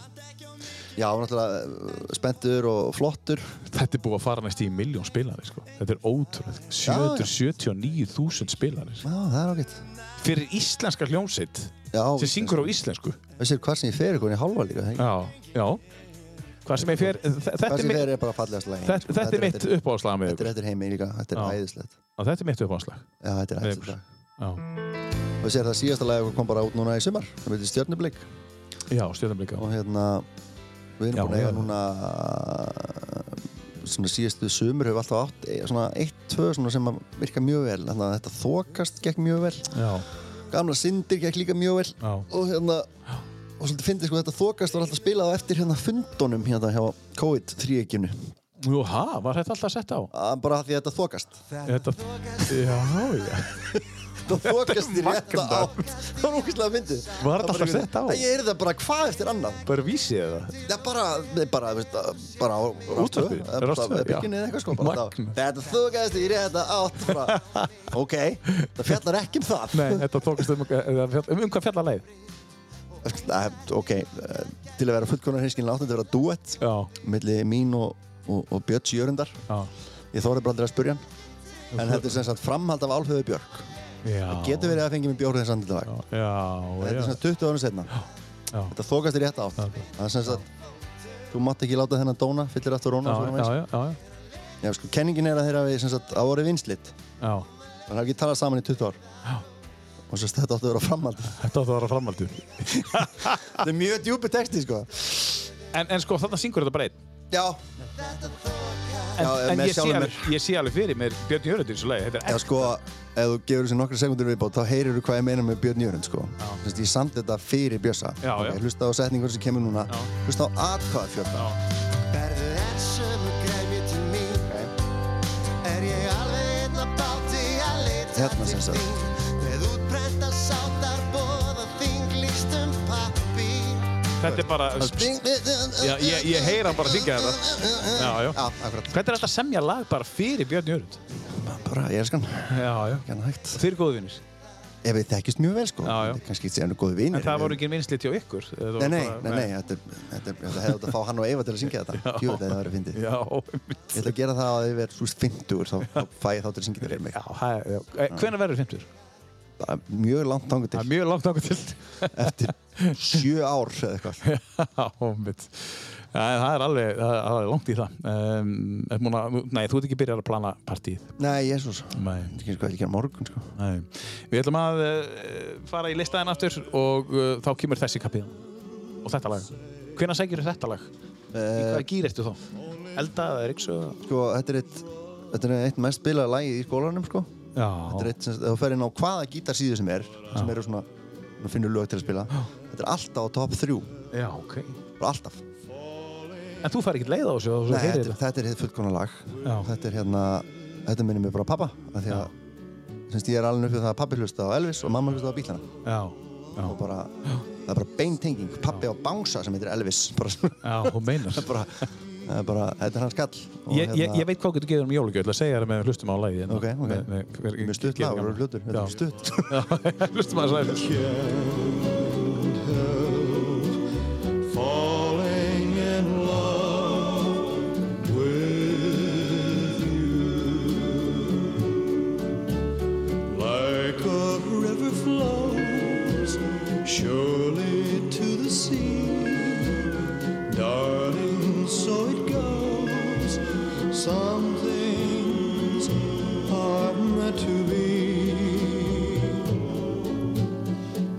já, náttúrulega uh, spenntur og flottur Þetta er búið að fara næst í miljón spilari, sko. Þetta er ótrúlega. já. 779.000 spilari. já, það er ágætt Fyrir íslenska hljómsitt já, sem syngur á íslensku. vissir hvað sem ég fer eitthvað í hálfa líka hei. sko. Já, já. Hvað sem ég fer... þ- Þetta hvað er sem mitt, fer er bara fallegast lagi þetta, þetta er mitt þetta uppáhalslag með er ykkur. þetta er heimi líka, þetta er Já. æðislegt Já, Þetta er mitt uppáhalslag. já, þetta er Með æðislegt ykkur. lag. Já, og sér það síðasta lagi okkar kom bara út núna í sumar það veitir stjörnublik já stjórnumlika. og hérna við Já, erum búin að eiga já. núna svona síðustu sumur hefur alltaf átt e- svona eitt, tvö svona sem að virka mjög vel þannig að þetta þokast gekk mjög vel Já, gamla syndir gekk líka mjög vel já. og hérna og svolítið fyndið sko þetta þokast var alltaf spilað á eftir hérna fundunum hérna hjá COVID þríegjunu Jú, ha, var þetta alltaf sett á? bara af því að þetta þokast Þetta, já, já. það þokast í rétta magnað. átt það var ógeðslega fyndið Var þetta Það bara alltaf einhvern- sett á? ég er það bara hvað eftir annan Bara vísið eða? Það er bara, það er bara, veist, bara á Útvarpi, Það er rástöð, bara já. bygginni eða eitthvað sko bara Magnað. þá, Þetta þókaðist í rétta átt bara, Ok, það fjallar ekki um það Nei, þetta tókast um, eða fjall- um, um hvað fjallar leið? Nei Ok, eh, til að vera fullkonar hinskinlega átti þetta að vera duett Já, milli mín og, og, og Björns Jörundar já. Ég þóri bara aldrei að spurja hann En þetta er sem sagt framhald af Álfhöðu Björk já. Getur verið að fengi mig bjórið þess andil dag Já, já, Þetta já. er sem sagt 20 árum setna Já. Þetta þókast í rétta átt Já. Það er sem sagt Þú mátt ekki láta þennan dóna, fyllir aftur Já, róna já, já, já, Já, sko, kenningin er að þeirra við sem sagt á orði vinslitt já. Það hafa ekki talað saman í 20 ár Og svo þetta áttu að vera framhaldi Þetta átti að vera framaldið. Þetta er mjög djúpi texti, sko En, en sko, þarna syngur þetta bara einn. Já, En, Já, en með ég, sé sjálfum alveg, ég sé alveg fyrir mér Björn Jörgundur í þessu lagi. Þetta já er sko, ef þú gefur þessu nokkra sekundur viðbót þá heyrir þú hvað ég meina með Björn Jörund, sko Þess, Ég samt þetta fyrir Bjössa Já, Ok, já. Hlusta á setningur sem kemur núna Já. Hlusta á atkvæða fjölda Berðu enn sömu græmi til mín Er ég alveg einn að báti að leita Hérna sem sagt. þín Með útbrenda sátar bóða þing líst um pappír þetta er bara... Já, ég, ég heyra hann bara syngja þetta. Já, já. Já, akkurat Hvernig er þetta að semja lag bara fyrir Björn Jörgund? Bara, ég elskan, Já, já. gæna hægt Þeir eru góðvinir. Ef við þekkist mjög vel, sko Já, já. Þetta er Kannski séðan góði vinir En það voru ekki sko, minnslit hjá ykkur. þetta var Nei, nei, bara- nei, nei, þetta, er- þetta, er- þetta hefði átt að fá hann og Eva til að syngja þetta Jú, þetta hefði verið fyndið Já, einmitt. Ég ætla að gera það að ég verð, þú veist, 50 þá, þá fæ ég þá til að syngja þér mig. Já, það er- já. Eh, Hvenær verður 50? Það er mjög langt tangu Það er til, mjög langt okkur til. sjö ár eða eitthvað. Já, mitt. Það það er alveg, það er alveg langt í það. Um, er múna, nei, þú ert ekki byrjað að plana partíð. Nei, jésús. Nei. Þetta er ekki hvað ég gera á morgun, sko. nei. Við ætlum að uh, fara í listaðin aftur og uh, þá kemur þessi kappið. Og þetta lag. Hvenær segir þetta lag? Í Uh, hvaða gýr ertu þá? Elda eða Ríksu? sko, þetta er eitt, þetta er eitt mest spilaða lagið í skólanum, sko. Já. Þetta er eitt, sem, þú fer inn á hvaða gítarsíðu sem er, sem eru svona, þú finnur lög til að spila. Þetta er alltaf á top 3, Já, ok. bara alltaf. En þú fær ekkert leið á þessu og þú Nei, heyrir þetta, þetta. þetta er hitt fullkona lag Já. Þetta er hérna, þetta minnir mig bara á pappa af Því að, semst ég er alveg upp við það að pappi hlusta á Elvis og mamma hlusta á bílana Já, já, og bara, það er bara beintenging pappi á bánsa sem heitir Elvis bara, svona, já, hún meinar. bara, það er bara, þetta er hans kall og hérna- Ég, ég, ég veit hvað getur geður um jólugjöld að segja þér með hlustum á lagið hérna. Ok, ok. Með- með- hver- mjög stutt gerir lag gaman. og hlutur, þetta er Já. stutt Já, hlustum á þessu lagið falling in love with you. Like a river flows surely to the sea, darling, so it goes. Some things are meant to be.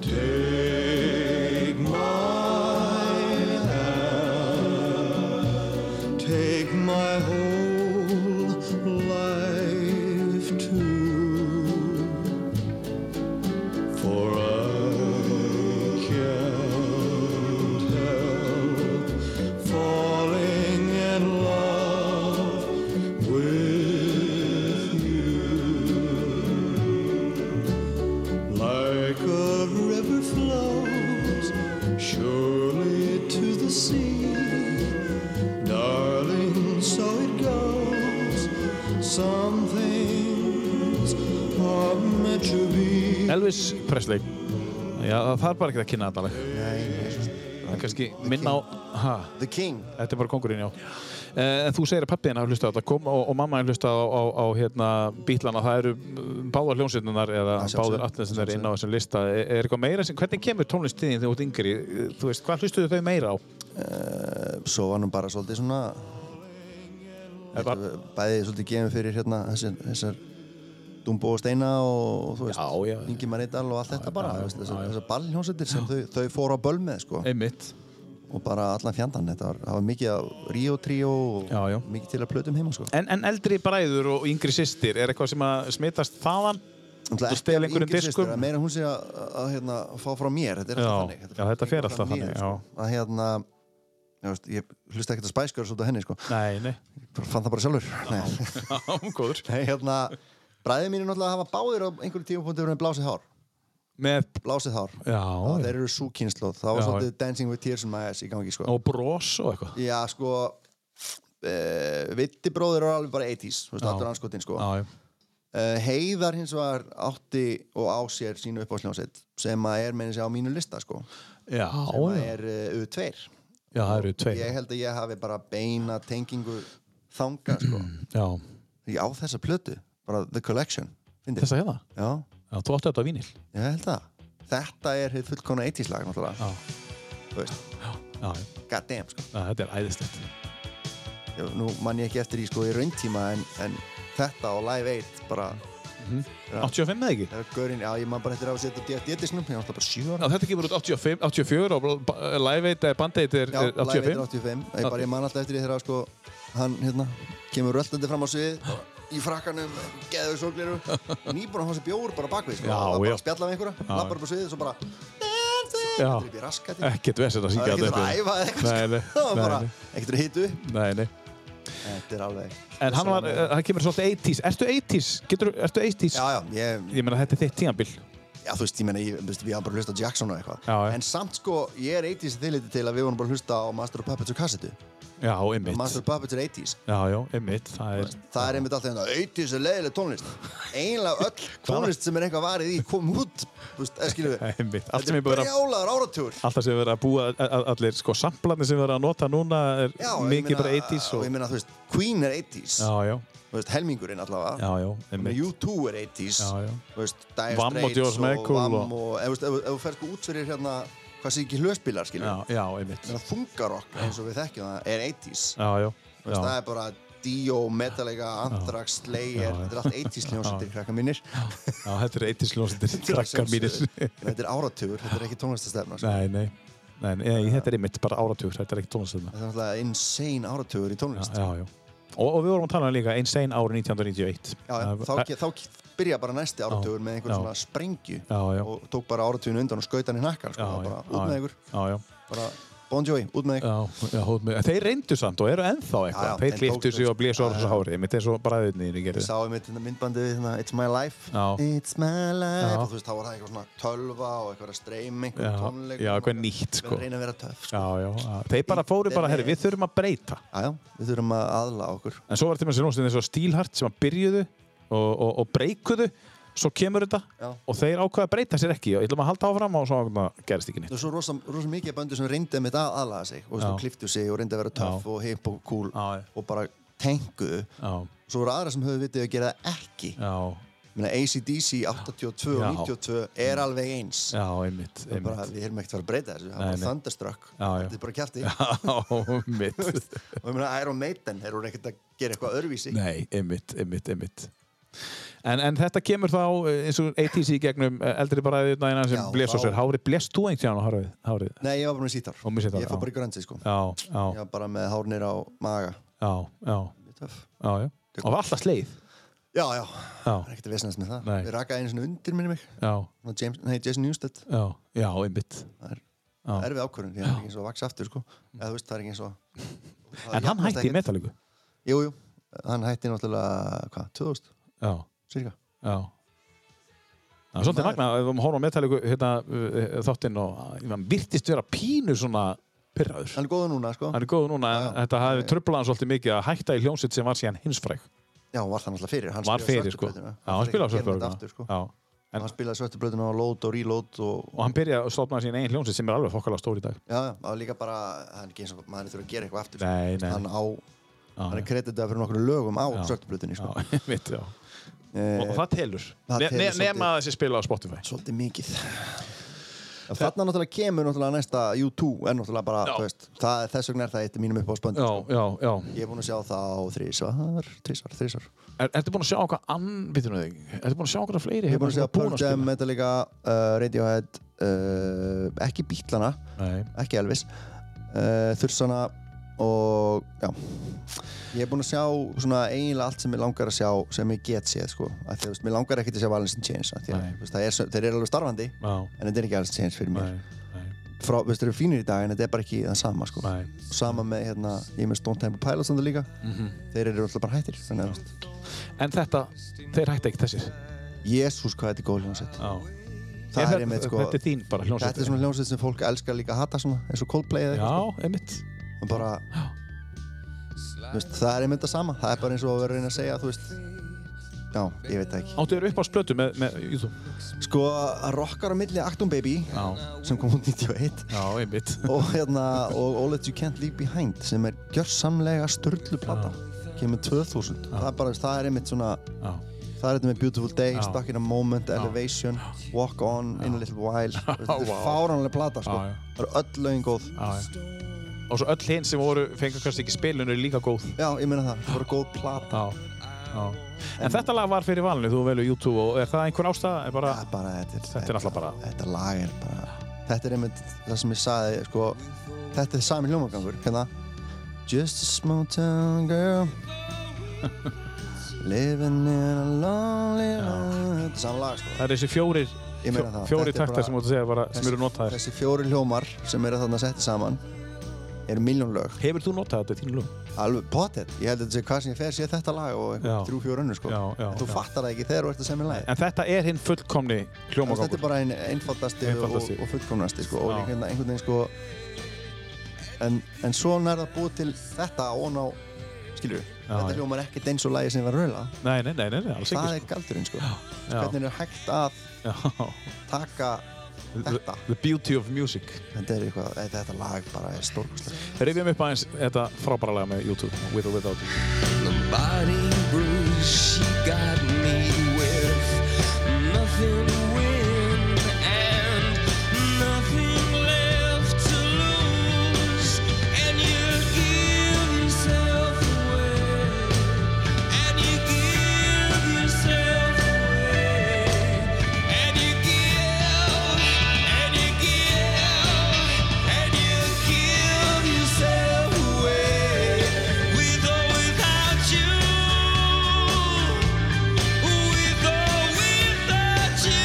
Take my hand, take my whole life too, for I can't help falling in love with you. Like a river flows surely to the sea. Darling, so it goes. Some things are meant to be. Elvis Presley Já, það þarf bara ekki að kynna þetta alveg Það er kannski minna á ha, The King Þetta er bara kongurinn, já Eh, En þú segir að pappiðin hafa hlustað á þetta kom, og, og mamma hafa hlustað á, á, á hérna, bílana það eru mm, báðar hljómsveitunar eða Að sjálfsögðu, báðar allir sem að er inn á þessum lista er, er eitthvað meira sem, hvernig kemur tónlistin þín þegar þú ert yngri þú veist, hvað hlustuðu þau meira á? Eh, svo var hann bara svolítið svona Er bara- bæði svolítið gefin fyrir hérna þessar, þessar Dumbo og Steina og, og þú veist, Já, já, já. Ingimar Eidal og allt þetta bara, já, þú veist, já, þessar, já. þessar ballhjónsettir sem þau, þau fóru á böl með, sko Einmitt og bara allan fjandann, þetta var, það var mikið af Rio Trio og Já, já. mikið til að plötum heima, sko En, en eldri bræður og yngri systir, er eitthvað sem að smitast þaðan? Náttúrulega Þú stel af einhverjum yngri diskum? systur, að meira hún sé að, að, að hérna, fá frá mér, þetta er Já, alltaf þannig já, þetta fer alltaf frá mér, þannig, sko. að hérna, ég, veist, ég hlusta ekkert að spæskjör svolítið henni, sko Nei, nei, Bara fann það bara sjálfur Nei. góður Nei, hérna, bræðið mínir náttúrulega hafa báðir á einhverjum tímapunkti verið með blásið hár. Með, Blásið hár. já, Já, já. þeir eru svo kynnslóð. Það var Já, svolítið Dancing with Tears in my eyes í gangi, sko. og brós og eitthvað Já, sko, e, Vitti bróðir eru alveg bara 80s, þú veist, Já. allur anskotin, sko. Já, já. E, heiðar hins vegar átti og á sér sínu uppásljónsett sem að er meina sér á mínu lista, sko. Já, Sem að já. er uh, U2. já, það eru tveir Ég held að ég hafi bara beina tengingu þanga, sko. Já, Ég á þessa plötu, bara The Collection. Fyndið. þess að hérna Já. Já, þú áttu þetta á vínil Ég held það. Þetta er hitt fullkona 80s lag náttúrulega. Já, Þú veist, já, já, god damn sko. Já, þetta er æðislegt Ég, nú man ég ekki eftir í sko í rauntíma en, en þetta og Live 8 bara, 85 eða ekki? það er gaurinn, já ég man bara eftir að setja DVD-disnum, ég var alltaf bara 7 Já, ára. þetta kemur út 85, 84 og ba- Live 8 bandeit er Já, er Live 8 er 85 85. Ég, bara, ég man alltaf eftir í þegar að sko hann hérna kemur röltandi fram á svið bara í frakkanum, geður sógliru nýbúin að hans bjór bara bakvið sko, Já, það bara já. að spjalla við einhverja, lappar upp á sviðið svo bara Já. þetta er í raskati Ekkert vesend að það er syngja ekki að þetta upp. æfa Nei, eitthvað nei, sko. Það var bara nei, ekkert að hitu Nei, nei þetta er alveg En hann var, eh, það kemur svolítið 80s Ertu 80s? Getur, ertu 80s? Já, já, ég, Ég meina þetta er þitt tíambil já, þú veist, ég meina, ég, þú veist, við hafa bara hlustað á Jackson og eitthvað. Já, já. En samt sko, ég er 80s þilliti til að við vorum bara að hlusta á Master of Puppets og kassetu. Já, einmitt Master of Puppets er 80s. Já, já, einmitt Það er Það er einmitt alltaf hérna, 80s er leiðileg tónlist. Einlega öll tónlist sem er eitthvað varið í kom út, þú veist, eða skilur við. Einmitt, allt Þetta sem er ég búið að brjálaður áratúr. Alltaf sem við erum að búa, a- a- allir sko samplarnir sem við erum að nota núna er Já, ég mikið meina- bara 80s og og... ég meina, þú veist, Queen er 80s. Já, já, Þú veist, helmingurinn allavega. já, já, Ég meina, einmitt. U2 er 80s. Já, já. Þú veist, Dire Vamm og Straits George Michael Vamm og- og... Ef þú veist, ef ef þú fer sko út fyrir hérna, hvað sé ekki hlöspilar, skilur Já, já, einmitt. Þannig að þungarokk eins og við þekkjum það er 80s Já, já, Þú veist, það já. er bara Dio, Metallica, Anthrax, Slayer Já, já. þetta er allt 80s hljómsættir krakka mínir já þetta eru 80s ljónsendir, krakkar mínir. Þetta er áratugur, þetta er ekki tónlistastefna sko. nei, nei, nei, nei, þetta er einmitt bara áratugur, þetta er ekki tónastöðna. Þetta er alltaf insane áratugur í Já, tónlist já, já. Og, og við vorum að tala um líka Insane árið 1991. Já, já, þá, Það- ke- þá ke- byrja bara næsti áratugur með einhverjum já. svona sprengju Já, já. og tók bara áratugin undan og skautan í nakkan sko, Já, já, já, bara út með já, ykkur Já, já. bara Bon Jovi, út með þig. Já, já, hótt með, þeir reyndu samt og eru ennþá eitthvað. Já, já, þeir þeir kliftu tóku sig sig. og blésu ára þessu hári. Mitt er svo bræðinni í Ég gerði. sá einmitt hérna myndbandið við hérna It's My Life. Já. It's My Life. Já. Og þú veist, þá var það eitthvað svona tölva og eitthvað streyming Já, og tónleik. já, eitthvað nýtt, sko. Við reyna að vera töff, sko. Já, já, já. Þeir bara fóru bara, herri, við þurfum að breyta. Já, já, við þurfum að aðla okkur. En svo var þetta með þessi eins og stílhart sem að byrjuðu og, og, og breykuðu. Svo kemur þetta Já. og þeir ákvaða að breyta sér ekki. Og ætlum að halda áfram og svo ákvaða gerist ekki nýtt. Það er svo rosa, rosa mikið af böndu sem reyndi að að aðlaga sig og svo Já. kliftu sig og reyndi að vera töff Já. og hip og cool Já, já. og bara tenguðu. Já, Svo voru aðra sem höfðu vitið að gera það ekki. já, Ég meina, ACDC 82 og Já. 92 er alveg eins. já, einmitt, Það er bara, einmitt. við erum ekkert að fara að breyta þessu, það Nei, nei. er bara Thunderstruck, Já, já. þetta er bara kjæfti. Já, einmitt. Og ég meina Iron Maiden, þeir eru ekkert að gera eitthvað öðruvísi. Nei, ymmit, ymmit, ymmit. En, en þetta kemur þá eh, eins og ATC í gegnum eh, eldri bræðið hérna sem Já, blés á þá- sér. Hári, blést þú einhvern tíðan á hárið? hárið? Nei, ég var bara með sítar. Og með sítar, Ég fór já. bara í grönsi, sko. Já, já, Ég var bara með hárnir á maga. já, já, Mjög töff. já, já. Og var alltaf sleið. Já, já, Já, það er ekkert að vesnast með það. Nei. Við rakaði einu svona undir minni mig. já, Svona James, nei, Jason Newsted. já, já, ymmit. Það er Já. erfið ákvörðun, því það er ekki eins og að vaksa aftur, sko. Eða þú veist, það er ekki eins og... En það hann jafnast hætti í ekkert. metalíku. Jú, jú, hann hætti náttúrulega, hvað, 2000, Já, cirka. já. Það er svolítið Maður. magnað, ef við horfum á metalíku hérna, eh, þáttinn og eh, hann virtist vera pínu svona pyrraður. Hann er góður núna, sko. Hann er góð núna, Já, en já. þetta hafi tröflað hann svolítið mikið að hætta í hljómsitt sem var síðan hinsfræk. Já, hann var það náttúrulega fyrir. Hann var spilaði fyrir sko svörtu já, plötuna. hann spilaði svörtu Gerum þetta blöðuna aftur, sko. já. En, En, hann spilaði svörtu blöðuna á load og reload og, og hann byrjaði að stofna sín einn hljómsveit sem er alveg fokkala stór í dag já, já, það var líka bara, það er ekki eins og maður þurfa að gera eitthvað aftur. sko. Nei, nei. Hann á, Já, hann er kreditað fyrir nokkru lögum á Já. svörtu blöðunni, sko. já, mitt, já. Og, og Eh, það telur Ne- það telur ne- svolítið. nema að þessi spila á Spotify Svolítið mikið. Þarna náttúrulega kemur náttúrulega næsta U2 en náttúrulega bara, Já. þú veist, það, er- þess vegna er það eitt af mínum upp á spönd. já, já, já Ég er búinn að sjá það á þrísvar, þrísvar, þrísvar. er, ertu búin að sjá okkar anbitinu þig ertu búin að sjá okkar fleiri hérna Ég er búinn að sjá Pearl Jam, spila? Metallica, uh, Radiohead, uh, ekki Bítlana, nei, ekki Elvis uh, Þursana og já ég er búinn að sjá svona eiginlega allt sem ég langar að sjá sem ég get séð sko að því að þú veist, mér langar ekkert að sjá Valens in Chains af því að Nei. þú veist, það er, svo- þeir eru alveg starfandi já, en þetta er ekki Valens in Chains fyrir mér nei, nei, frá, þú veist, þeir eru fínir í dag en þetta er bara ekki það sama sko nei sama með hérna, ég er með Stone Temple Pilots þannig líka, Mhm. þeir eru alltaf bara hættir þannig að, þú veist, en þetta, þeir hætti ekki þessir jésús hvað þetta er góð hljómsveit já það Er er einmitt sko, þetta er þín bara hljómsveit þetta er svona sko. hljómsveit sem fólk elskar líka að hata svona, eins og Coldplay eða eitthvað já, einmitt en bara þú veist, það er einmitt að sama það er bara eins og að vera að reyna að segja þú veist já, ég veit það ekki áttu þér upp á splötu með, með YouTube sko, að rockar á milli Actum Baby já, sem kom út 91 já, einmitt og hérna, og All That You Can't Leave Behind sem er gjörsamlega störlu plata kemur 2000 það er bara, það er einmitt svona já, það er þetta með Beautiful Day, Já. Stuck in a Moment Elevation, Walk On, In a Little While þetta er Vá. fáránlega plata sko Já, já. það eru öll lögin góð já, já og svo öll hinn sem voru fengur kannski ekki spilinu líka góð já, ég meina það, það voru góð plata Já, já. En, þetta lag var fyrir valinu, þú velur YouTube og er það einhver ástæða? Er bara, Það er bara, þetta er, Þetta er náttúrulega bara- Þetta lag er bara Þetta er einmitt það sem ég saði sko, Þetta er sami hljómagangur hérna, Just a small town girl Living in a lonely land Þetta er sami lag sko. það er þessi fjórir, Ég meina það, fjórir þetta er taktar bara- sem þú ert að segja bara, sem eru notaðir. Þessi fjóri hljómar sem eru þarna setti saman eru miljón lög Hefur þú notað þetta í þínu lög? Alveg pottet, ég held að þetta sé hvað sem ég fer sé þetta lag Já. og einhver þrjú fjóra önnur sko. Já, já, En þú já. fattar það ekki þegar þú ert að semja lagi En þetta er hinn fullkomni Þú veist, Þetta er hljómagangur. bara ein, einfaldasti, Einfaldasti. og, og fullkomnasti sko, og Já. einhvern, einhvern veginn sko en, en svona er það búið til þetta og ná skilur Já, þetta já. hljómar ekkert eins og lagi sem var raula Nei, nei, nei, nei, nei, alls það ekki. er galdurinn sko já. hvernig er hægt að sko. taka Já. þetta The beauty of music. þetta er eitthvað, þetta, þetta lag bara er stórkoslega Rifjum upp aðeins þetta frábæra lag með YouTube, With or Without You. The body bruise she got me with nothing to win and nothing left to lose, and you give yourself away, and you give yourself away, and you give, and you give, and you give yourself away with or without you. With or without you.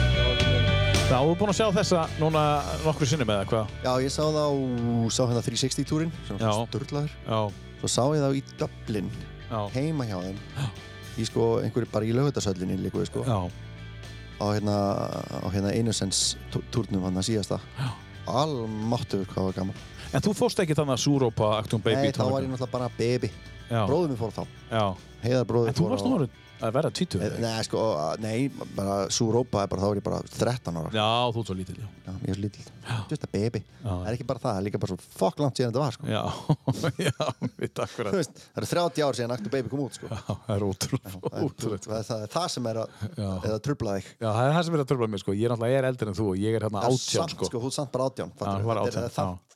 þú ert búinn að sjá þessa núna nokkru sinnum eða hvað? Já, ég sá það á, sá hérna 360-túrin, sem Já. var störtlaður. Já, Svo sá ég það í Dublin, já, heima hjá þeim. Í sko, einhverju bara í lögutarsöllinni líkuði sko. já. Á hérna, á hérna Innocence-túrnum hann að síðasta. Já. Almáttugur hvað var gaman. En þú fórst ekki þannig að Súrópa Actum Baby Nei, þá var ég náttúrulega bara baby. Já. Bróðum minn fór þá. Já, Heiðar bróðum en þú varst nú orðinn að verða tvítur. Nei, sko, nei, bara Súrópa er bara, þá er ég bara 13 ára. Já, þú ert svo lítill, já. Já, ég er svo lítill. Just a baby. Já. Það er ekki bara það, það er líka bara svo fokk langt síðan þetta var, sko. Já, já, mitt akkurat. Þú veist, það eru 30 ár síðan Actu Baby kom út, sko. Já, það er ótrúlega, Það er- ótrúlega. Það, er- það er það sem er að, Já. eða trubla þig. Já, það er það sem er að tröfla mér, sko. Ég er náttúrulega, ég er eldri en þú og ég er hérna Það er átján, samt, sko. Þú er samt bara átján. ég var fattar. Þetta er- 18, já. það- þú veist,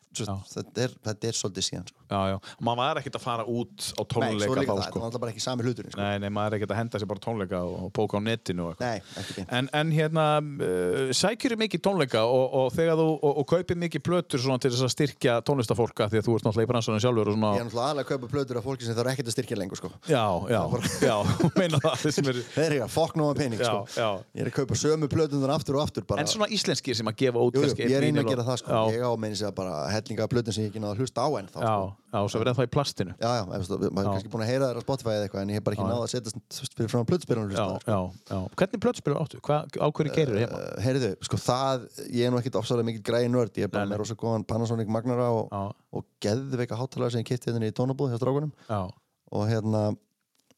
Þetta er, þetta er svolítið síðan, sko. Já, já. Maður var ekkert að fara út á Nei, svo er tónleika líka þá, það, þetta sko. var alltaf bara ekki sami hluturinn, sko. Nei, nei, maður er ekkert að henda sér bara á tónleika og og bóka á netinu og eitthvað. Nei, ekki beint. En, en hérna, uh, sækjur mikið tónleika og, og þegar þú, og, og kaupir mikið plötur svona til þess að styrkja tónlistafólka því að þú ert náttúrulega í bransunum sjálfur og svona Ég er náttúrulega aðalega að kaupa plötur af fólki sem þarf ekkert að styrkja lengur, sko. Já, já, já, þú meina það þeir sem eru- Þeir eru að fokk nóga pening, Já, sko. já. Ég er að kaupa sömu plötunar aftur og aftur, bara. En svona íslenskir sem að gefa út Jú, jú, kannski einn ég reyna að vínyl og- gera það sko, Já, ég á meins að bara hellinga af plötum sem ég ekki náða að hlusta á enn þá já, sko. já, svo verða það í plastinu Já, já, ef þú- maður er kannski búin að heyra þér á Spotify eða eitthvað en ég hef bara ekki náða að setja þú veist, fyrir frá plötspyrun og Já, hlusta á þær, já, já Hvernig plötspilur áttu? Hva, á hverju keirir heima? sko. Heyrðu, sko það, ég er nú ekkit ofsalega mikill græði nörd, ég er bara Nei, nei. með rosa góðan Panasonic Magnara og, Já. og geðveika hátalara sem ég kipti hérna í tónabúð hjá strákunum Já, og hérna,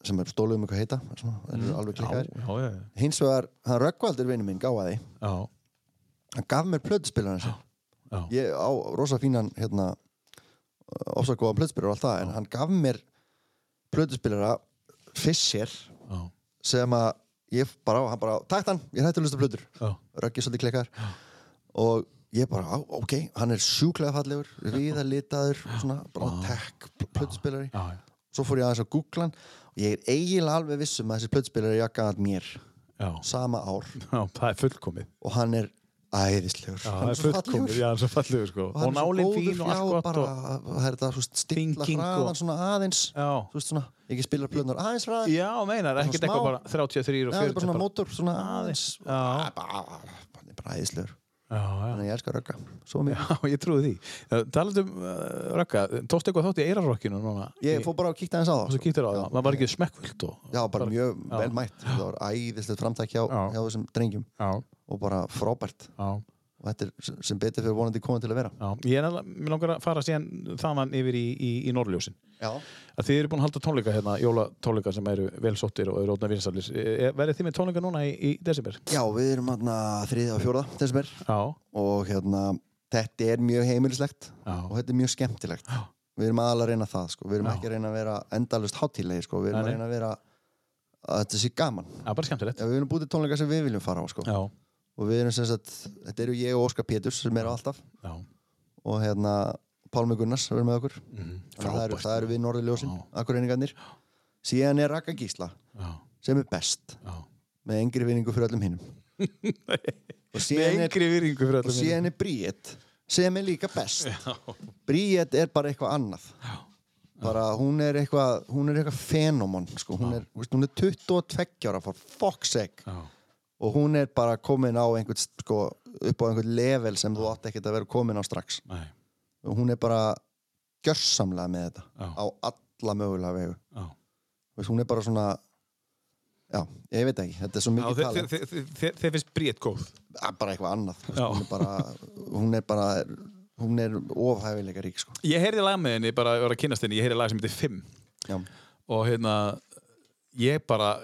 sem er stóluðum eitthvað heita svona, mm. alveg já, klikkaðir já, já, Hins vegar, hann Röggvaldur vinnu minn gáði, já, hann gaf mér plötspilun hans já, ég á rosa fínan hérna ofsa góðan plötspilar og allt það en hann gaf mér plötspilara Fischer já, sem að ég bara, hann bara, takt hann, ég er hætti að hlusta á plötur já. röggið svolítið klikkar og ég bara, á, ok, hann er sjúklega fallegur viðalitaður, svona, bara Ah. tech plötspilari, já, já. svo fór ég aðeins að googla hann og ég er eiginlega alveg vissum að þessi plötspilari jakka að mér já. sama ár já það er fullkomið og hann er æðislegur Já, það hann er er svo fullkomið, fallegur já, það er svo fallegur sko og hann er svo nálin góður fín og allt já, gott bara, og... það er þetta svo stilla Thinking og- hraðan svona aðeins Já. þú veist svona, ekki spila plöðunar aðeins hraðan Já, meinar, ekkert smá. eitthvað bara 33 og það er 40 bara svona bara- mótor svona aðeins Já. Ah, bara hann er bara æðislegur Já, já. þannig að ég elskar rögga svo mér Já, ég trúi því. Talandi um uh, rökka, tókst eitthvað þátt í eirarrokkinu núna? ég fór bara að kíkta aðeins á Og það svo sko. kýttir á það, maður var ekki smekkvöld og... já, bara mjög Já. vel mætt það var æðislegt framtæk hjá, Já. hjá þessum drengjum Já, og bara frábært já, og þetta er sem- sem betur fyrir vonandi komið til að vera já. Ég er alveg, mér langar að fara síðan þaðan yfir í, í, í Norrljósin. já, Að þið eru búin að halda tónleika hérna, jólatónleika sem eru vel sóttir og eru ótna vinsalir. e, Verðið þið með tónleika núna í, í desember? já við erum þarna þriðið og fjórða desember Já, og hérna þetta er mjög heimilislegt Já. og þetta er mjög skemmtilegt við erum aðalega að reyna það sko. við erum ekki að reyna að vera endalust hátíðlegi sko. við erum Nei, nei. að reyna að vera að þetta sé gaman það er bara skemmtilegt. hérna- Já, við erum búið til tónleika sem við viljum fara á sko. Já, og við erum sem sagt, þetta eru ég og Óskar Péturs sem eru alltaf já, og hérna Pálmi Gunnars verður með okkur mm, Þannig að það eru, frábært. það eru við Norðurljósin, akkurreiningarnir síðan er Raka Gísla Já, sem er best já. með engri vinningu fyrir öllum hinnum og Með síðan er yngri virðingu fyrir og allum. síðan er Bríett sem er líka best Bríett er bara eitthvað annað bara hún er eitthvað hún er eitthvað fenómon sko. hún, er, þú veist, hún er 22 ára for fuck's sake Já, og hún er bara komin á einhvern sko, upp á einhvern level sem þú átt ekkert að vera komin á strax nei, og hún er bara gjörsamlega með þetta Já. á alla mögulega vegu já. Þú veist, hún er bara svona já, ég veit ekki, þetta er svo Já, mikið þið- tala þið- þið- þið- þið- Þið finnst bríðt góð? bara eitthvað annað Þú veist, Já. hún er bara hún er bara hún er ofhæfilega rík sko. Ég heyrði lag með henni, bara að vera að kynast henni, ég heyrði lag sem heitir 5 já, og hérna, ég bara,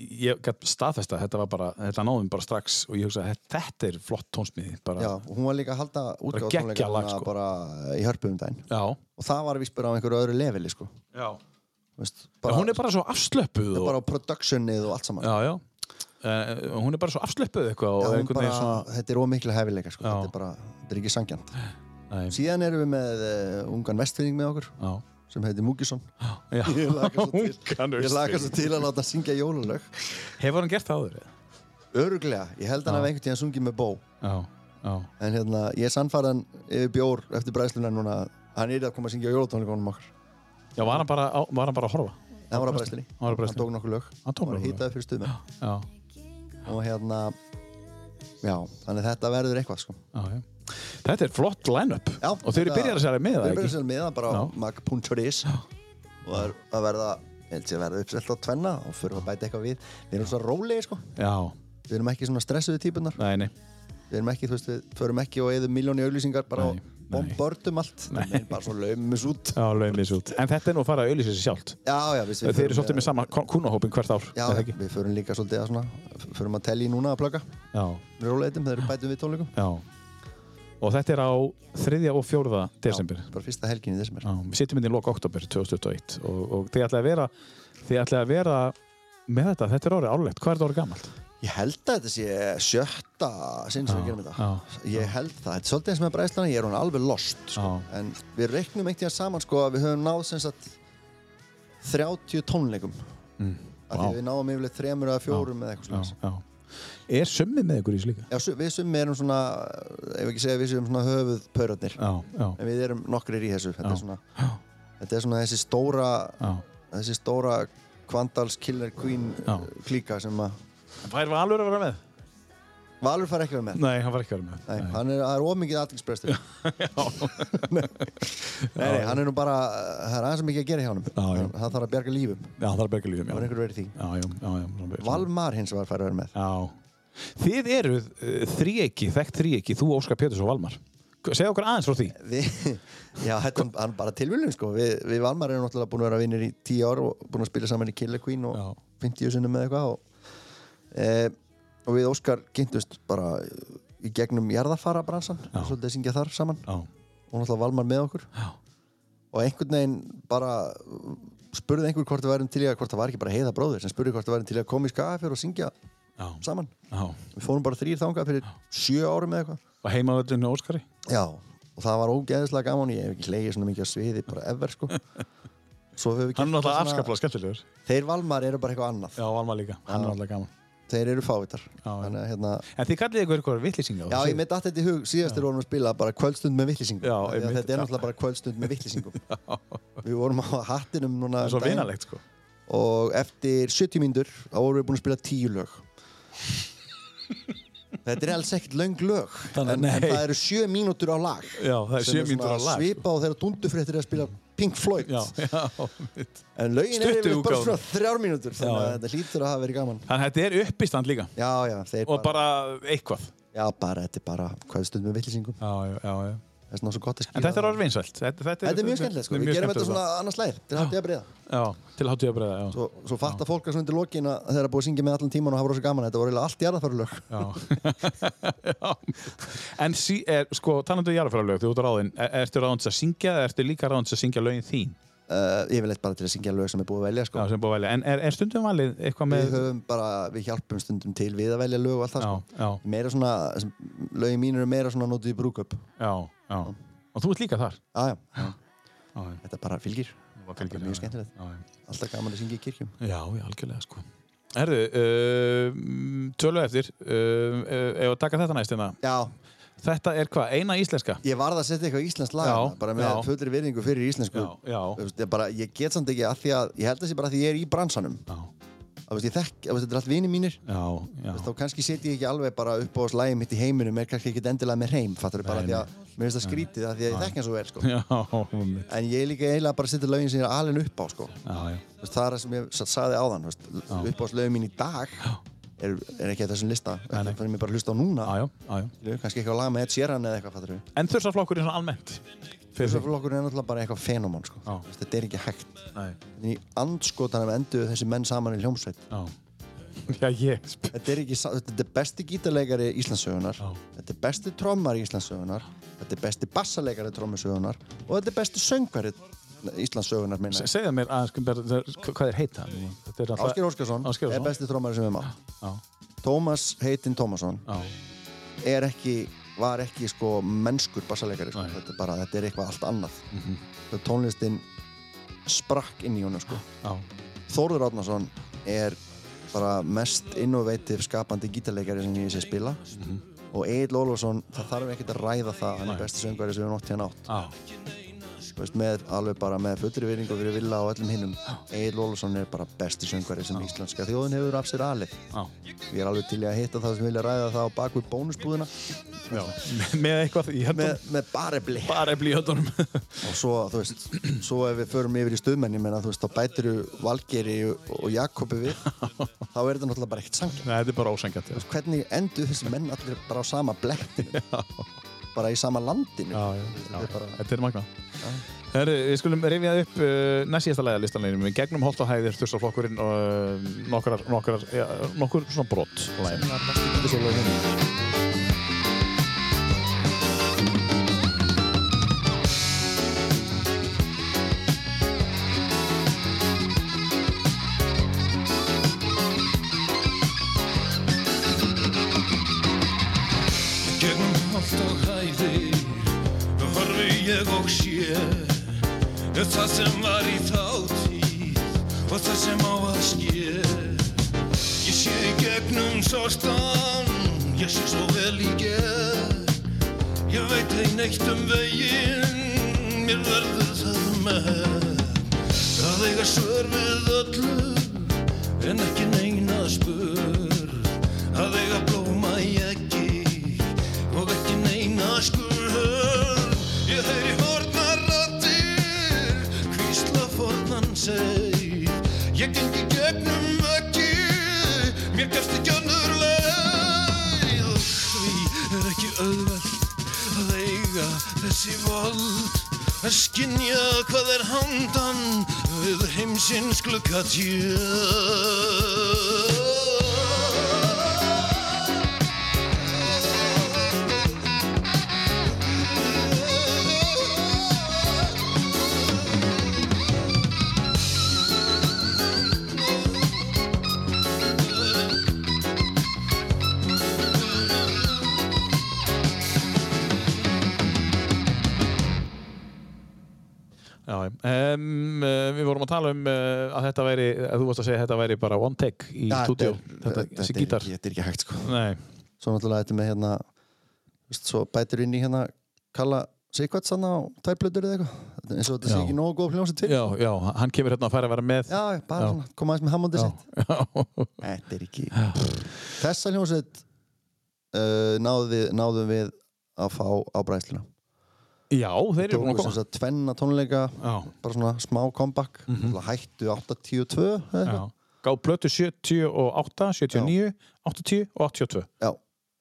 ég gætt staðfesta, þetta var bara, þetta náðum bara strax og ég hugsaði, "Þetta- þetta er flott tónsmiði, bara, já, og hún var líka að halda geggjað lag, útgáðstónleika sko. bara í hörpu um daginn já, og það var víst bara á einhverju öðru leveli sko. já. Þú veist, En hún er bara svo afslöppuð og, bara á productionið og allt saman já, já, uh, hún er bara svo afslöppuð eitthvað og Já, hún einhvern bara, veginn svona, þetta er ómikla hefileika sko. Já. þetta er bara, þetta er ekki sangjant nei, síðan erum við með uh, ungan vestfinning með okkur já, sem heitir Múkisson já, ég laka svo til, Ungan ég Austfirðing. laka svo til að láta hann syngja jólalög hefur hann gert það áður? eða? öruglega, ég held hann að einhvern tíðan sungið með bó Já, já, en hérna, ég er sannfæðan yfir bjór eftir bræðsluna núna að hann er að koma að syngja jólatónleikunum okkar já, var hann bara, á, var hann bara að horfa? hann var á bræðslunni, Hann var á bræðslunni. tók nokkur lög Hann tók var nokkur lög. hitaði fyrir stuðmenn Já, og hérna Já, þannig að þetta verður eitthvað sko. Já, já. Þetta er flott line-up Já, og þeir eru byrjar að segja með Þeir það eru byrjar ekki? sér með það bara á Já. mag.is og það er að verða ég held ég að verða uppsellt á tvenna og fyrir að bæta eitthvað við við erum svona rólegi sko Já, við erum ekki svona stressuðu típunar nei, nei. við erum ekki, þú veist, við förum ekki og eðum miljón í auglýsingar bara Nei, og bombördum allt nei. bara svona laumis út Já, laumið svo út. En þetta er nú að fara að auðlýsa sér sjálft. já, já, eh, veist, Þeir eru svolítið með sama kúnahópin hvert ár. já, er það já, ekki? við förum líka svolítið að svona förum að telja í núna að plugga já, róleitum, þeir eru bætum við tónleikum já. Og þetta er á 3. og 4. desember. bara fyrsta helgin í desember Já, við sittum inn í lok oktober 2021 og, og þið ætlaði að vera þið ætlaði að vera með þetta, þetta er árið árlegt, hvað er þetta árið gamalt? Ég held að þetta sé sjötta sinn sem við Já, gerum þetta. Ég held það. Þetta er svolítið eins með bræðslana, ég er hún alveg lost. Sko. Já. En við reiknum einhvern veginn saman sko að við höfum náð sem sagt 30 tónleikum. Mm. Af vá. því að við náðum yfirleitt þremur eða fjórum eða eitthvað Já, svona. já. Er summið með ykkur í slíka? Já, su- við summi erum svona, ef ekki segja við séum svona höfuð pörarnir. Já, já, En við erum nokkrir í þessu. Þetta Já. er svona, þetta er svona þessi stóra, já. þessi stóra Kvandals Killer Queen eh, Já. klíka sem að Fær Valur að vera með? Valur far ekki að vera með. Nei, hann var ekki að vera með. Nei, hann er, það er ómikið aðtilsprestur. Nei, nei, hann er nú bara, eh, það er aðeins mikið að gera hjá honum. já. Hann- Hann þarf að bjarga lífum. Já, það er að berga lífum, Það var já. einhver verið í því. Já, já, já, já. svona- Valmar hins vegar fær að vera með. Já. Þið eruð uh, þríeiki, þekkt þríeiki, þú Óskar Péturs og Valmar. Segð okkur aðeins frá því. Við, já, þetta er hann bara tilvílum, sko. Við, við Valmar erum náttúrulega búin að vera vinnir í tíu ár og búin að spila saman í Killer Queen og Já. 50 sinnum með eitthvað. Og, e, og við Óskar kynntust bara í gegnum jarðarfarabransan, svolítið að syngja þar saman. Já, og náttúrulega Valmar með okkur Já. og einhvern veginn bara uh, spurði einhver hvort við værum til í að hvort það var ekki bara heiða bróðir sem spurði hvort við værum til í að koma í skafir og syngja já, saman já. við fórum bara þrýr þangað fyrir sjö árum eða eitthvað Og heimavöldinu Óskari? já og það var ógeðislega gaman ég hef ekki hleyið svona mikið að sviði bara ever sko Svo höfum við Hann er gert náttúrulega svona- afskaplega skemmtilegur. þeir Valmar eru bara eitthvað annað Já, Valmar líka. Hann er náttúrulega gaman. þeir eru fávitar Já, já. þannig að hérna En þið kallið ykkur ykkur vittlýsingar. Já, ég mitt allt þetta í hug síðast þegar við vorum að spila bara kvöldstund með vittlýsingum. Já, Þetta er einmitt. náttúrulega bara kvöldstund með vittlýsingum. Við vorum á hattinum núna Það er svo um daginn. vinalegt, sko. og eftir 70 mínútur þá vorum við búin að spila 10 lög Þetta er alls ekkert löng lög Þannig að en, en nei. það eru 7 mínútur á lag Já, það er sem sjö mínútur á svona lag, svipa og þeirra dundufréttir að spila Pink Floyd Já, já, mitt. en lögin er Stuttu yfir bara útgáfan. svona 3 mínútur þannig að Já, já. þetta hlýtur að hafa verið gaman Þannig að þetta er uppistand líka. Já, já, þeir Og bara eitthvað. Já, bara, þetta er bara hvað stund með villýsingum Já, já, já. já. Það er svona svo gott að skýra En þetta er það. orðið vinsvælt. Þetta, Þetta er mjög skemmtilegt sko, mjög við gerum þetta skemmtilegt. svona annars læð til að hafa breyða Já, til hátíða breiða, já. Svo, svo fattar fólk að svona undir lokin að þeirra búið að syngja með allan tíman og hafa rosa gaman Þetta voru eiginlega allt jarðarfarlög já. já. En sí, er, sko, talandu jarðfæralög, þú ert ráðinn. Er, ertu ráðins að syngja eða ertu líka ráðins að syngja lögin þín? uh, yfirleitt bara til að syngja lög sem er búið að velja sko. Já, sem er búið að velja. En er, er stundum valið eitthvað við með... höfum bara, við hjálpum stundum til við að velja lög og allt Já, það sko. já, meira svona, sem, lögin mín eru meira svona notuð í brúköp já, já. Og þú ert líka þar. aðja, Já, já. þetta bara fylgir Það bara mjög skemmtilegt. Já, já. alltaf gaman að syngja í kirkjum Já, já, algjörlega sko Herðu, uh, tölum við eftir uh, uh, Ef að taka þetta næst hérna já, Þetta er hvað, eina íslenska? ég varð að setja eitthvað íslensk lag Já, já, bara með já. fullri virðingu fyrir íslensku Já, já, Þú veist, ég, bara, ég get samt ekki að því að ég held að sé bara að því ég er í bransanum já, Þú veist, ég þekk, þú veist, þetta er allt vinir mínir já, já. þá kannski setja ég ekki alveg bara upp á slægjum mitt í heiminum er kannski ekkert endilega með reym fattur bara Nei, því að mér finnst það skrítið að því að ég þekk hann svo vel sko. Já, einmitt. en ég er líka eiginlega bara að setja lögin sem ég er alveg upp á sko. já, já, Þú veist, það er það sem ég sa- sagði áðan veist, uppáhaldslögum mín í dag er, er ekki að þessum lista nei. þannig mér bara að hlusta á núna já, já, já. Skilju, kannski eitthvað lag með Ed Sheeran eða eitthvað fattur við En þursaflokkurinn svona almennt Fyrir þig? Þessarflokkur er náttúrulega bara eitthvað fenómon sko. Já. Þú veist, þetta er ekki hægt Nei, en í andskotanum enduðu þessi menn saman í hljómsveit já Já, ég sp- þetta er, ekki, sa- þetta er besti gítarleikari Íslandsögunar Já. þetta er besti trommar Íslandsögunar þetta er besti bassaleikari trommusögunar og þetta er besti söngari Íslandsögunar minna Se- Segðu mér aðeins bara, hva- hvað er heita Þetta er Ásker Ásgeir Óskarsson er Óskarsson besti trommari sem við mátt Já, Tómas heitinn Tómasson já, er ekki, var ekki sko mennskur bassaleikari sko. Nei. Mhm. þetta, er bara, þetta er eitthvað allt annað mm -hmm. tónlistin sprakk inn í honum sko. já Þórður Árnason er bara mest innovative skapandi gítarleikari sem ég sé spila og Egil Ólfarsson, það þarf ekkert að ræða það hann er Mhm. Nei. besti söngari sem við höfum nótt hérna átt Já, Veist, með, alveg bara með fullri virðingu fyrir Villa og öllum hinnum Egil Olsson er bara besti söngvari sem íslenska þjóðin hefur af sér alið Já. ég er alveg til í að hitta það sem vilja ræða það á bakvið bónusbúðina Já. Með eitthvað í höndunum. með, með barebli Bara efli í höndunum. og svo, þú veist, svo ef við förum yfir í stuðmenni menna, þú veist, þá bætir við Valgeri og Jakobi við þá er þetta náttúrulega bara ekkert sangi Nei, þetta er bara ósengjant. Já. hvernig endur þessi menn allir bara á sama blektinu bara í sama landinu Já, já, Þetta já, er já. bara- þetta er magna Herru, við skulum rifjað upp uh, næst síðasta læðalistanleginum Við gegnum holt og hæðir þurstaflokkurinn og uh, nokkrar, nokkrar, ja, nokkur svona brott lægir. Þetta er alveg hérna. Gegnum holt og hæðir horfi ég og sé Það sem var í þáttíð og það sem á að ske Ég sé í gegnum sortan, ég sé svo vel í gegn Ég veit ein eitt um veginn, mér verður það með Það eiga svör við öllu En ekki neina spur Að eiga blóma í ekki Og ekki neina skur Ég heyri hornar rattir Hvísla fornan seg Ég gengi gegnum ekki Mér gefst ekki önnur leið Og því er ekki auðvelt Að eiga þessi vold að skynja hvað er handan við heimsins gluggatjöld. Já, um, uh, við vorum að tala um uh, að þetta væri, að þú varst að segja að þetta væri bara one take í Já, þetta stúdíu er- Þetta, þetta þessi er gítar ekki- þetta er ekki hægt sko Nei, svo náttúrulega þetta með hérna þú veist, svo bætir inn í hérna Kalla Sigvarts hann á tærblöður eða eitthvað Þetta er eins og þetta sé Já. ekki nógu góð hljómsið til já, já, hann kemur hérna að fara að vera með já, bara Já. svona, koma aðeins með hammondið sitt já, Þetta er ekki Þessa hljómsveit uh, náði, náðum við að fá á bræðsluna já þeir eru búin að Tóku sem koma sagt tvenna tónleika Já, bara svona smá comeback mm hættu 8-10-2 eða Mhm. já eitthvað. Gá plötu 78, 79, 80 og 82 Já.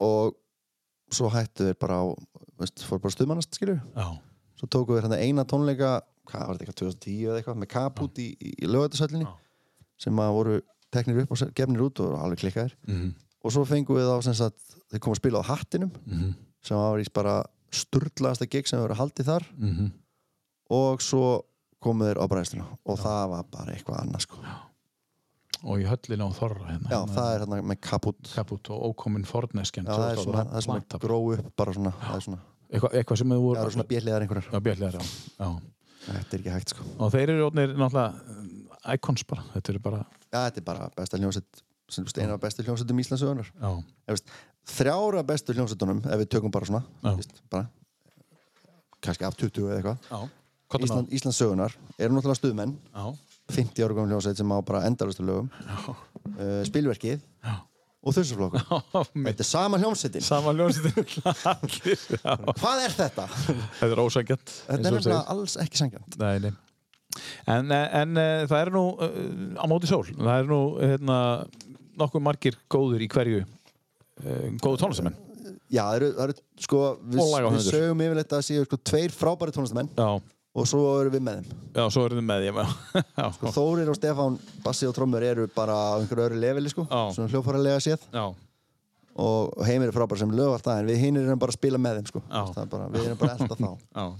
og svo hættu við bara á veist, fór bara stuðmannast skilju Já, svo tóku við hérna eina tónleika hvað var þetta eitthvað 2010 eða eitthvað með kaput í, í, í lögættasöllinni Já. sem að voru teknir upp og se- gefnir út og alveg klikkaðir Mhm. og svo fengum við þá sem sagt þeir komu að spila á hattinum Mhm. sem var í bara sturlaðasta gig sem við verið haldið þar mhm. og svo komu þeir á bræðsluna og það var bara eitthvað annað sko já, og í höllina og þorra hérna Hérna- það er hérna með kaput já, Kaput og ókominn forneskjan það er svona, það er svona gró upp bara svona, það er svona, eitthvað, eitthvað sem þau það voru er svona bjelliðar einhverjar Já, bjallið já. já þetta er ekki hægt sko og þeir eru orðnir náttúrulega uh, icons bara þetta eru bara já, þetta er bara besta hljómsett sem steina bestu hljómsettum Íslandsögunar já, Ef veist, þrjára bestu hljómsettunum ef við tökum bara svona Já. veist, bara, kannski af 20 eða eitthvað já Kottum Ísland, Íslandsögunar eru náttúrulega stuðmenn á já, 50 ára komum hljómsett sem á bara endalustu lögum uh, spilverkið já. og þursaflokkur mitt þetta er sama hljómsettin sama ljónsið allir já. hvað er þetta? þetta er ósangjant þetta er nefnilega alls ekki sangjant nei, nei En, eh, en eh, það er nú uh, á móti sól, það er nú hérna, nokkuð margir góður í hverju uh, góðu tónlistamenn já, það eru, það eru sko við, Og lagahöfundur. við sögum yfirleitt að séu sko tveir frábæri tónlistamenn Já, og svo erum við með þeim já, svo erum við með þeim já. Já. sko. Þórir og Stefán, Bassi og Trommur eru bara á einhverju öðru leveli sko Já. svona hljófaralega séð Já. og og heimir er frábæri sem lög alltaf en við hinir erum bara að spila með þeim sko Já. Það er bara, við erum bara alltaf þá Já.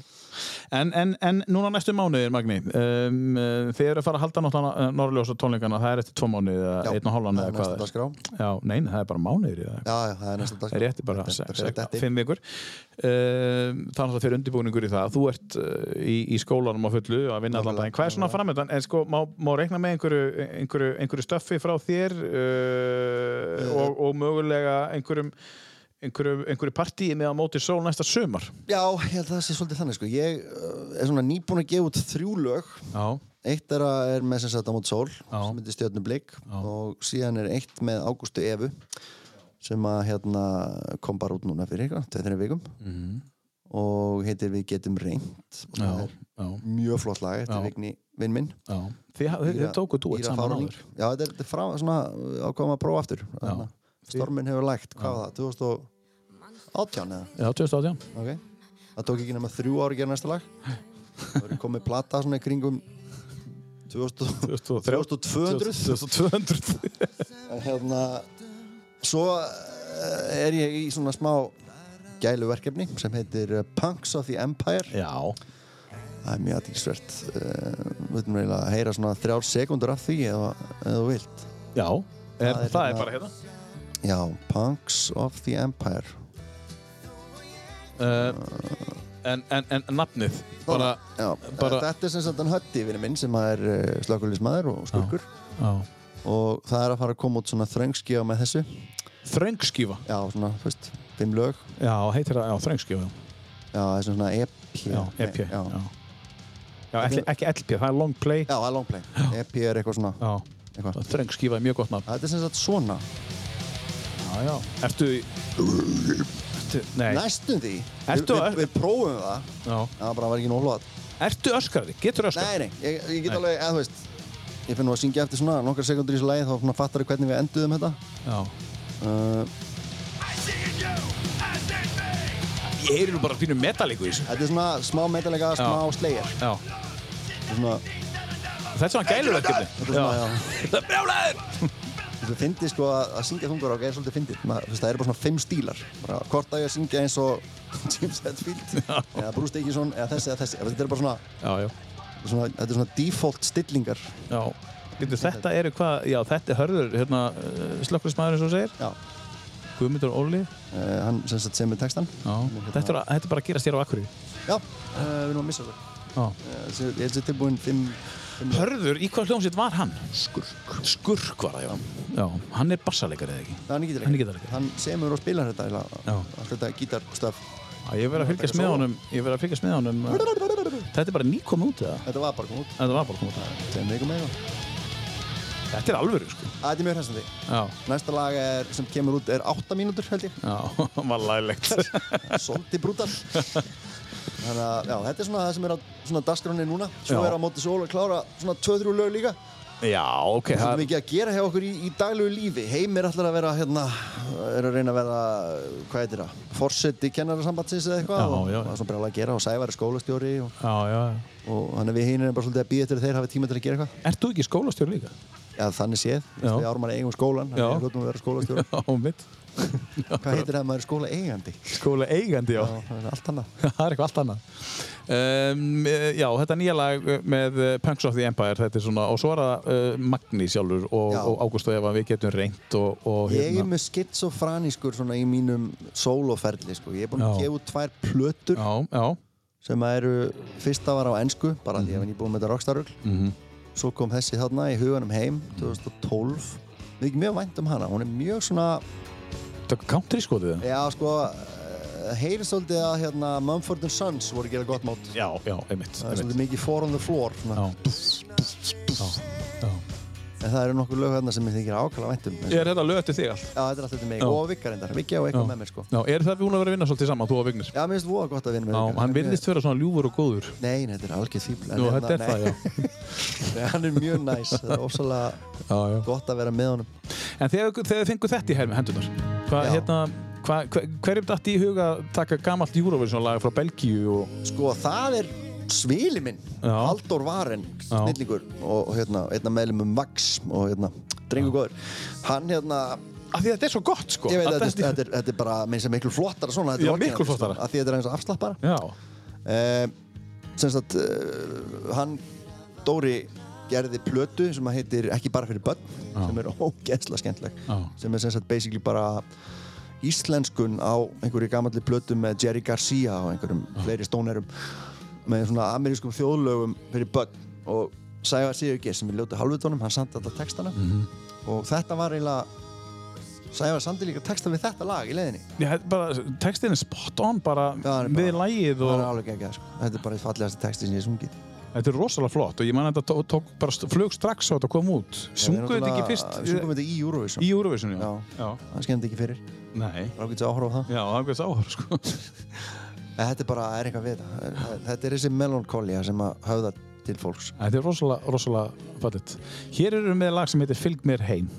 En, en, en núna næstu mánuðir, Magni, um, uh, þið eru að fara að halda náttúrulega norrljósa tónleikana, það er eftir tvo mánuði eða einn og hálfan eða það er hvað næsta er. dagskrá Já, nein, það er bara mánuðir í það. já, já, það er næsta Það dagskrá er rétti bara Þetta- sex- þetta er þetta. fimm vikur. Um, það er náttúrulega fyrir undirbúningur í það. Þú ert uh, í, í skólanum á fullu að vinna allan daginn. Hvað er svona framöndan? En sko, má, má reikna með einhverju, einhverju, eh, einhverju stöffi frá þér uh, og, og mögulega einhverjum einhverju, einhverju partíi með á móti sól næsta sumar. Já, ég held að það sé svolítið þannig sko. Ég uh, er svona nýbúin að gefa út þrjú lög. Já. Eitt er, að- er með sem sagt á mót sól, sem heitir Stjörnum blik og síðan er eitt með Ágústu Evu sem að hérna kom bara út núna fyrir eitthvað, tveið þeirra vikum og heitir Við getum reynd og það er Mhm. já, mjög flott lag, Já. þetta er vigni vinn minn já. Þið, ha- þið, þið tókuð dúett Íra saman Fáránning. áður. Já, þetta er, þetta er frá, svona ákvæm að prófa aftur Þarna. Stormin hefur lægt, hvað var það, 2018 eða? Já, 2018. Ok, það tók ekki nema þrjú ári að gera næsta lag Það verið komið plata svona í kringum 2000 2200 2200. En hérna Svo eh, er ég í svona smá gæluverkefni sem heitir eh, Punks of the Empire Já. Það er mjög aðtíkisvert Við veitum reyla að heyra svona þrjár sekundur af því eða, eða þú vilt Já. Er, það, er er hérna- bara hérna. Já, Punks of the Empire Uh, en, en, en nafnið, bara... Já, eh, bara- Þetta er sem sagt hann Hötti, vinur minn, sem er slökulismæður og skurkur Já. og það er að fara að koma út svona þröngskíða með þessu já, Þröngskífa. svona, þú veist, fimm lög já, Já, heitir það, já, þröngskífa, já. það er svona EP Já, EP, Nei, já. já. Já, ekki, ekki LP, það er long play. já, það er long play, EP er eitthvað svona Já. eitthvað. Þröngskífa er mjög gott nafn. þetta er sem sagt svona, Já, já. Ertu í... Ertu, nei. næstum því Ertu við, að- við, við prófum það Já. það bara var ekki nóflóð Ertu öskrari? Getur öskrari? nei, nei, ég, ég get Nei. alveg, eða þú veist ég finn nú að syngja eftir svona nokkar sekundur í þessu lagi þá svona fattar ég hvernig við enduðum þetta Já. Eh. uh, Ég heyri nú bara pínu metalíku í þessu. þetta er svona smá meitalega, smá slegir Já. svona, Þetta er svona gæluverkefni. þetta er svona, já, Þetta er brjálæður! Þú fyndið sko að, að syngja þungarokk er svolítið fyndið. Ma- þú veist, Það eru bara svona fimm stílar. Bara, hvort að ég að syngja eins og James Hetfield eða Bruce Dickinson eða þessi eða þessi. Þetta eru bara svona, Já, já. svona, þetta eru svona default stillingar. Já. Getur, þetta eru hvað, já, þetta er hörður, hérna, slökkurismæðurinn svo segir, Já. Guðmundur Óli. Uh, hann sem sagt semur textan. Já. Þetta er, þetta er bara að gerast hér á Akureyri. Já, uh, við erum að missa það. Já. Uh, þessi- ég held sér tilbúin fimm... fimm Hörður, í hvað hljómsveit var hann? Skurk. Skurk var það, já. Já, hann er bassalegar eða ekki? Nei, hann er gítarleikari. Hann er gítarleikari. Hann semur og spilar þetta eiginlega. Já. Allt þetta gítarstöf. Já, Ég verið að fylgjast með honum, ég verið að fylgjast með honum. uh, Þetta er bara nýkomið út eða? Þetta var bara komið út. Þetta var bara komið út. Tveim vikum eða eitthvað. Þetta er alvöru, sko. Að Þetta er mjög hressandi. Já. Næsta lag er, sem kemur út er 8 mínútur held ég. Já, var lælegt. svolítið brútal þannig að já, þetta er svona það sem er á svona dagskráni núna svo Já. er á móti sól að klára svona 2-3 lög líka Já, ok. það er Það, mikið að gera hjá okkur í, í daglegu lífi heim er alltaf að vera hérna er að reyna að vera, hvað heitir það forseti kennarasambandsins Já, eða eitthvað og já. það er svona bara að gera og Sævar er skólastjóri og, já, já. og þannig að við hinn erum bara svolítið að býja eftir að þeir hafi tíma til að gera eitthvað Ert þú ekki skólastjóri líka? já, þannig séð, þú veist, Já. við ármann eigum skólan þannig Já. að við hljótum að vera skólastjóri Já, mitt. hvað heitir það að maður er skóla eigandi Skóla eigandi, já. já, það er allt annað það er eitthvað allt annað um, eh, Já, þetta nýja lag eh, með eh, Punks of the Empire þetta er svona, og svo er það uh, Magni sjálfur og, Já. og Ágúst og Eva við getum reynt og, og hérna. Ég er með skitsofranískur svona í mínum sóloferli sko. Ég er búinn að Já. gefa út tvær plötur Já, já, sem að eru, fyrsta var á ensku bara því Mhm. að ég er búinn með þetta rockstarugl Svo kom þessi þarna í huganum heim Mhm. 2012 Við ekki mjög vænt um hana, hún er mjög svona þetta er country skoðið það Já sko, eh, heyrið svolítið að hérna, Mumford and Sons voru að gera gott mót Já, já, einmitt, Það er einmitt. svolítið mikið four on the floor svona. Já. Já, já. En það eru nokkur lög hérna sem ég þykir ákala vænt um eins og- Er þetta lög til þig allt? Já, þetta er alltaf til mig Já. og Vigga reyndar, Vigga og eitthvað með mér sko Já, er það búin að vera að vinna svolítið saman, þú og Vignir? Já, mér finnst voða gott að vinna með Já, Vigga. hann virðist vera svona ljúfur og góður Nei, nei, þetta er algjör fíbl Nú, þetta er það, já. Nei, hann er mjög næs, það er ofsalega já, já. gott að vera með honum. En þegar, þegar þið fenguð þetta í hermi hendunar hvað, Já. hérna, hvað, hver, hverjum datt í huga að taka gamalt Eurovision lag frá Belgíu og Sko, það er svili minn, Já. Halldór Varen, snillingur og, og hérna, einna meðlum um Vax og hérna, drengur góður. Hann hérna, af því að þetta er svo gott sko ég veit að Allt þetta, þetta, er, þetta er bara með sem miklu flottara svona. þetta er Já, orginal, miklu sko, flottara. Af því þetta er eins og afslappara. Já, Eh, sem sagt, uh, hann Dóri gerði plötu sem að heitir Ekki bara fyrir börn sem er ógeðslega skemmtleg Já. sem er sem sagt basically bara íslenskun á einhverju gamalli plötu með Jerry Garcia og einhverjum fleiri stónerum með svona amerískum þjóðlögum fyrir börn og Sævar Sigurgeir sem er ljótið halvutónum hann samt alltaf textana og þetta var eiginlega Sævar samdi líka texta við þetta lag í leiðinni Já, þetta er bara, textin er spot on bara hann er við bara- lægið Það og er alveg geggjað sko Þetta er bara eitt fallegasta texti sem ég hef sungið þetta er rosalega flott og ég man að þetta tó- tók bara st- flug strax og þetta kom út. Sungu þetta ekki fyrst eh, Sungum þetta í Eurovision í Eurovision, já. Já. já. Það skemmt ekki fyrir Nei, Það er ágætt að áhorfa á það já, það er hversu áhör, sko. En Þetta er bara, það er eitthvað við þetta Það er- Þetta er þessi melancholia sem að höfða til fólks Þetta er rosalega, rosalega fallit. Hér erum við með lag sem heitir Fylg mér heim.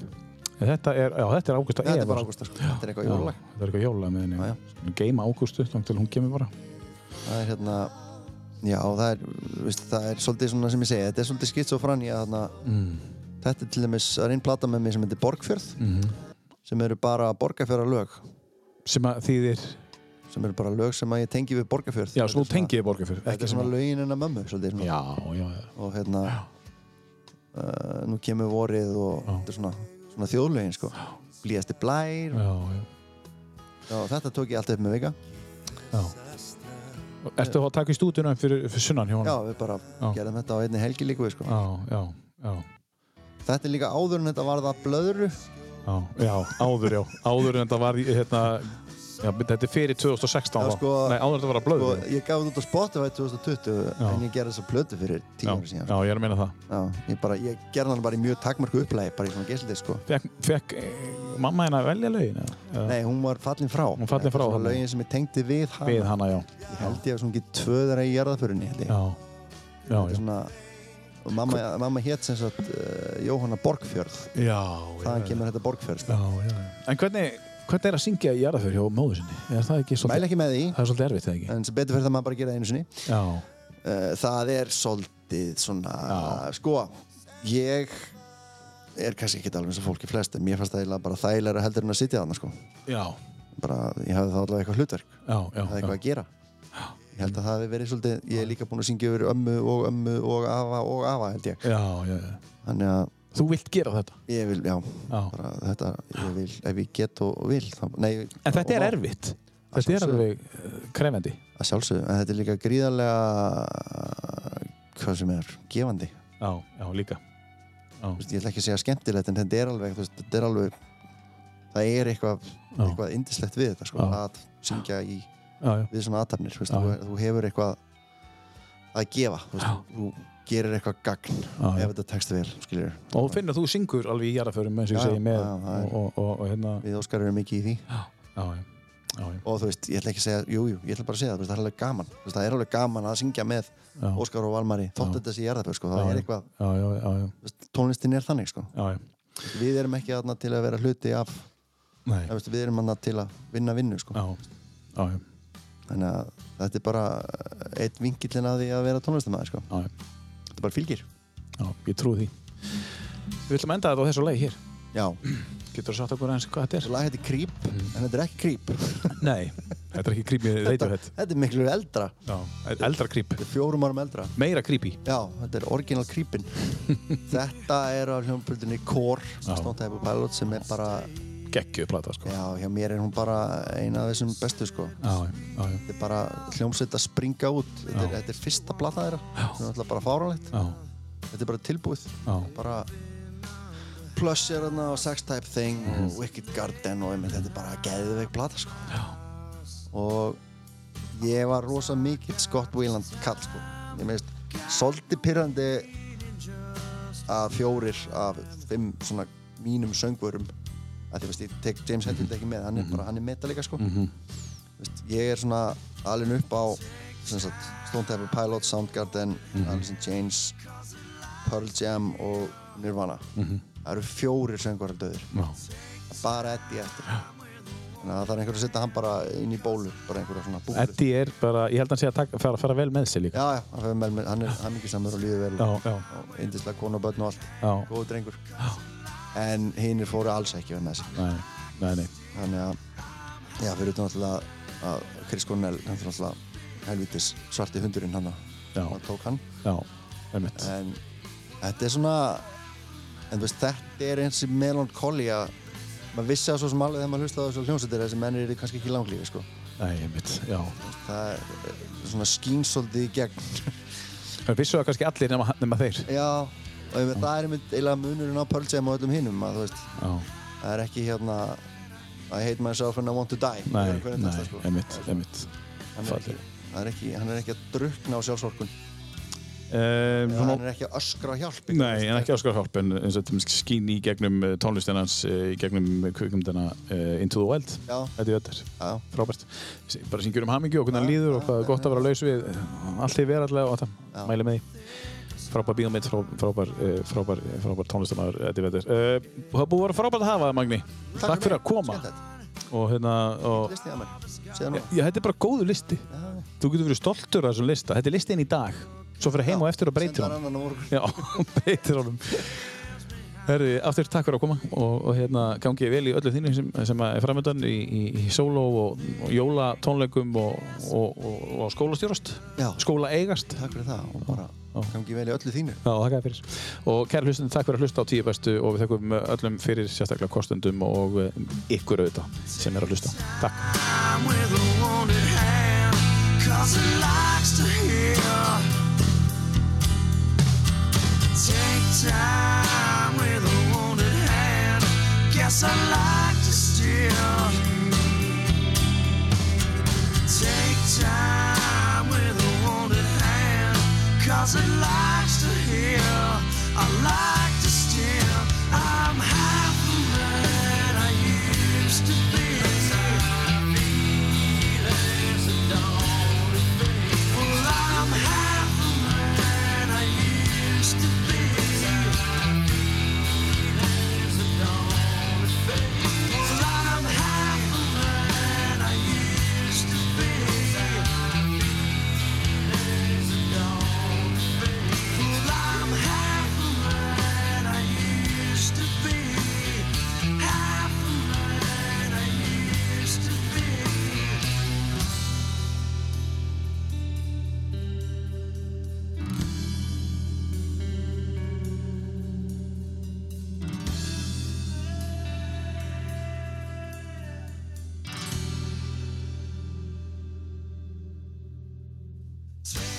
En Þetta er, já, þetta er Ágústa Eva, Þetta er bara sko. ágústa sko Þetta er eitthvað Já, jólag Þetta er eitthvað jólag með henni. Já, já. Skulum Geima Ágústu, langt til hún kemur bara. það er hérna já það er, veist, það er svolítið svona sem ég segi, þetta er svolítið skitt svo frann ég þarna, Mm. þetta er til dæmis það er einn plata með mér sem heitir Borgfjörð sem eru bara borgarfjörðar lög Sem að þýðir, sem eru bara lög sem að ég tengi við borgarfjörð já, svo Þetta er svona- tengi ég borgar fyrir. þetta er svona lögin en að mömmu svolítið, svona. Já, já, já. og hérna uh, nú kemur vorið og þetta er svona, svona þjóðlögin sko blíðasti blær já, já. og þetta tók ég allt upp með vika Ertu þá að taka í stúdíunum fyrir, fyrir sunnan hjá já honum? við bara Já. gerðum þetta á einni helgi líka við sko Já, já, já, þetta er líka áður en þetta varða blöðru já, já, áður, já, áður en þetta var, í, hérna, já, þetta er fyrir 2016 Já, þá. sko- Nei, áður en þetta var að blöðu. og ég gaf þetta út á Spotify 2020 en ég gerði þessa plötu fyrir tíu ára já, síðan já, ég er að meina það. já, ég, bara, ég gerði hann bara í mjög takmarku upplæði bara í svona gesildi sko Fekk, fekk eh, mamma hérna að velja lögin? eða? Eða- Nei, hún var fallin frá Hún fallin frá, Svona þarna. lögin sem ég tengdi við hana Við hana, já. Ég held ég að svona getur tvöðara í jarðaförinni held ég Já, já, Þetta er já. svona og mamma, mamma hétt sem sagt uh, Jóhanna Borgfjörð Já, þaðan kemur þetta Borgfjörð sko. já, já. En hvernig, hvernig er að syngja í jarðaför hjá móður sinni? Er það ekki Mæla svolítið, ekki með því það er svolítið erfitt, eða ekki? en sem betur fyrir það maður bara að gera það einu sinni Já, Eh, það er svolítið svona, sko ég er kannski ekki alveg eins og fólki flest en mér fannst það eiginlega bara þægilega heldur en að sitja þarna sko já, bara, ég hafði þá allavega eitthvað hlutverk já, já. hafði já. eitthvað að gera ég held að það hefði verið svolítið, ég er líka búinn að syngja yfir ömmu og ömmu og afa og afa held ég, Já, já, já. þannig að Þú vilt gera þetta? ég vil, já, Já. bara þetta ég vil, ef ég get og, og vil þá, nei, En þetta er og má. erfitt. Þetta er sjálfsögðu. alveg eh, krefjandi. að sjálfsögðu, en þetta er líka gríðarlega hvað sem er, gefandi Já, já, líka. Þú veist, ég ætla ekki að segja skemmtilegt en þetta er alveg, þú veist, þetta er alveg það er eitthvað, Já. eitthvað indislegt við þetta sko, Já. að syngja í, Já, já. við svona aðtapnir þú, veist, Já. þú, þú hefur eitthvað að gefa þú, veist, þú gerir eitthvað gagn Já, já. ef þetta tekst vel, skiljur Og þú finnir að þú syngur alveg í jarðaförum eins og ég Já, já, segi með já, það er- og, og, og, og hérna, við Óskar erum mikið í því já, já, já, já. og þú veist, ég ætla ekki að segja, jú, jú, ég ætla bara að segja það, þú veist, það er alveg gaman þú veist, það er alveg gaman að syngja með Já. Óskar og Valmari þótt þetta sé jarðaböð, sko, það Já, er já. eitthvað Já, já, já, já, þú veist, tónlistin er þannig, sko já, já. við erum ekki aðna til að vera hluti af Nei, þú veist, við erum aðna til að vinna vinnu, sko já, já, já. þannig að þetta er bara eitt vinkillin að því að vera tónlistamæður sko. Já, já. þetta bara fylgir Já, ég trúi því. Við ætlum að enda þetta á þessu lagi hér. já, Getur þú sagt okkur aðeins hvað svo þetta er? lag heitir Creep Mhm. en þetta er ekki Creep Nei, þetta er ekki creepy Radiohead. þetta er miklu eldra, Já, eldra creep. þetta er fjórum árum eldra Meira creepy. já, þetta er original Creepin þetta er á hljómpöldinni Core Já. Stone Type of Pilot sem er bara Gekkjuð plata, sko. Já, já, hjá mér er hún bara eina af þessum bestu sko já, já, já. þetta er bara hljómsveit að springa út þetta er, Já. þetta er fyrsta blata þeirra þetta er náttúrulega bara fáránlegt já, þetta er bara tilbúið já. bara Plus er hérna og Sex Type Thing Mhm. og Wicked Garden og einmitt þetta er bara geðveik plata sko og ég var rosa mikill Scott Wieland kall sko ég meðist svolítið pyrrandi að fjórir af fimm svona mínum söngurum að því veist ég tek James Mhm. Hetfield ekki með hann er bara hann er metalika sko veist, ég er svona alveg upp á sem sagt Stone Temple Pilots, Soundgarden Mhm. Alice in Chains Pearl Jam og Nirvana Mhm. það eru fjórir söngurar döður já. bara Eddie eftir þannig að það er einhver að setja hann bara inn í bólu bara einhverja svona búlu Eddie er bara, ég held að hann sé að taka, fara, fara vel með sig líka. já, já, hann fer vel með- hann er hammingisamur og líður vel Já, já. og yndislega konu og börn og allt Já. góðu drengur en hinnir fóru alls ekki vel með sig Nei, nei, nei. þannig að já, fyrir utan alltaf að Chris Cornell hann fyrir alltaf helvitis svarti hundurinn hann Já. hann tók hann Já, einmitt. en þetta er svona en þú veist, þetta er eins og melancholia maður vissi það svo sem alveg þegar maður hlustaði á þessu hljómsveitir þessi menn eru kannski ekki langlífi sko. Nei, einmitt, já. það er eh, svona skín svolítið í gegn Það vissu það kannski allir nema, nema þeir. já, og ég með, það er einmitt eiginlega munurinn á Pearl Jam og öllum hinum að þú veist, Já, það er ekki hérna I hate myself and I want to die Nei, Hver er nei, texta, sko? einmitt, einmitt. hann, er ekki, fallegur. hann, er ekki, hann er ekki að drukna á sjálfsorkun Uh, svona, hann er ekki að öskra á hjálp Nei, en ekki Oscar Harp, en eins og þetta skín í gegnum eh, tónlistina hans, eh, í gegnum kvikmyndina uh, Into the Wild. Já. Þetta er þetta. Já. Frábært. Sí- Bara syngjur um hamingju og hvernig hann líður og hvað er gott að vera laus við. eh, Allt því verallega og þetta. Mæli með því. Frábær bíómynd, frá- frábær, eh, frábær, eh, frábær tónlistamæður, þetta er þetta. Uh, það búið að vera frábært að hafa það, Magni. Takk, fyrir að koma. Og hérna, og... listið að mér segja nú Já, þetta er bara góður listi. Þú getur verið stoltur af þessum lista. Þetta er listin í dag. Svo fyrir heim og eftir og breytir Senda hann. annan á morgun. Já, beitir honum Herri, aftur takk fyrir að koma og, og hérna gangi ég vel í öllu þínu sem, sem að er framöndan í, í, í sóló og, og jólatónleikum og, og, og, og skólastjórast Já. skóla eigast takk fyrir það og bara gangi vel í öllu þínu Já, þakka þér fyrir. Og kæra hlustundur, takk fyrir að hlusta á tíu bestu og við þakkum öllum fyrir sérstaklega kostendum og eh, ykkur auðvitað sem er að hlusta. Takk. I'm with a wounded hand, cause it likes to heal. Take time with a wounded hand, guess I like to steal. Take time with a wounded hand, cause it likes to heal. I like to steal. I'm half the man I used to be. Well, I'm half the man I used to be. Well, I'm half the man I used to be. Well, I'm half the man I used to be. Half the man I used to be. Take